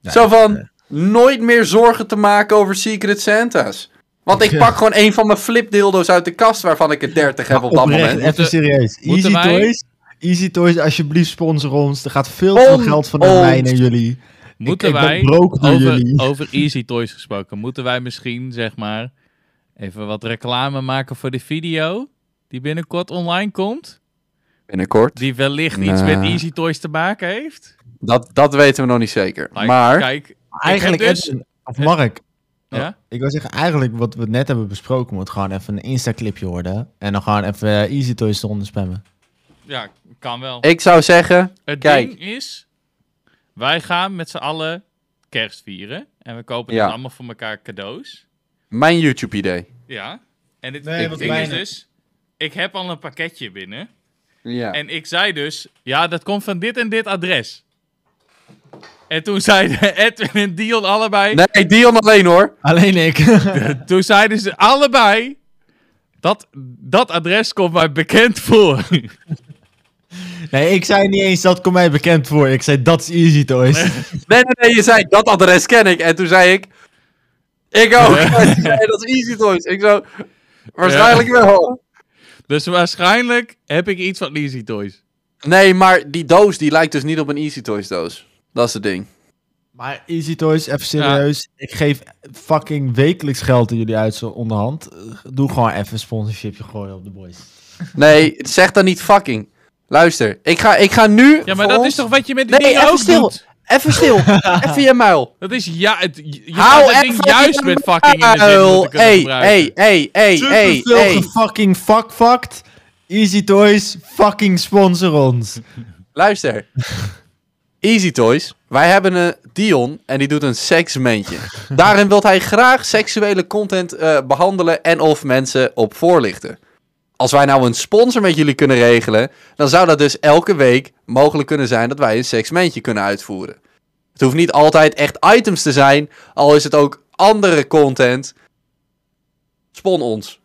[SPEAKER 3] Ja,
[SPEAKER 2] Zo van, nooit meer zorgen te maken over Secret Santa's. Want ik
[SPEAKER 3] Ja.
[SPEAKER 2] pak gewoon een van mijn flipdildo's uit de kast waarvan ik er 30 heb op dat
[SPEAKER 3] Oprecht,
[SPEAKER 2] moment.
[SPEAKER 3] Even
[SPEAKER 1] Moeten-
[SPEAKER 3] serieus.
[SPEAKER 1] moeten
[SPEAKER 3] Easy
[SPEAKER 1] wij-
[SPEAKER 3] Toys. Easy Toys, alsjeblieft sponsor ons. Er gaat veel te veel
[SPEAKER 2] Om
[SPEAKER 3] geld van naar
[SPEAKER 2] ons.
[SPEAKER 3] mij naar jullie.
[SPEAKER 1] Moeten
[SPEAKER 3] ik ben
[SPEAKER 1] wij,
[SPEAKER 3] broke door
[SPEAKER 1] over,
[SPEAKER 3] jullie.
[SPEAKER 1] over Easy Toys gesproken, moeten wij misschien, zeg maar, even wat reclame maken voor de video die binnenkort online komt?
[SPEAKER 2] Binnenkort.
[SPEAKER 1] Die wellicht iets
[SPEAKER 2] Nou.
[SPEAKER 1] met Easy Toys te maken heeft?
[SPEAKER 2] Dat, dat weten we nog niet zeker.
[SPEAKER 1] Nou,
[SPEAKER 2] maar,
[SPEAKER 1] Kijk,
[SPEAKER 3] Eigenlijk,
[SPEAKER 1] Ik heb dus-
[SPEAKER 3] Edwin, of Mark.
[SPEAKER 1] ja?
[SPEAKER 3] Ik wil zeggen, eigenlijk wat we net hebben besproken, moet gewoon even een Insta-clipje worden. En dan gewoon even eh, Easy Toys eronder spammen.
[SPEAKER 1] ja, kan wel.
[SPEAKER 2] ik zou zeggen...
[SPEAKER 1] Het
[SPEAKER 2] Kijk.
[SPEAKER 1] ding is, wij gaan met z'n allen kerst vieren. En we kopen
[SPEAKER 2] Ja.
[SPEAKER 1] dan allemaal voor elkaar cadeaus.
[SPEAKER 2] Mijn YouTube-idee.
[SPEAKER 1] Ja. En het
[SPEAKER 3] Nee,
[SPEAKER 1] het
[SPEAKER 3] wat
[SPEAKER 1] ding is
[SPEAKER 3] weinig.
[SPEAKER 1] dus, ik heb al een pakketje binnen.
[SPEAKER 2] Ja.
[SPEAKER 1] En ik zei dus, ja, dat komt van dit en dit adres. En toen zeiden Edwin en Dion allebei,
[SPEAKER 2] Nee, Dion alleen hoor.
[SPEAKER 3] Alleen ik.
[SPEAKER 1] toen zeiden ze allebei, dat, dat adres komt mij bekend voor.
[SPEAKER 3] nee, ik zei niet eens dat komt mij bekend voor. Ik zei dat is Easy Toys.
[SPEAKER 2] Nee, nee, nee, je zei dat adres ken ik. En toen zei ik... Ik ook. Nee, dat is easy toys. Ik zo... Waarschijnlijk wel.
[SPEAKER 1] Dus waarschijnlijk heb ik iets van Easy Toys.
[SPEAKER 2] Nee, maar die doos die lijkt dus niet op een Easy Toys doos. Dat is het ding.
[SPEAKER 3] Maar Easy Toys, even serieus. Ik geef fucking wekelijks geld aan jullie uit zo onderhand. Eh, Doe gewoon even een sponsorshipje gooien op de boys.
[SPEAKER 2] Nee, zeg dan niet fucking. Luister, ik ga, ik ga nu.
[SPEAKER 1] Ja, maar
[SPEAKER 2] voor
[SPEAKER 1] dat
[SPEAKER 2] ons-
[SPEAKER 1] is toch wat je met die
[SPEAKER 2] Nee,
[SPEAKER 1] dingen
[SPEAKER 2] even
[SPEAKER 1] ook
[SPEAKER 2] stil.
[SPEAKER 1] doet?
[SPEAKER 2] Even stil. even je muil.
[SPEAKER 1] Dat is ja, het, je je
[SPEAKER 2] Hou
[SPEAKER 1] gaat dat
[SPEAKER 2] even
[SPEAKER 1] ding juist
[SPEAKER 2] je
[SPEAKER 1] met fucking in de zin
[SPEAKER 2] muil.
[SPEAKER 1] moeten kunnen
[SPEAKER 2] Hey,
[SPEAKER 1] gebruiken.
[SPEAKER 2] hey, hey, hey, hey,
[SPEAKER 3] Superveel
[SPEAKER 2] hey.
[SPEAKER 3] gefucking fuckfucked. Easy Toys, fucking sponsor ons.
[SPEAKER 2] Luister. Easy Toys. Wij hebben een Dion en die doet een seksmentje. Daarin wil hij graag seksuele content eh, behandelen en of mensen op voorlichten. Als wij nou een sponsor met jullie kunnen regelen, dan zou dat dus elke week mogelijk kunnen zijn dat wij een seksmentje kunnen uitvoeren. Het hoeft niet altijd echt items te zijn, al is het ook andere content. Spon ons.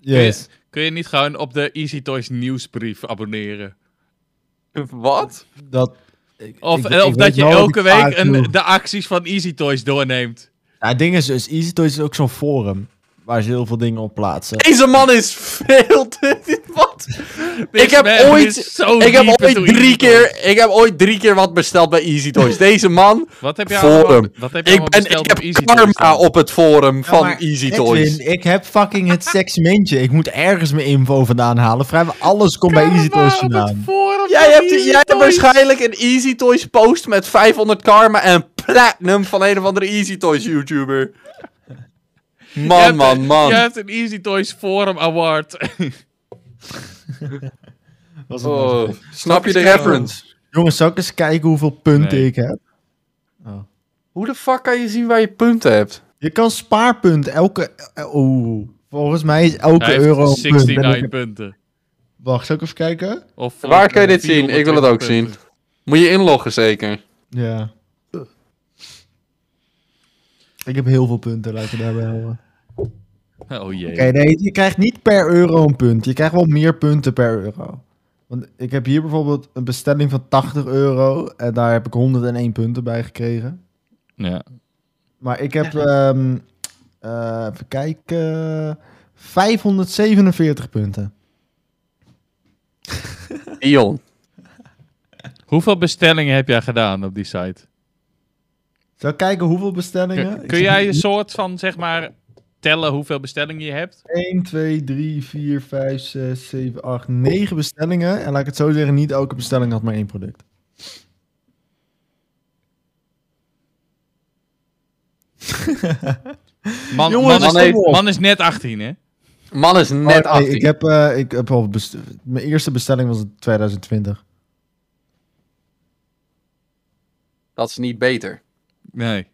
[SPEAKER 3] Yes.
[SPEAKER 1] Kun je niet gewoon op de Easy Toys nieuwsbrief abonneren?
[SPEAKER 2] Wat?
[SPEAKER 3] Dat, ik-
[SPEAKER 1] Of,
[SPEAKER 3] ik-
[SPEAKER 1] eh,
[SPEAKER 3] ik
[SPEAKER 1] of
[SPEAKER 3] weet
[SPEAKER 1] dat je
[SPEAKER 3] wel wat
[SPEAKER 1] elke
[SPEAKER 3] ik
[SPEAKER 1] week
[SPEAKER 3] vaak doe.
[SPEAKER 1] een, de acties van Easy Toys doorneemt.
[SPEAKER 3] Ja, het ding is dus, Easy Toys is ook zo'n forum. Waar ze heel veel dingen op plaatsen.
[SPEAKER 2] Deze man is veel te... Wat?
[SPEAKER 1] Deze
[SPEAKER 2] Ik heb
[SPEAKER 1] man Oh, is
[SPEAKER 2] ooit-
[SPEAKER 1] zo
[SPEAKER 2] ik heb
[SPEAKER 1] diep
[SPEAKER 2] ooit
[SPEAKER 1] into Easy
[SPEAKER 2] drie
[SPEAKER 1] Toys.
[SPEAKER 2] keer, ik heb ooit drie keer wat besteld bij Easy Toys. Deze man,
[SPEAKER 1] Wat heb je
[SPEAKER 2] Forum.
[SPEAKER 1] allemaal, wat heb je
[SPEAKER 2] ik,
[SPEAKER 1] allemaal
[SPEAKER 2] ben,
[SPEAKER 1] besteld
[SPEAKER 2] ik heb
[SPEAKER 1] op Easy Toys?
[SPEAKER 2] karma
[SPEAKER 1] dan?
[SPEAKER 2] op het forum
[SPEAKER 3] Ja,
[SPEAKER 2] van
[SPEAKER 3] maar
[SPEAKER 2] Easy
[SPEAKER 3] Edwin,
[SPEAKER 2] Toys.
[SPEAKER 3] Ik heb fucking het seksmentje. Ik moet ergens mijn info vandaan halen. Vrijwel alles komt bij Easy Toys vandaan.
[SPEAKER 2] Jij hebt,
[SPEAKER 1] Easy
[SPEAKER 2] jij hebt
[SPEAKER 1] Toys.
[SPEAKER 2] waarschijnlijk een Easy Toys post met 500 karma en platinum van een of andere Easy Toys YouTuber.
[SPEAKER 1] Jij
[SPEAKER 2] Man,
[SPEAKER 1] hebt-
[SPEAKER 2] Oh, man, man.
[SPEAKER 1] Jij hebt een Easy Toys Forum Award.
[SPEAKER 3] Was het
[SPEAKER 2] Oh,
[SPEAKER 3] nog-
[SPEAKER 2] snap je de reference?
[SPEAKER 3] Jongens, zal ik eens kijken hoeveel punten
[SPEAKER 1] Nee.
[SPEAKER 3] ik heb?
[SPEAKER 2] Hoe de fuck kan je zien waar je punten hebt?
[SPEAKER 3] Je kan spaarpunt elke... eh, Oeh. Volgens mij is elke
[SPEAKER 1] Hij heeft
[SPEAKER 3] euro een punt. En ik
[SPEAKER 1] 69
[SPEAKER 3] heb-
[SPEAKER 1] punten.
[SPEAKER 3] Wacht, zal ik even kijken?
[SPEAKER 1] Of
[SPEAKER 2] Waar kan je dit
[SPEAKER 1] 420
[SPEAKER 2] zien? Ik wil het ook zien.
[SPEAKER 1] Eh, punten.
[SPEAKER 2] Moet je inloggen zeker?
[SPEAKER 3] Ja. Ik heb heel veel punten, laat ik het daarbij houden.
[SPEAKER 1] Oh jee.
[SPEAKER 3] Oké, nee, je krijgt niet per euro een punt. Je krijgt wel meer punten per euro. Want ik heb hier bijvoorbeeld een bestelling van 80 euro. En daar heb ik 101 punten bij gekregen.
[SPEAKER 1] Ja.
[SPEAKER 3] Maar ik heb, ehm, eh, even kijken, 547 punten.
[SPEAKER 2] Dion.
[SPEAKER 1] Hoeveel bestellingen heb jij gedaan op die site?
[SPEAKER 3] Zal ik kijken hoeveel bestellingen?
[SPEAKER 1] Kun, kun jij een soort van, zeg maar, tellen hoeveel bestellingen je hebt?
[SPEAKER 3] 1, 2, 3, 4, 5, 6, 7, 8, 9 bestellingen. En laat ik het zo zeggen, niet elke bestelling had maar één product.
[SPEAKER 1] Man,
[SPEAKER 3] Jongens,
[SPEAKER 1] man,
[SPEAKER 2] man
[SPEAKER 1] is,
[SPEAKER 2] heeft-
[SPEAKER 1] man is net 18, hè?
[SPEAKER 2] Man is net
[SPEAKER 3] Oh, nee,
[SPEAKER 2] 18.
[SPEAKER 3] ik heb, eh, ik heb al best- Mijn eerste bestelling was in 2020.
[SPEAKER 2] Dat is niet beter.
[SPEAKER 1] Nee.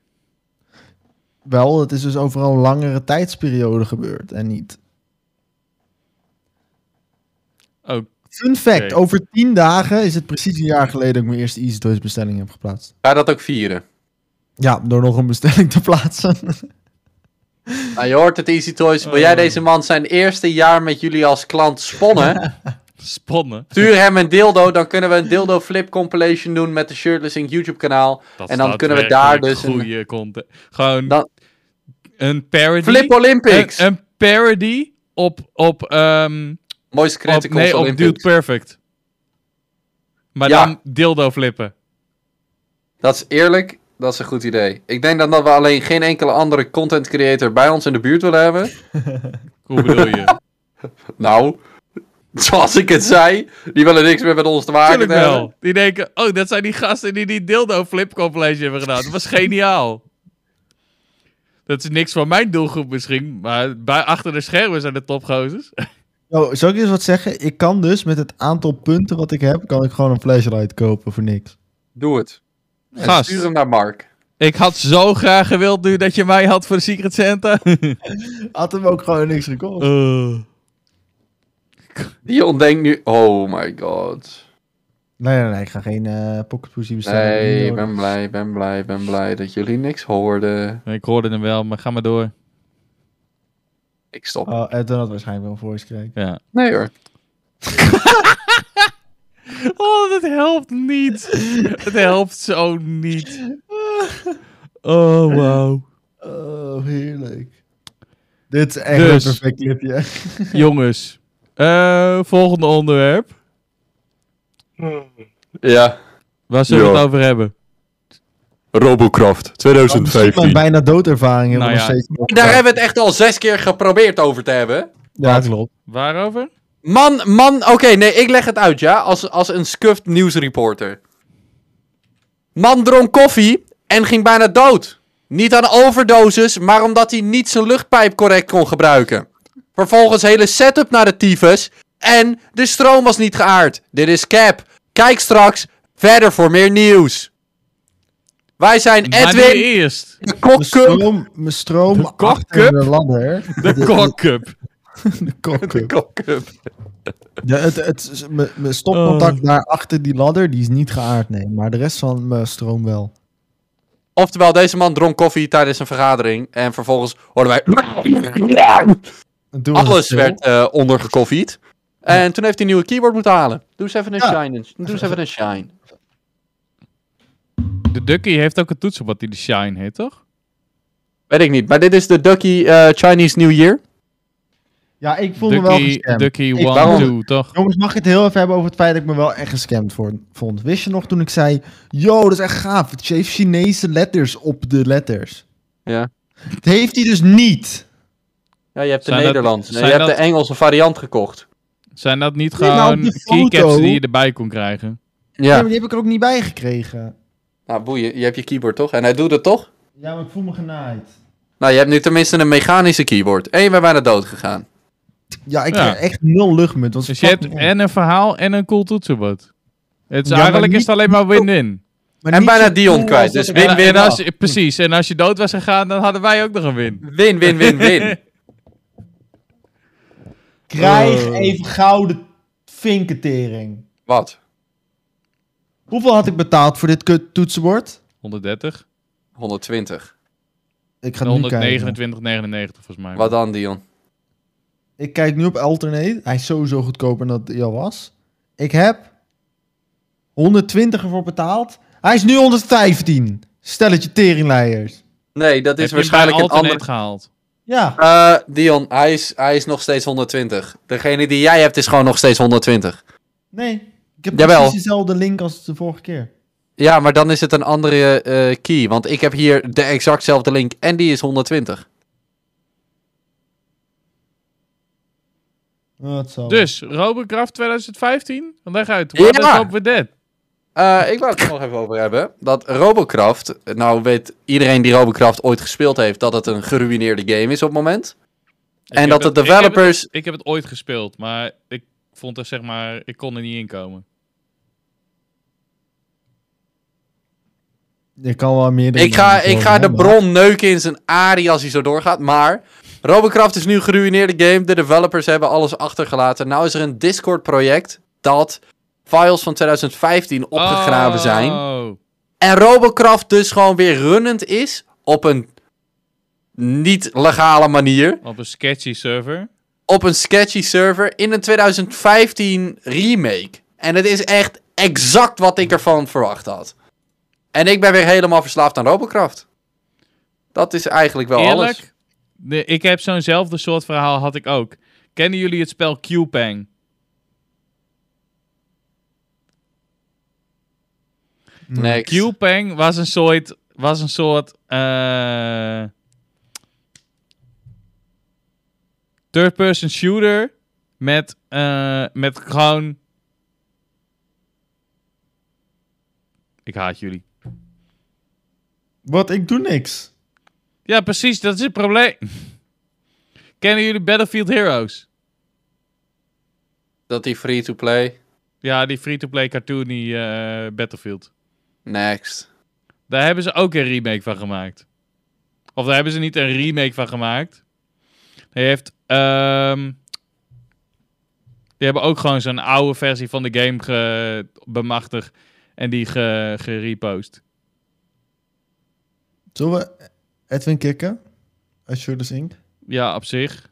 [SPEAKER 3] Wel, het is dus over een langere tijdsperiode gebeurd en niet.
[SPEAKER 1] Oh,
[SPEAKER 3] Fun fact,
[SPEAKER 1] Oké.
[SPEAKER 3] over 10 dagen is het precies een jaar geleden dat ik mijn eerste Easy Toys bestelling heb geplaatst.
[SPEAKER 2] Ga dat ook vieren.
[SPEAKER 3] Ja, door nog een bestelling te plaatsen.
[SPEAKER 2] Nou, je hoort het, Easy Toys. Wil
[SPEAKER 1] Oh.
[SPEAKER 2] jij deze man zijn eerste jaar met jullie als klant sponnen?
[SPEAKER 1] spannen.
[SPEAKER 2] Stuur hem een dildo, dan kunnen we een dildo flip compilation doen met de Shirtless Inc. YouTube kanaal.
[SPEAKER 1] Dat
[SPEAKER 2] En dan
[SPEAKER 1] staat
[SPEAKER 2] kunnen we daar
[SPEAKER 1] werkelijk
[SPEAKER 2] dus een-
[SPEAKER 1] goede content. Gewoon
[SPEAKER 2] Dan-
[SPEAKER 1] een parody.
[SPEAKER 2] Flip Olympics!
[SPEAKER 1] Een, een parody op, op, ehm
[SPEAKER 2] Mooiste
[SPEAKER 1] op,
[SPEAKER 2] criticals
[SPEAKER 1] nee, op
[SPEAKER 2] Olympics.
[SPEAKER 1] Dude Perfect. Maar
[SPEAKER 2] Ja.
[SPEAKER 1] dan dildo flippen.
[SPEAKER 2] Dat is eerlijk, dat is een goed idee. Ik denk dan dat we alleen geen enkele andere content creator bij ons in de buurt willen hebben.
[SPEAKER 1] Hoe bedoel je?
[SPEAKER 2] Nou, zoals ik het zei, die willen niks meer met ons te maken
[SPEAKER 1] Tuurlijk
[SPEAKER 2] hebben.
[SPEAKER 1] wel. Die denken, oh, dat zijn die gasten die die dildo flip compilation hebben gedaan. Dat was geniaal. Dat is niks voor mijn doelgroep misschien, maar bij, achter de schermen zijn de topgozers.
[SPEAKER 3] Nou, zal ik eens wat zeggen? Ik kan dus met het aantal punten wat ik heb, kan ik gewoon een flashlight kopen voor niks.
[SPEAKER 2] Doe het. En
[SPEAKER 1] Gast.
[SPEAKER 2] stuur hem naar Mark.
[SPEAKER 1] Ik had zo graag gewild nu dat je mij had voor Secret Santa.
[SPEAKER 3] Had hem ook gewoon niks gekost.
[SPEAKER 1] Eh.
[SPEAKER 2] Dion denkt nu, oh my god.
[SPEAKER 3] Nee, nee, nee, ik ga geen eh pocket pussy bestellen.
[SPEAKER 2] Nee,
[SPEAKER 3] Niet
[SPEAKER 2] ik ben
[SPEAKER 3] nodig.
[SPEAKER 2] blij, ben blij, ben blij dat jullie niks hoorden.
[SPEAKER 1] Ik hoorde hem wel, maar ga maar door.
[SPEAKER 2] Ik stop.
[SPEAKER 3] Oh, Edwin had waarschijnlijk wel een voice crack.
[SPEAKER 1] Ja.
[SPEAKER 2] Nee hoor.
[SPEAKER 1] Oh, dat helpt niet. Het helpt zo niet. Oh, wow.
[SPEAKER 3] Oh, Oh, heerlijk. Dit is echt
[SPEAKER 1] Dus.
[SPEAKER 3] een perfect clipje.
[SPEAKER 1] Jongens, eh, volgende onderwerp.
[SPEAKER 2] Ja.
[SPEAKER 1] Waar zullen we
[SPEAKER 2] Ja.
[SPEAKER 1] het over hebben?
[SPEAKER 5] Robocraft
[SPEAKER 3] Misschien mijn
[SPEAKER 5] 2015.
[SPEAKER 3] bijna doodervaring hebben
[SPEAKER 1] Nou
[SPEAKER 3] we
[SPEAKER 1] ja.
[SPEAKER 3] nog steeds.
[SPEAKER 2] Daar hebben we het echt al zes keer geprobeerd over te hebben.
[SPEAKER 3] Ja, klopt.
[SPEAKER 1] Waarover?
[SPEAKER 2] Man, man, oké, nee, ik leg het uit, ja. Als, als een scuffed nieuwsreporter. Man dronk koffie en ging bijna dood. Niet aan overdosis, maar omdat hij niet zijn luchtpijp correct kon gebruiken. Vervolgens hele setup naar de tyfus. En de stroom was niet geaard. Dit is cap. Kijk straks verder voor meer nieuws. Wij zijn
[SPEAKER 1] Maar nu
[SPEAKER 2] Edwin,
[SPEAKER 1] eerst.
[SPEAKER 2] de
[SPEAKER 3] Mijn
[SPEAKER 2] kokkum.
[SPEAKER 3] stroom, mijn stroom achter
[SPEAKER 1] cup?
[SPEAKER 3] de ladder.
[SPEAKER 1] De kokcup.
[SPEAKER 3] De kokcup.
[SPEAKER 2] Kokkum.
[SPEAKER 3] Ja, het, het, mijn- mijn stopcontact daar achter die ladder, die is niet geaard, nee. Maar de rest van mijn stroom wel.
[SPEAKER 2] Oftewel, deze man dronk koffie tijdens een vergadering. En vervolgens hoorden wij...
[SPEAKER 3] En toen was het
[SPEAKER 2] Alles
[SPEAKER 3] stil.
[SPEAKER 2] werd eh ondergekoffied. En toen heeft hij een nieuwe keyboard moeten halen. Doe eens even een
[SPEAKER 3] Ja.
[SPEAKER 2] shine. Doe eens even een shine.
[SPEAKER 1] De Ducky heeft ook een toets op wat die de Shine heet, toch?
[SPEAKER 2] Weet ik niet, maar dit is de Ducky eh, Chinese New Year.
[SPEAKER 3] Ja, ik voelde me wel
[SPEAKER 1] Ducky,
[SPEAKER 3] gescamd.
[SPEAKER 1] Ducky
[SPEAKER 3] Ik
[SPEAKER 1] 1,
[SPEAKER 2] waarom?
[SPEAKER 1] 2, toch?
[SPEAKER 3] Jongens, mag ik het heel even hebben over het feit dat ik me wel echt gescamd voor- vond? Wist je nog toen ik zei, yo, dat is echt gaaf. Het heeft Chinese letters op de letters.
[SPEAKER 2] Ja.
[SPEAKER 3] Dat heeft hij dus niet.
[SPEAKER 2] Ja, je hebt de
[SPEAKER 1] Zijn dat-
[SPEAKER 2] Nederlandse.
[SPEAKER 1] zijn
[SPEAKER 2] je hebt
[SPEAKER 1] dat-
[SPEAKER 2] de Engelse variant gekocht.
[SPEAKER 1] Zijn dat niet
[SPEAKER 3] Nee, maar op
[SPEAKER 1] gewoon
[SPEAKER 3] de foto-
[SPEAKER 1] keycaps die je erbij kon krijgen?
[SPEAKER 3] Ja.
[SPEAKER 2] Ja.
[SPEAKER 3] maar die heb ik er ook niet bij gekregen.
[SPEAKER 2] Nou, boeien. Je hebt je keyboard toch? En hij doet het toch?
[SPEAKER 3] Ja, maar ik voel me genaaid.
[SPEAKER 2] Nou, je hebt nu tenminste een mechanische keyboard. En je bent bijna dood gegaan.
[SPEAKER 3] Ja, ik
[SPEAKER 1] Ja.
[SPEAKER 3] heb echt nul luchtmunt. want
[SPEAKER 1] Dus je hebt
[SPEAKER 3] fucking-
[SPEAKER 1] en een verhaal en een cool toetsenbord. Het is
[SPEAKER 3] Ja, maar
[SPEAKER 1] eigenlijk is
[SPEAKER 3] niet-
[SPEAKER 1] het alleen maar win-win.
[SPEAKER 3] maar
[SPEAKER 2] en
[SPEAKER 3] niet
[SPEAKER 2] bijna
[SPEAKER 3] zo
[SPEAKER 2] Dion
[SPEAKER 3] cool
[SPEAKER 2] kwijt,
[SPEAKER 3] als dat
[SPEAKER 2] dus
[SPEAKER 3] ik-
[SPEAKER 1] En-
[SPEAKER 2] win-win.
[SPEAKER 1] en als je- Precies, en als je dood was gegaan, dan hadden wij ook nog een win.
[SPEAKER 2] Win, win, win, win.
[SPEAKER 3] Krijg
[SPEAKER 2] Oh.
[SPEAKER 3] even gouden vinketering.
[SPEAKER 2] Wat?
[SPEAKER 3] Hoeveel had ik betaald voor dit kut toetsenbord?
[SPEAKER 1] 130.
[SPEAKER 2] 120.
[SPEAKER 3] Ik ga het nu kijken.
[SPEAKER 1] 129,99 volgens mij.
[SPEAKER 2] Wat dan, Dion?
[SPEAKER 3] Ik kijk nu op Alternate. Hij is sowieso goedkoper dan dat hij al was. Ik heb 120 ervoor betaald. Hij is nu 115. Stelletje teringleiers.
[SPEAKER 2] Nee, dat
[SPEAKER 1] Heb
[SPEAKER 2] is
[SPEAKER 1] je
[SPEAKER 2] waarschijnlijk een
[SPEAKER 1] hem bij Alternate
[SPEAKER 2] ander...
[SPEAKER 1] gehaald.
[SPEAKER 3] Ja.
[SPEAKER 2] Eh, Dion, hij is, hij is nog steeds 120. Degene die jij hebt is gewoon nog steeds 120.
[SPEAKER 3] Nee. Ik heb
[SPEAKER 2] Jawel.
[SPEAKER 3] precies dezelfde link als de vorige keer.
[SPEAKER 2] Ja, maar dan is het een andere eh, key. Want ik heb hier de exactzelfde link en die is 120.
[SPEAKER 3] Oh, het zal.
[SPEAKER 1] Dus, Robocraft 2015? Leg uit,
[SPEAKER 2] Ja!
[SPEAKER 1] what is up with that?
[SPEAKER 2] Eh, ik wou het er nog even over hebben. Dat Robocraft. Nou, weet iedereen die Robocraft ooit gespeeld heeft. dat het een geruineerde game is op het moment.
[SPEAKER 1] Ik
[SPEAKER 2] en
[SPEAKER 1] heb
[SPEAKER 2] dat de
[SPEAKER 1] het- ik heb
[SPEAKER 2] developers.
[SPEAKER 1] Ik heb het ooit gespeeld, maar ik vond er zeg maar, ik kon er niet in komen.
[SPEAKER 3] Je kan wel meer.
[SPEAKER 2] Ik ga, ik ga de bron neuken in zijn arie als hij zo doorgaat. Maar Robocraft is nu een geruineerde game. De developers hebben alles achtergelaten. Nou is er een Discord-project dat files van 2015 opgegraven
[SPEAKER 1] Oh.
[SPEAKER 2] zijn. En Robocraft dus gewoon weer runnend is op een niet-legale manier.
[SPEAKER 1] Op een sketchy server.
[SPEAKER 2] Op een sketchy server in een 2015 remake. En het is echt exact wat ik ervan verwacht had. En ik ben weer helemaal verslaafd aan Robocraft. Dat is eigenlijk wel alles.
[SPEAKER 1] Eerlijk, de, ik heb zo'nzelfde soort verhaal had ik ook. Kennen jullie het spel Q-Pang?
[SPEAKER 2] Nee,
[SPEAKER 1] Q-Pang was een soort, was een soort eh, third-person shooter met, eh, met gewoon... Ik haat jullie.
[SPEAKER 3] Wat? Ik doe niks.
[SPEAKER 1] Ja, precies, dat is het probleem. Kennen jullie Battlefield Heroes?
[SPEAKER 2] dat die free-to-play.
[SPEAKER 1] Ja, die free-to-play cartoony eh, Battlefield.
[SPEAKER 2] Next.
[SPEAKER 1] Daar hebben ze ook een remake van gemaakt. Of daar hebben ze niet een remake van gemaakt. Hij heeft. ehm, die hebben ook gewoon zo'n oude versie van de game ge- bemachtigd. En die ge- gerepost.
[SPEAKER 3] Zullen we Edwin kicken? Als dus Shooters Inc.
[SPEAKER 1] Ja, op zich.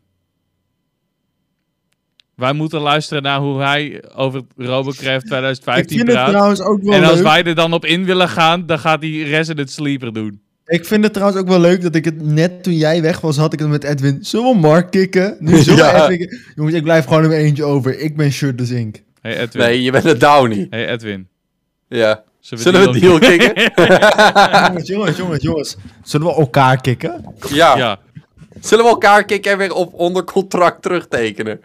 [SPEAKER 1] Wij moeten luisteren naar hoe hij over Robocraft
[SPEAKER 3] Ik
[SPEAKER 1] 2015
[SPEAKER 3] vind het
[SPEAKER 1] praat.
[SPEAKER 3] trouwens ook wel
[SPEAKER 1] En als
[SPEAKER 3] leuk.
[SPEAKER 1] wij er dan op in willen gaan, dan gaat hij Resident Sleeper doen.
[SPEAKER 3] Ik vind het trouwens ook wel leuk dat ik het net toen jij weg was, had ik het met Edwin. Zullen we Mark kicken? Nu zullen we
[SPEAKER 2] Ja.
[SPEAKER 3] Edwin kicken? Jongens, ik blijf gewoon in mijn eentje over. Ik ben shirtless ink.
[SPEAKER 1] Hey Edwin.
[SPEAKER 2] Nee, je bent een downie.
[SPEAKER 1] Hey Edwin.
[SPEAKER 2] Ja.
[SPEAKER 1] Zullen
[SPEAKER 2] Zullen we een
[SPEAKER 1] die
[SPEAKER 2] deal
[SPEAKER 1] dan-
[SPEAKER 2] kicken?
[SPEAKER 3] jongens, jongens, jongens, jongens. Zullen we elkaar kicken?
[SPEAKER 2] Ja.
[SPEAKER 1] Ja.
[SPEAKER 2] Zullen we elkaar kicken en weer op onder contract terugtekenen?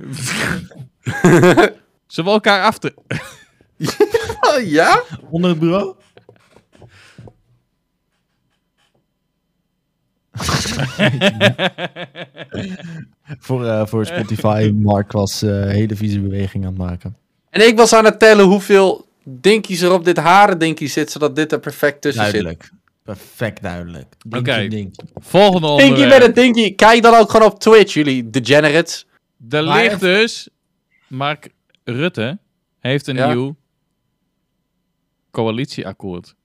[SPEAKER 1] Zullen we elkaar af te...
[SPEAKER 2] Oh, ja?
[SPEAKER 3] Onder het bureau? voor, eh, voor Spotify, Mark was eh, hele vieze beweging aan het maken.
[SPEAKER 2] En ik was aan het tellen hoeveel dinkies er op dit haren dinkie zit, zodat dit er perfect tussen
[SPEAKER 3] Duidelijk. Perfect duidelijk. Dinkie,
[SPEAKER 1] Oké.
[SPEAKER 3] dinkie.
[SPEAKER 1] Volgende
[SPEAKER 2] zit. Dinkie
[SPEAKER 1] onderwerp.
[SPEAKER 2] met een dinkie. Kijk dan ook gewoon op Twitch, jullie degenerates.
[SPEAKER 1] Er
[SPEAKER 3] Maar
[SPEAKER 1] ligt
[SPEAKER 3] even-
[SPEAKER 1] dus... Mark Rutte heeft een
[SPEAKER 2] Ja.
[SPEAKER 1] nieuw coalitieakkoord.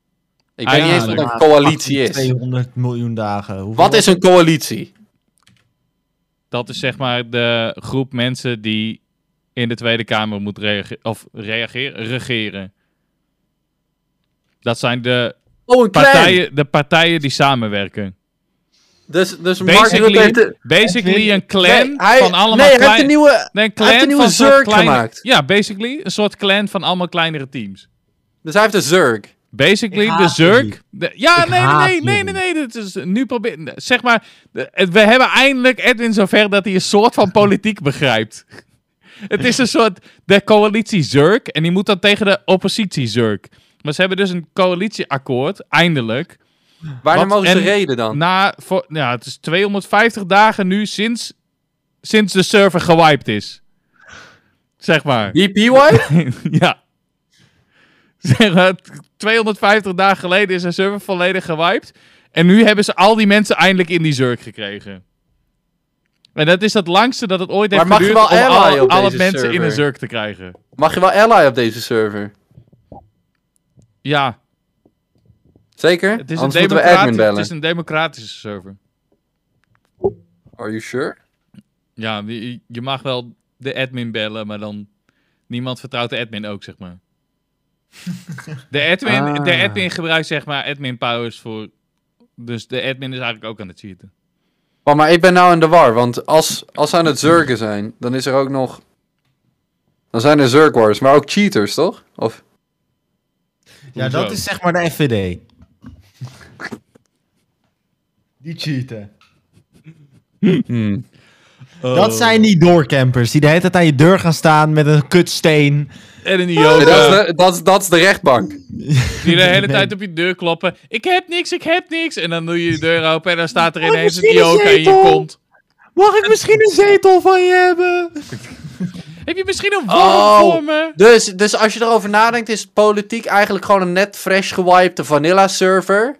[SPEAKER 2] Ik weet niet eens wat
[SPEAKER 1] Eigenlijk.
[SPEAKER 2] een coalitie is.
[SPEAKER 3] 200 miljoen dagen. Hoeveel
[SPEAKER 2] Wat is een coalitie?
[SPEAKER 1] Dat is zeg maar de groep mensen die in de Tweede Kamer moet reageren. Of reageren, regeren. Dat zijn de
[SPEAKER 2] Oh, een clan.
[SPEAKER 1] partijen, de partijen die samenwerken.
[SPEAKER 2] Dus, dus Mark Rutte heeft
[SPEAKER 1] Basically,
[SPEAKER 2] de-
[SPEAKER 1] basically een clan
[SPEAKER 2] Nee, hij,
[SPEAKER 1] van allemaal
[SPEAKER 2] nee, hij heeft
[SPEAKER 1] klein-
[SPEAKER 2] een nieuwe...
[SPEAKER 1] Nee, een
[SPEAKER 2] Hij heeft
[SPEAKER 1] clan
[SPEAKER 2] een nieuwe
[SPEAKER 1] van soort
[SPEAKER 2] Zerg
[SPEAKER 1] kleine-
[SPEAKER 2] gemaakt.
[SPEAKER 1] Ja, basically een soort clan van allemaal kleinere teams.
[SPEAKER 2] Dus hij heeft een Zurg.
[SPEAKER 1] Basically
[SPEAKER 3] Ik
[SPEAKER 1] de
[SPEAKER 3] haat
[SPEAKER 1] Zurk.
[SPEAKER 3] jullie.
[SPEAKER 1] de- ja,
[SPEAKER 3] Ik
[SPEAKER 1] nee,
[SPEAKER 3] haat
[SPEAKER 1] nee, nee, nee,
[SPEAKER 3] jullie.
[SPEAKER 1] nee, Dit is nu probeer. Zeg maar, de- het- we hebben eindelijk Edwin zover dat hij een soort van politiek begrijpt. Het is een soort de coalitie Zurk en die moet dan tegen de oppositie Zurk. Maar ze hebben dus een coalitieakkoord, eindelijk.
[SPEAKER 2] Waar
[SPEAKER 1] Wat
[SPEAKER 2] mogen ze
[SPEAKER 1] en- Nou-
[SPEAKER 2] reden dan?
[SPEAKER 1] Na, voor, ja, het is 250 dagen nu sinds, sinds de server gewiped is. Zeg maar.
[SPEAKER 2] DPY?
[SPEAKER 1] ja. Zeg maar, t- 250 dagen geleden is een server volledig gewiped. En nu hebben ze al die mensen eindelijk in die zurk gekregen. En dat is het langste dat het ooit heeft
[SPEAKER 2] Maar mag je
[SPEAKER 1] geduurd om
[SPEAKER 2] wel ally
[SPEAKER 1] alle,
[SPEAKER 2] op
[SPEAKER 1] alle
[SPEAKER 2] deze
[SPEAKER 1] mensen in
[SPEAKER 2] server?
[SPEAKER 1] een zurk te krijgen.
[SPEAKER 2] Mag je wel ally op deze server?
[SPEAKER 1] Ja,
[SPEAKER 2] Zeker?
[SPEAKER 1] het is, een
[SPEAKER 2] Anders moeten we admin
[SPEAKER 1] democratisch, het
[SPEAKER 2] bellen.
[SPEAKER 1] is een democratische server.
[SPEAKER 2] Are you sure?
[SPEAKER 1] Ja, je, je mag wel de admin bellen, maar dan... Niemand vertrouwt de admin ook, zeg maar. De admin, de
[SPEAKER 2] Ah.
[SPEAKER 1] admin gebruikt, zeg maar, admin powers voor... Dus de admin is eigenlijk ook aan het cheaten.
[SPEAKER 2] Oh, maar ik ben nou in de war, want als, als ze aan het zurken zijn, dan is er ook nog... Dan zijn er zurkwars, maar ook cheaters, toch? Of...
[SPEAKER 3] Ja, dat is zeg maar de FVD. Die cheaten.
[SPEAKER 1] Hmm. Oh.
[SPEAKER 3] Dat zijn die doorcampers die de hele tijd aan je deur gaan staan met een kutsteen.
[SPEAKER 1] En een
[SPEAKER 2] Nee, dat,
[SPEAKER 1] yoga.
[SPEAKER 2] is de, dat, is- dat is de rechtbank.
[SPEAKER 1] Die Ah, de hele
[SPEAKER 3] Nee.
[SPEAKER 1] tijd op je deur kloppen. Ik heb niks, ik heb niks. En dan doe je je deur open en dan staat
[SPEAKER 3] Oh,
[SPEAKER 1] er ineens een yoga in je
[SPEAKER 3] zetel?
[SPEAKER 1] kont.
[SPEAKER 3] Mag ik misschien een zetel van je hebben?
[SPEAKER 1] Heb je misschien een worm
[SPEAKER 2] Oh.
[SPEAKER 1] voor me?
[SPEAKER 2] Dus, dus als je erover nadenkt, is politiek eigenlijk gewoon een net fresh gewipte vanilla server.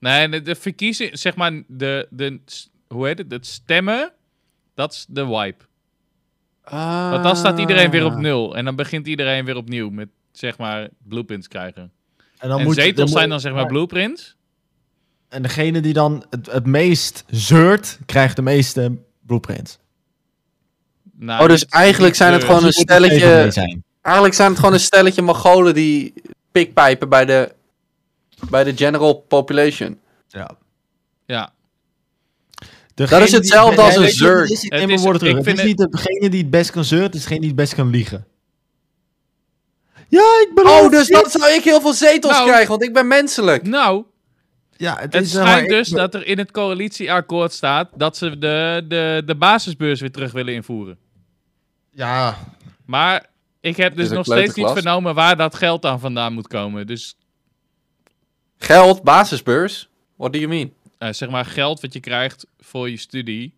[SPEAKER 1] Nee, de, de verkiezing, zeg maar, de, de, hoe heet het? Het stemmen, dat is de wipe.
[SPEAKER 2] Ah.
[SPEAKER 1] Want dan staat iedereen weer op nul. En dan begint iedereen weer opnieuw met, zeg maar, blueprints krijgen.
[SPEAKER 3] dan
[SPEAKER 1] en
[SPEAKER 3] moet je-
[SPEAKER 1] zetels
[SPEAKER 3] moet-
[SPEAKER 1] zijn dan, zeg maar, blueprints.
[SPEAKER 3] En degene die dan het, het meest zeurt, krijgt de meeste blueprints.
[SPEAKER 1] Nou,
[SPEAKER 2] Oh, dus
[SPEAKER 1] niet-
[SPEAKER 2] eigenlijk
[SPEAKER 1] niet
[SPEAKER 2] zijn het
[SPEAKER 1] kleur.
[SPEAKER 2] gewoon een
[SPEAKER 3] Dus je moet er tegen mee
[SPEAKER 2] stelletje...
[SPEAKER 3] zijn.
[SPEAKER 2] Eigenlijk zijn het gewoon een stelletje Mongolen die pikpijpen bij de, bij de general population.
[SPEAKER 3] Ja.
[SPEAKER 1] Ja,
[SPEAKER 3] Degene
[SPEAKER 2] is hetzelfde
[SPEAKER 3] die-
[SPEAKER 2] als een
[SPEAKER 3] Nee, weet je wat
[SPEAKER 2] zurk.
[SPEAKER 3] het is?
[SPEAKER 1] Het
[SPEAKER 3] Nee, maar
[SPEAKER 1] is-
[SPEAKER 3] woorden terug.
[SPEAKER 1] ik
[SPEAKER 3] Het
[SPEAKER 1] vind
[SPEAKER 3] is niet degene die het best kan zeuren, het is degene die het best kan liegen. Ja, ik beloof
[SPEAKER 2] Oh, dus
[SPEAKER 3] dit.
[SPEAKER 2] dan zou ik heel veel zetels
[SPEAKER 1] Nou.
[SPEAKER 2] krijgen, want ik ben menselijk.
[SPEAKER 1] nou,
[SPEAKER 3] Ja, het,
[SPEAKER 1] Het
[SPEAKER 3] is, eh, maar
[SPEAKER 1] schijnt
[SPEAKER 3] ik-
[SPEAKER 1] dus dat er in het coalitieakkoord staat dat ze de, de, de basisbeurs weer terug willen invoeren.
[SPEAKER 3] Ja,
[SPEAKER 1] Maar ik heb dus
[SPEAKER 2] een
[SPEAKER 1] nog steeds niet
[SPEAKER 2] kleuterklas.
[SPEAKER 1] vernomen waar dat geld dan vandaan moet komen. Dus
[SPEAKER 2] Geld, basisbeurs. What do you mean?
[SPEAKER 1] eh, zeg maar geld wat je krijgt voor je studie.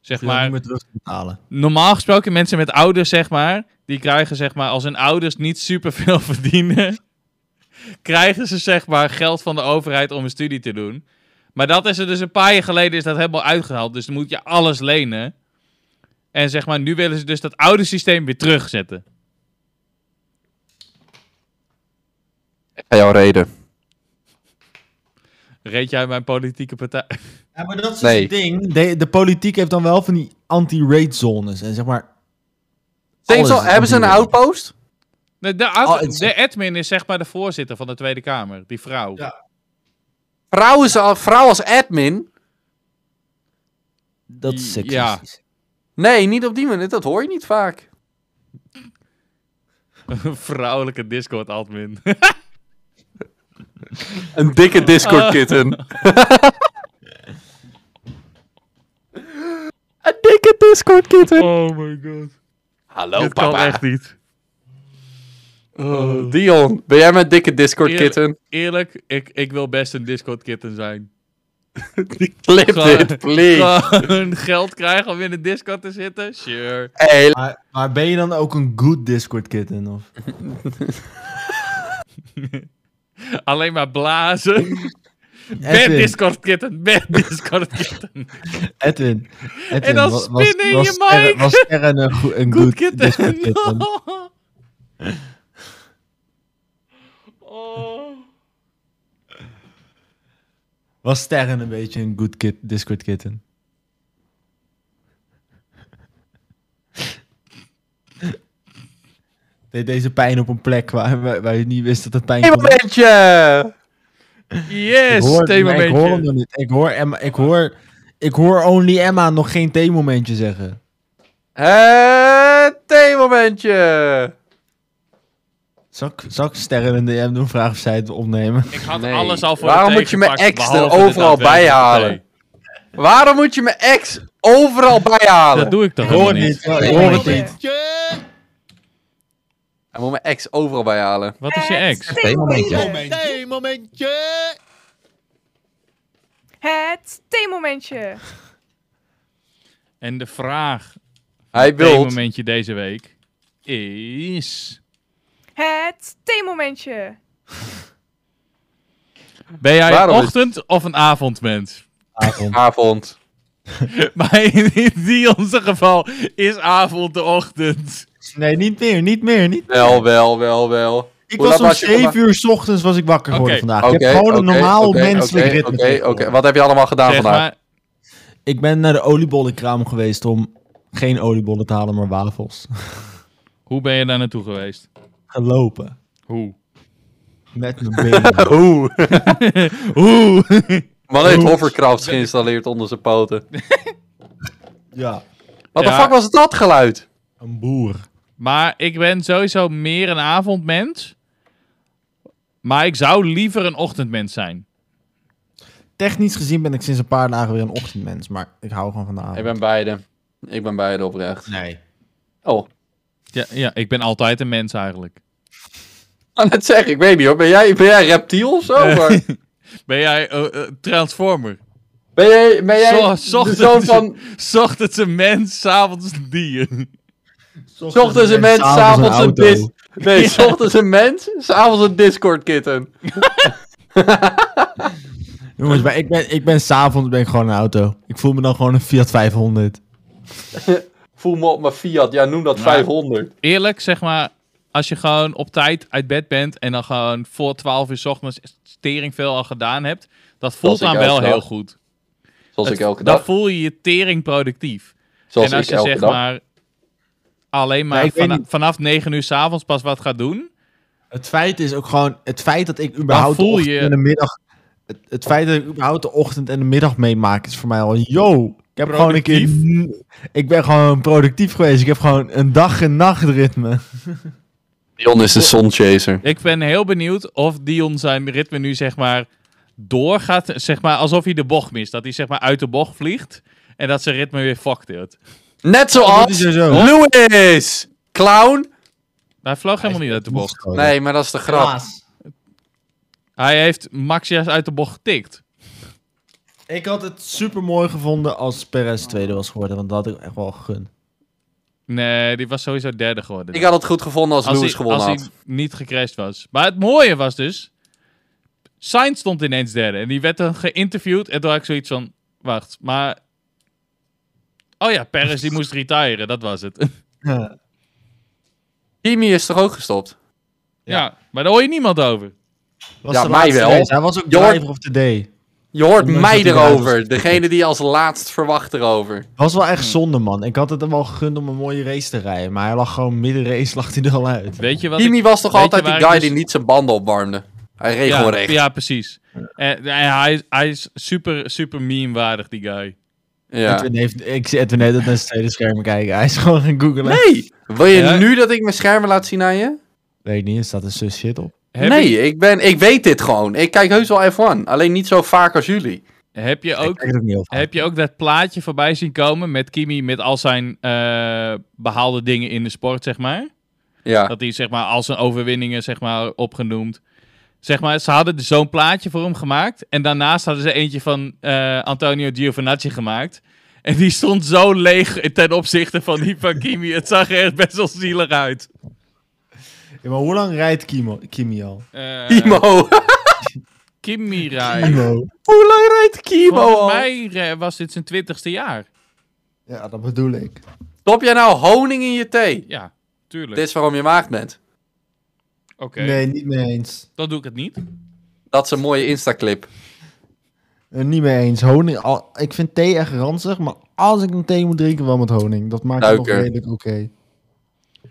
[SPEAKER 1] Zeg
[SPEAKER 3] maar...
[SPEAKER 1] maar,
[SPEAKER 3] niet meer terug te betalen.
[SPEAKER 1] normaal gesproken mensen met ouders, zeg maar, die krijgen zeg maar als hun ouders niet superveel verdienen, krijgen ze zeg maar geld van de overheid om een studie te doen. Maar dat is er dus een paar jaar geleden is dat helemaal uitgehaald, dus dan moet je alles lenen. En zeg maar, nu willen ze dus dat oude systeem weer terugzetten.
[SPEAKER 2] Ik ga jou reden.
[SPEAKER 1] Reed jij mijn politieke partij?
[SPEAKER 3] Ja, maar dat is
[SPEAKER 2] Nee.
[SPEAKER 3] het ding. De, de politiek heeft dan wel van die anti-raid zones. En zeg maar... alles is
[SPEAKER 2] hebben ze een
[SPEAKER 3] anti-raid.
[SPEAKER 2] outpost?
[SPEAKER 1] Nee, De,
[SPEAKER 3] Oh, het is-
[SPEAKER 1] de admin is zeg maar de voorzitter van de Tweede Kamer, die vrouw.
[SPEAKER 3] Ja.
[SPEAKER 2] vrouw, is, al- vrouw als admin.
[SPEAKER 5] Dat is
[SPEAKER 1] Ja.
[SPEAKER 5] seksistisch.
[SPEAKER 2] Nee, niet op die manier. Dat hoor je niet vaak.
[SPEAKER 1] Vrouwelijke Discord-admin.
[SPEAKER 2] Een dikke Discord-kitten. Een dikke Discord-kitten.
[SPEAKER 1] oh my god.
[SPEAKER 2] Hallo,
[SPEAKER 1] Dit kan echt niet.
[SPEAKER 2] Oh, Dion, ben jij mijn dikke Discord-kitten?
[SPEAKER 1] Eerlijk, ik, ik wil best een Discord-kitten zijn.
[SPEAKER 2] Clip
[SPEAKER 1] Gewoon-
[SPEAKER 2] dit, please.
[SPEAKER 1] Gewoon geld krijgen om in de Discord te zitten? Sure.
[SPEAKER 2] Hey,
[SPEAKER 3] Maar, maar ben je dan ook een good Discord kitten? Of?
[SPEAKER 1] Alleen maar blazen. Met
[SPEAKER 3] Edwin,
[SPEAKER 1] Discord-kitten, met Discord-kitten.
[SPEAKER 3] Edwin, Edwin.
[SPEAKER 1] dan
[SPEAKER 3] wa-
[SPEAKER 1] spinnen in je
[SPEAKER 3] Sterre-
[SPEAKER 1] mic.
[SPEAKER 3] Was Sterren een, goe- een good,
[SPEAKER 1] Goed
[SPEAKER 3] Discord
[SPEAKER 1] kitten.
[SPEAKER 3] kitten?
[SPEAKER 1] Oh.
[SPEAKER 3] Was Sterren een beetje een good kid, Discord kitten? Deed deze pijn op een plek waar, waar, waar je niet wist dat het pijn kon doen?
[SPEAKER 2] momentje!
[SPEAKER 1] Yes,
[SPEAKER 3] Ik hoor- maar Ik hoor hem
[SPEAKER 1] theemomentje.
[SPEAKER 3] nog niet. Ik hoor, Emma, ik, hoor, ik hoor Only Emma nog geen theemomentje zeggen.
[SPEAKER 2] Het theemomentje!
[SPEAKER 3] Zal ik, zal ik Sterren een DM doen? Vraag of zij het opnemen.
[SPEAKER 1] Ik had
[SPEAKER 2] Nee.
[SPEAKER 1] alles al voor
[SPEAKER 2] Waarom
[SPEAKER 1] het
[SPEAKER 2] moet je mijn
[SPEAKER 1] tegengepakt,
[SPEAKER 2] ex er
[SPEAKER 1] behalve dit
[SPEAKER 2] overal bij
[SPEAKER 1] daadwerkelijke
[SPEAKER 2] halen?
[SPEAKER 1] thee.
[SPEAKER 2] Waarom moet je mijn ex overal bijhalen?
[SPEAKER 1] Dat doe ik toch
[SPEAKER 3] Ik hoor
[SPEAKER 1] helemaal
[SPEAKER 3] het
[SPEAKER 1] niet.
[SPEAKER 3] niet. Ik hoor het niet.
[SPEAKER 2] Hij moet mijn ex overal bijhalen.
[SPEAKER 1] Wat is je ex?
[SPEAKER 6] Stil momentje.
[SPEAKER 7] momentje.
[SPEAKER 6] Het theemomentje.
[SPEAKER 1] En de vraag,
[SPEAKER 2] Hij wil.
[SPEAKER 1] theemomentje deze week, is...
[SPEAKER 6] Het theemomentje.
[SPEAKER 1] Ben jij een
[SPEAKER 2] Waarom is-
[SPEAKER 1] ochtend- of een avondmens?
[SPEAKER 3] Avond.
[SPEAKER 2] Avond.
[SPEAKER 1] Maar in, in Dion's geval is avond de ochtend.
[SPEAKER 3] Nee, niet meer, niet meer. Niet.
[SPEAKER 2] Wel, wel, wel, wel.
[SPEAKER 3] Ik
[SPEAKER 2] Hoe
[SPEAKER 3] was
[SPEAKER 2] laat
[SPEAKER 3] om
[SPEAKER 2] was je
[SPEAKER 3] 7 uur 's ochtends was ik wakker geworden
[SPEAKER 1] Oké,
[SPEAKER 3] vandaag. ik heb
[SPEAKER 2] Oké,
[SPEAKER 3] gewoon een
[SPEAKER 2] oké,
[SPEAKER 3] normaal
[SPEAKER 2] oké,
[SPEAKER 3] menselijk
[SPEAKER 2] oké,
[SPEAKER 3] ritme.
[SPEAKER 2] Oké, oké.
[SPEAKER 3] tegenwoordig.
[SPEAKER 2] Wat heb je allemaal gedaan
[SPEAKER 1] Zeg
[SPEAKER 2] Ah, vandaag?
[SPEAKER 1] maar,
[SPEAKER 3] Ik ben naar de oliebollenkraam geweest om geen oliebollen te halen, maar wafels.
[SPEAKER 1] hoe ben je daar naartoe geweest?
[SPEAKER 3] Gelopen.
[SPEAKER 1] Hoe?
[SPEAKER 3] Met mijn benen.
[SPEAKER 2] Hoe?
[SPEAKER 1] Hoe?
[SPEAKER 2] Man heeft hovercraft geïnstalleerd onder zijn poten.
[SPEAKER 3] ja,
[SPEAKER 2] Wat de
[SPEAKER 1] Ja.
[SPEAKER 2] fuck was dat geluid?
[SPEAKER 3] een boer.
[SPEAKER 1] maar ik ben sowieso meer een avondmens. Maar ik zou liever een ochtendmens zijn.
[SPEAKER 3] Technisch gezien ben ik sinds een paar dagen weer een ochtendmens, maar ik hou gewoon van de avond.
[SPEAKER 2] Ik ben beide. Ik ben beide oprecht.
[SPEAKER 3] Nee.
[SPEAKER 2] Oh.
[SPEAKER 1] Ja, ja, ik ben altijd een mens eigenlijk.
[SPEAKER 2] Aan het zeggen, ik weet niet hoor. Ben jij, ben jij reptiel of zo? maar-
[SPEAKER 1] Ben jij eh, eh, Transformer?
[SPEAKER 2] Ben jij, ben jij
[SPEAKER 1] Zo-
[SPEAKER 2] de
[SPEAKER 1] ochtends-
[SPEAKER 2] zoon van
[SPEAKER 1] S ochtends een mens, s avonds een dier.
[SPEAKER 2] S ochtends een mens, s'avonds een dis. Nee, s ochtends een mens, s'avonds een Discord kitten.
[SPEAKER 3] Jongens, maar ik ben, ik ben s'avonds ben ik gewoon een auto. Ik voel me dan gewoon een Fiat 500.
[SPEAKER 2] Voel me op mijn Fiat, ja, noem dat 500.
[SPEAKER 1] Eerlijk, zeg maar, als je gewoon op tijd uit bed bent en dan gewoon voor 12 uur 's ochtends tering veel al gedaan hebt, dat voelt
[SPEAKER 2] ik
[SPEAKER 1] dan
[SPEAKER 2] elke
[SPEAKER 1] wel
[SPEAKER 2] dag.
[SPEAKER 1] heel goed.
[SPEAKER 2] Zoals ik
[SPEAKER 1] Het-
[SPEAKER 2] elke
[SPEAKER 1] Dan
[SPEAKER 2] dag.
[SPEAKER 1] voel je je tering productief.
[SPEAKER 2] Zoals
[SPEAKER 1] en als
[SPEAKER 2] ik
[SPEAKER 1] je
[SPEAKER 2] elke
[SPEAKER 1] zeg
[SPEAKER 2] dag.
[SPEAKER 1] maar alleen maar
[SPEAKER 3] Ja, ik weet
[SPEAKER 1] vana-
[SPEAKER 3] niet.
[SPEAKER 1] vanaf 9 uur s'avonds pas wat gaat doen.
[SPEAKER 3] Het feit is ook gewoon, het feit dat ik überhaupt
[SPEAKER 1] voel
[SPEAKER 3] de ochtend
[SPEAKER 1] je-
[SPEAKER 3] en de middag... Het, het feit dat ik überhaupt de ochtend en de middag meemaak is voor mij al... Yo, ik heb gewoon een keer... Ik ben gewoon productief geweest. Ik heb gewoon een dag- en nachtritme.
[SPEAKER 2] Dion is de Sunchaser.
[SPEAKER 1] Ik ben heel benieuwd of Dion zijn ritme nu zeg maar doorgaat. Zeg maar alsof hij de bocht mist. Dat hij zeg maar uit de bocht vliegt. En dat zijn ritme weer fucked wordt.
[SPEAKER 2] Net
[SPEAKER 1] Oh,
[SPEAKER 3] Dat is
[SPEAKER 2] zoals
[SPEAKER 3] er zo.
[SPEAKER 2] Louis! Clown?
[SPEAKER 3] Oh,
[SPEAKER 1] Maar Hij vloog helemaal niet uit de bocht.
[SPEAKER 2] Nee, maar dat is de grap.
[SPEAKER 1] Hij heeft Max juist uit de bocht getikt.
[SPEAKER 3] Ik had het super mooi gevonden als Perez tweede was geworden, want dat had ik echt wel gegund.
[SPEAKER 1] Nee, die was sowieso derde geworden.
[SPEAKER 2] Ik had het goed gevonden als, Louis
[SPEAKER 1] hij,
[SPEAKER 2] gewonnen
[SPEAKER 1] als
[SPEAKER 2] had.
[SPEAKER 1] hij niet gecrashed was. Maar het mooie was dus... Sainz stond ineens derde. En die werd dan geïnterviewd. En toen had ik zoiets van... Wacht, maar... Oh ja, Perez die moest retiren. Dat was het. ja.
[SPEAKER 3] Ja.
[SPEAKER 2] Kimi is toch ook gestopt?
[SPEAKER 1] maar daar hoor je niemand over.
[SPEAKER 3] Was
[SPEAKER 2] Ja,
[SPEAKER 3] de
[SPEAKER 2] mij
[SPEAKER 3] laatste
[SPEAKER 2] wel.
[SPEAKER 3] race. Hij was ook
[SPEAKER 2] Jordan-
[SPEAKER 3] driver of the day.
[SPEAKER 2] Je hoort
[SPEAKER 3] Ondanks
[SPEAKER 2] mij
[SPEAKER 3] dat hij eruit
[SPEAKER 2] erover.
[SPEAKER 3] is.
[SPEAKER 2] Degene die als laatst verwacht erover.
[SPEAKER 3] Was wel
[SPEAKER 2] Hmm.
[SPEAKER 3] echt zonde, man. Ik had het hem wel gegund om een mooie race te rijden, maar hij lag gewoon midden race lag hij er al uit.
[SPEAKER 1] Weet je wat
[SPEAKER 2] Kimi
[SPEAKER 1] ik-
[SPEAKER 2] was toch
[SPEAKER 1] weet je
[SPEAKER 2] altijd die
[SPEAKER 1] waar
[SPEAKER 2] guy
[SPEAKER 1] ik dus-
[SPEAKER 2] die niet zijn banden opwarmde? Hij
[SPEAKER 1] Ja,
[SPEAKER 2] regelrecht. Ja,
[SPEAKER 1] ja, precies. En, en hij, is- hij is super, super meme-waardig, die guy.
[SPEAKER 5] Edwin heeft, ik zie Edwin net naar zijn tweede scherm kijken. Hij is gewoon gaan googlen.
[SPEAKER 2] Nee! Wil je
[SPEAKER 1] Ja.
[SPEAKER 2] nu dat ik mijn schermen laat zien aan je?
[SPEAKER 5] Weet niet, er staat een sus shit op.
[SPEAKER 1] Heb
[SPEAKER 2] nee,
[SPEAKER 1] Je,
[SPEAKER 2] ik, ben, ik weet dit gewoon. Ik kijk heus wel F1. Alleen niet zo vaak als jullie.
[SPEAKER 1] heb, je
[SPEAKER 5] Ik
[SPEAKER 1] ook,
[SPEAKER 5] kijk het ook niet heel vaak.
[SPEAKER 1] heb je ook dat plaatje voorbij zien komen met Kimi met al zijn eh, behaalde dingen in de sport, zeg maar?
[SPEAKER 2] Ja.
[SPEAKER 1] Dat hij zeg maar al zijn overwinningen zeg maar, opgenoemd. Zeg maar, ze hadden dus zo'n plaatje voor hem gemaakt. En daarnaast hadden ze eentje van eh, Antonio Giovinazzi gemaakt. En die stond zo leeg ten opzichte van die van Kimi. Het zag er echt best wel zielig uit.
[SPEAKER 3] Ja, maar hoe lang rijdt Kimo, Kimi al?
[SPEAKER 1] Eh,
[SPEAKER 2] Kimo.
[SPEAKER 1] Kimi rijdt.
[SPEAKER 3] Kimo.
[SPEAKER 2] Hoe lang rijdt Kimo
[SPEAKER 1] Volgens
[SPEAKER 2] al?
[SPEAKER 1] mij eh, was dit zijn twintigste jaar.
[SPEAKER 3] Ja, dat bedoel ik.
[SPEAKER 2] Stop jij nou honing in je thee?
[SPEAKER 1] Ja, tuurlijk.
[SPEAKER 2] Dit is waarom je maagd bent.
[SPEAKER 1] Oké,
[SPEAKER 3] Nee, niet mee eens.
[SPEAKER 1] dan doe ik het niet.
[SPEAKER 2] Dat is een mooie Insta-clip.
[SPEAKER 3] Eh, niet mee eens. Honing, al, ik vind thee echt ranzig, maar als ik een thee moet drinken, wel met honing. Dat maakt het
[SPEAKER 2] Suiker.
[SPEAKER 3] nog redelijk oké.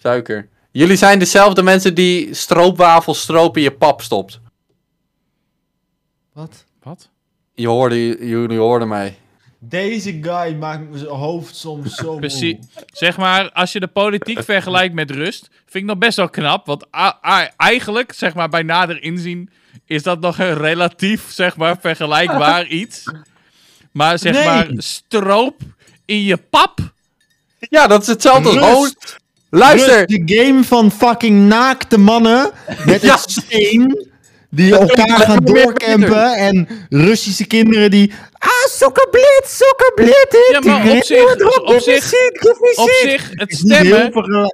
[SPEAKER 2] Suiker. Jullie zijn dezelfde mensen die stroopwafel stroop in je pap stopt.
[SPEAKER 3] Wat?
[SPEAKER 1] Wat?
[SPEAKER 2] Je hoorde, jullie hoorden mij.
[SPEAKER 3] Deze guy maakt mijn hoofd soms zo
[SPEAKER 1] Precies. Zeg maar, als je de politiek vergelijkt met rust, vind ik nog best wel knap. Want a- a- eigenlijk, zeg maar, bij nader inzien, is dat nog een relatief, zeg maar, vergelijkbaar iets. Maar zeg
[SPEAKER 3] Nee.
[SPEAKER 1] maar, stroop in je pap.
[SPEAKER 2] Ja, dat is hetzelfde als honing. Luister!
[SPEAKER 3] Rust, de game van fucking naakte mannen met
[SPEAKER 2] Ja.
[SPEAKER 3] een steen die
[SPEAKER 2] klinkt
[SPEAKER 3] elkaar gaan
[SPEAKER 2] lekker meer
[SPEAKER 3] doorcampen en Russische kinderen die ah sokkerblit sokkerblit
[SPEAKER 1] Ja, maar op zich- op zich- Op zich, het stemmen,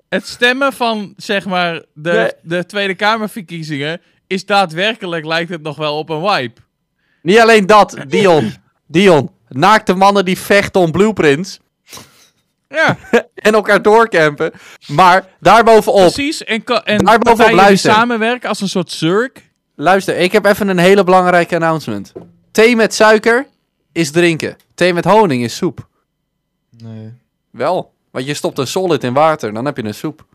[SPEAKER 1] het stemmen van, zeg maar, de, de Tweede Kamerverkiezingen is daadwerkelijk, lijkt het nog wel op een wipe.
[SPEAKER 2] Niet alleen dat, Dion. Dion. Naakte mannen die vechten om blueprints.
[SPEAKER 1] Ja.
[SPEAKER 2] en elkaar doorcampen. Maar daarbovenop,
[SPEAKER 1] Precies, en, ka-
[SPEAKER 2] Daar
[SPEAKER 1] en
[SPEAKER 2] bovenop
[SPEAKER 1] partijen die
[SPEAKER 2] luisteren.
[SPEAKER 1] samenwerken als een soort zurk.
[SPEAKER 2] luister, ik heb even een hele belangrijke announcement. Thee met suiker is drinken. Thee met honing is soep.
[SPEAKER 3] Nee.
[SPEAKER 2] Wel, want je stopt een solid in water, dan heb je een soep.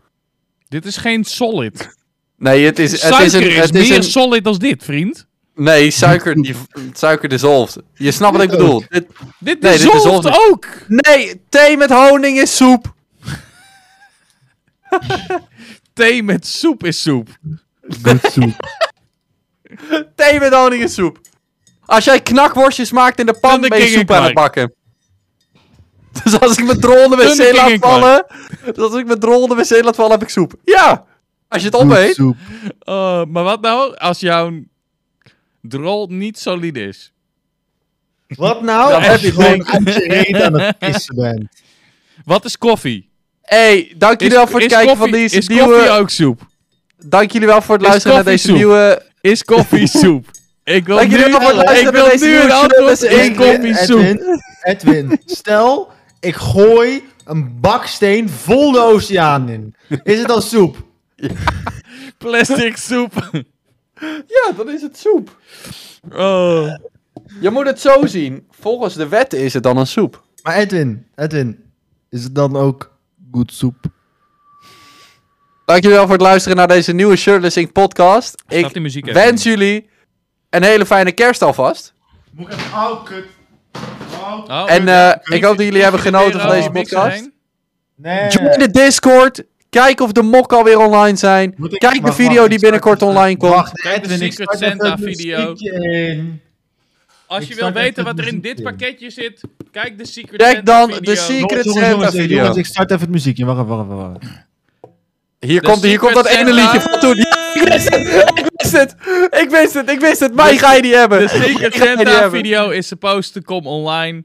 [SPEAKER 1] Dit is geen solid.
[SPEAKER 2] Nee, het is, het
[SPEAKER 1] Suiker
[SPEAKER 2] is
[SPEAKER 1] is,
[SPEAKER 2] een... Het is
[SPEAKER 1] meer
[SPEAKER 2] een
[SPEAKER 1] solid als dit, vriend.
[SPEAKER 2] nee, suiker, die, suiker dissolved. Je snapt wat ik bedoel. Dit-
[SPEAKER 1] Dit
[SPEAKER 2] Nee,
[SPEAKER 1] is
[SPEAKER 2] dit is
[SPEAKER 1] dissolved
[SPEAKER 2] onzin.
[SPEAKER 1] ook.
[SPEAKER 2] nee, thee met honing is soep.
[SPEAKER 1] Thee met soep is soep.
[SPEAKER 2] Thee met honing is soep. Als jij knakworstjes maakt in de pan,
[SPEAKER 1] Dan de
[SPEAKER 2] ben je
[SPEAKER 1] king en
[SPEAKER 2] soep aan het bakken. Dus als ik mijn drol in de
[SPEAKER 1] Dan de
[SPEAKER 2] wc
[SPEAKER 1] king
[SPEAKER 2] laat
[SPEAKER 1] en
[SPEAKER 2] vallen... Dus als ik mijn drol in de wc laat vallen, heb ik soep. Ja! Als je het opeet...
[SPEAKER 3] Soep.
[SPEAKER 1] Eh, maar wat nou als jouw drol niet solide is?
[SPEAKER 3] Wat nou
[SPEAKER 2] Dan heb
[SPEAKER 3] als
[SPEAKER 2] je
[SPEAKER 3] je gewoon
[SPEAKER 2] het
[SPEAKER 3] uit je reet aan het pissen bent?
[SPEAKER 1] Wat is koffie?
[SPEAKER 2] Hey, dank jullie wel
[SPEAKER 1] Is-
[SPEAKER 2] voor het
[SPEAKER 1] is
[SPEAKER 2] kijken
[SPEAKER 1] koffie-
[SPEAKER 2] van deze
[SPEAKER 1] is koffie
[SPEAKER 2] nieuwe...
[SPEAKER 1] ook soep?
[SPEAKER 2] Dank jullie wel voor het
[SPEAKER 1] is
[SPEAKER 2] luisteren naar
[SPEAKER 1] koffie
[SPEAKER 2] deze
[SPEAKER 1] soep?
[SPEAKER 2] nieuwe...
[SPEAKER 1] Is koffie soep? Ik wil
[SPEAKER 2] Dank
[SPEAKER 1] nu,
[SPEAKER 2] jullie wel voor het luisteren
[SPEAKER 1] ik wil
[SPEAKER 2] naar deze
[SPEAKER 1] nu een
[SPEAKER 2] nieuwe
[SPEAKER 1] antwoord.
[SPEAKER 2] show.
[SPEAKER 1] Is
[SPEAKER 2] Edwin-
[SPEAKER 1] koffie soep?
[SPEAKER 3] Edwin, Edwin, stel ik gooi een baksteen vol de oceaan in. Is het dan soep?
[SPEAKER 1] Plastic soep.
[SPEAKER 2] Ja, dan is het soep.
[SPEAKER 1] Oh.
[SPEAKER 2] Je moet het zo zien. Volgens de wetten is het dan een soep.
[SPEAKER 3] Maar Edwin, Edwin, is het dan ook goed soep?
[SPEAKER 2] Dank jullie wel voor het luisteren naar deze nieuwe Shirtless Inc. podcast.
[SPEAKER 1] Staat die
[SPEAKER 2] Ik
[SPEAKER 1] muziek even?
[SPEAKER 2] wens jullie een hele fijne kerst alvast.
[SPEAKER 3] Oh, kut.
[SPEAKER 1] Oh,
[SPEAKER 2] En
[SPEAKER 1] oké.
[SPEAKER 2] eh, ik hoop dat jullie hebben
[SPEAKER 1] Kun je
[SPEAKER 2] genoten
[SPEAKER 1] weer
[SPEAKER 2] van deze
[SPEAKER 1] over mixen
[SPEAKER 2] podcast.
[SPEAKER 1] heen?
[SPEAKER 3] Nee.
[SPEAKER 2] Join de Discord. Kijk of de mokken alweer online zijn.
[SPEAKER 3] Moet ik-
[SPEAKER 2] Kijk de
[SPEAKER 3] wacht,
[SPEAKER 2] video
[SPEAKER 3] wacht,
[SPEAKER 2] die
[SPEAKER 3] ik start
[SPEAKER 2] binnenkort
[SPEAKER 3] even-
[SPEAKER 2] online komt.
[SPEAKER 3] Wacht,
[SPEAKER 1] Kijk dus de
[SPEAKER 3] Edwin, ik
[SPEAKER 1] Secret
[SPEAKER 3] start even
[SPEAKER 1] Santa
[SPEAKER 3] een
[SPEAKER 1] video.
[SPEAKER 3] muziekje in.
[SPEAKER 1] Als
[SPEAKER 3] Ik
[SPEAKER 1] je wil
[SPEAKER 3] start
[SPEAKER 1] weten
[SPEAKER 3] even
[SPEAKER 1] wat er in
[SPEAKER 3] muziek
[SPEAKER 1] dit
[SPEAKER 3] in.
[SPEAKER 1] pakketje zit, kijk de Secret
[SPEAKER 2] Check
[SPEAKER 1] Santa
[SPEAKER 2] dan
[SPEAKER 1] video.
[SPEAKER 2] de Secret-
[SPEAKER 3] Jongens,
[SPEAKER 2] Santa
[SPEAKER 3] jongens, jongens,
[SPEAKER 2] video.
[SPEAKER 3] jongens, ik start even het muziekje. Wacht, wacht, wacht. wacht.
[SPEAKER 2] Hier
[SPEAKER 1] De
[SPEAKER 2] komt, hier komt dat
[SPEAKER 1] Secret
[SPEAKER 2] ene
[SPEAKER 1] Santa.
[SPEAKER 2] liedje van toen. Ik wist het, ik wist het, ik wist het, ik wist het. Mij ga je die hebben.
[SPEAKER 1] De Secret
[SPEAKER 2] Mij ga je die
[SPEAKER 1] Santa
[SPEAKER 2] hebben.
[SPEAKER 1] video is supposed to come online.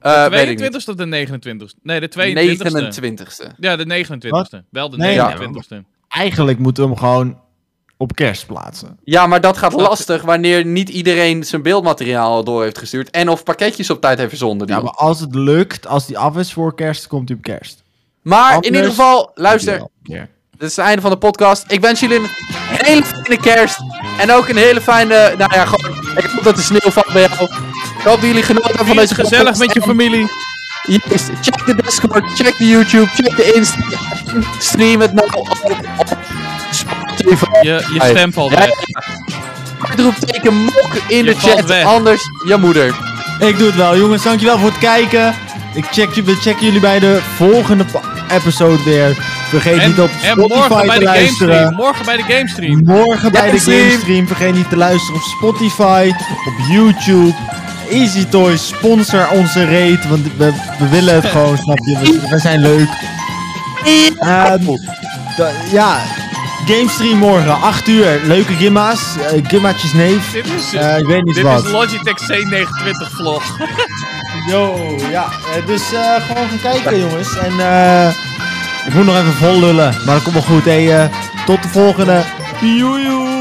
[SPEAKER 2] Eh, weet ik niet.
[SPEAKER 1] 22 e of de 29 e Nee, de 22 e
[SPEAKER 2] 29ste.
[SPEAKER 1] Ja, de 29 e Wel de
[SPEAKER 3] Nee,
[SPEAKER 2] ja.
[SPEAKER 1] 29 e
[SPEAKER 3] Eigenlijk moeten we hem gewoon op kerst plaatsen.
[SPEAKER 2] Ja, maar dat gaat lastig wanneer niet iedereen zijn beeldmateriaal al door heeft gestuurd. En of pakketjes op tijd heeft verzonden.
[SPEAKER 3] Ja,
[SPEAKER 2] Dion.
[SPEAKER 3] maar als het lukt, als die af is voor kerst, komt hij op kerst.
[SPEAKER 2] maar in
[SPEAKER 3] anders-
[SPEAKER 2] ieder geval, luister.
[SPEAKER 3] Ja.
[SPEAKER 2] Dit is het einde van de podcast. Ik wens jullie een hele fijne kerst. En ook een hele fijne. Nou ja, gewoon. Ik hoop dat de sneeuw valt bij jou. Ik hoop dat jullie genoten hebben van
[SPEAKER 1] Wees
[SPEAKER 2] deze
[SPEAKER 1] gezellig
[SPEAKER 2] podcast.
[SPEAKER 1] met je familie.
[SPEAKER 2] Yes, check de Discord, check de YouTube, check de Insta. Stream het nou ook op Spotify.
[SPEAKER 1] Je, je stem valt
[SPEAKER 2] Ja,
[SPEAKER 1] weg.
[SPEAKER 2] ja. Uitroepteken mok in
[SPEAKER 1] Je
[SPEAKER 2] de
[SPEAKER 1] valt
[SPEAKER 2] chat,
[SPEAKER 1] weg.
[SPEAKER 2] anders je moeder.
[SPEAKER 3] Ik doe het wel, jongens. Dankjewel voor het kijken. Ik check, ju- we checken jullie bij de volgende pa- episode weer. Vergeet
[SPEAKER 1] En,
[SPEAKER 3] niet op
[SPEAKER 1] en
[SPEAKER 3] Spotify
[SPEAKER 1] morgen bij
[SPEAKER 3] te
[SPEAKER 1] de
[SPEAKER 3] luisteren.
[SPEAKER 1] gamestream. Morgen bij de gamestream.
[SPEAKER 3] Morgen bij de
[SPEAKER 2] Gamestream.
[SPEAKER 3] Gamestream. Vergeet niet te luisteren op Spotify, op YouTube. Easy Toys, sponsor onze raid. Want we, we willen het gewoon, snap je? We, we zijn leuk. Ehm, da- ja, Gamestream morgen, 8 uur. Leuke gimma's. eh, gimmaatjes neef.
[SPEAKER 1] Dit is,
[SPEAKER 3] Eh, ik weet niet
[SPEAKER 1] dit
[SPEAKER 3] wat.
[SPEAKER 1] is Logitech C29 vlog.
[SPEAKER 3] Yo, ja. eh, dus eh, gewoon gaan kijken, jongens. En eh, ik moet nog even vol lullen. Maar dat komt wel goed. Hey, eh, tot de volgende. Joejoe.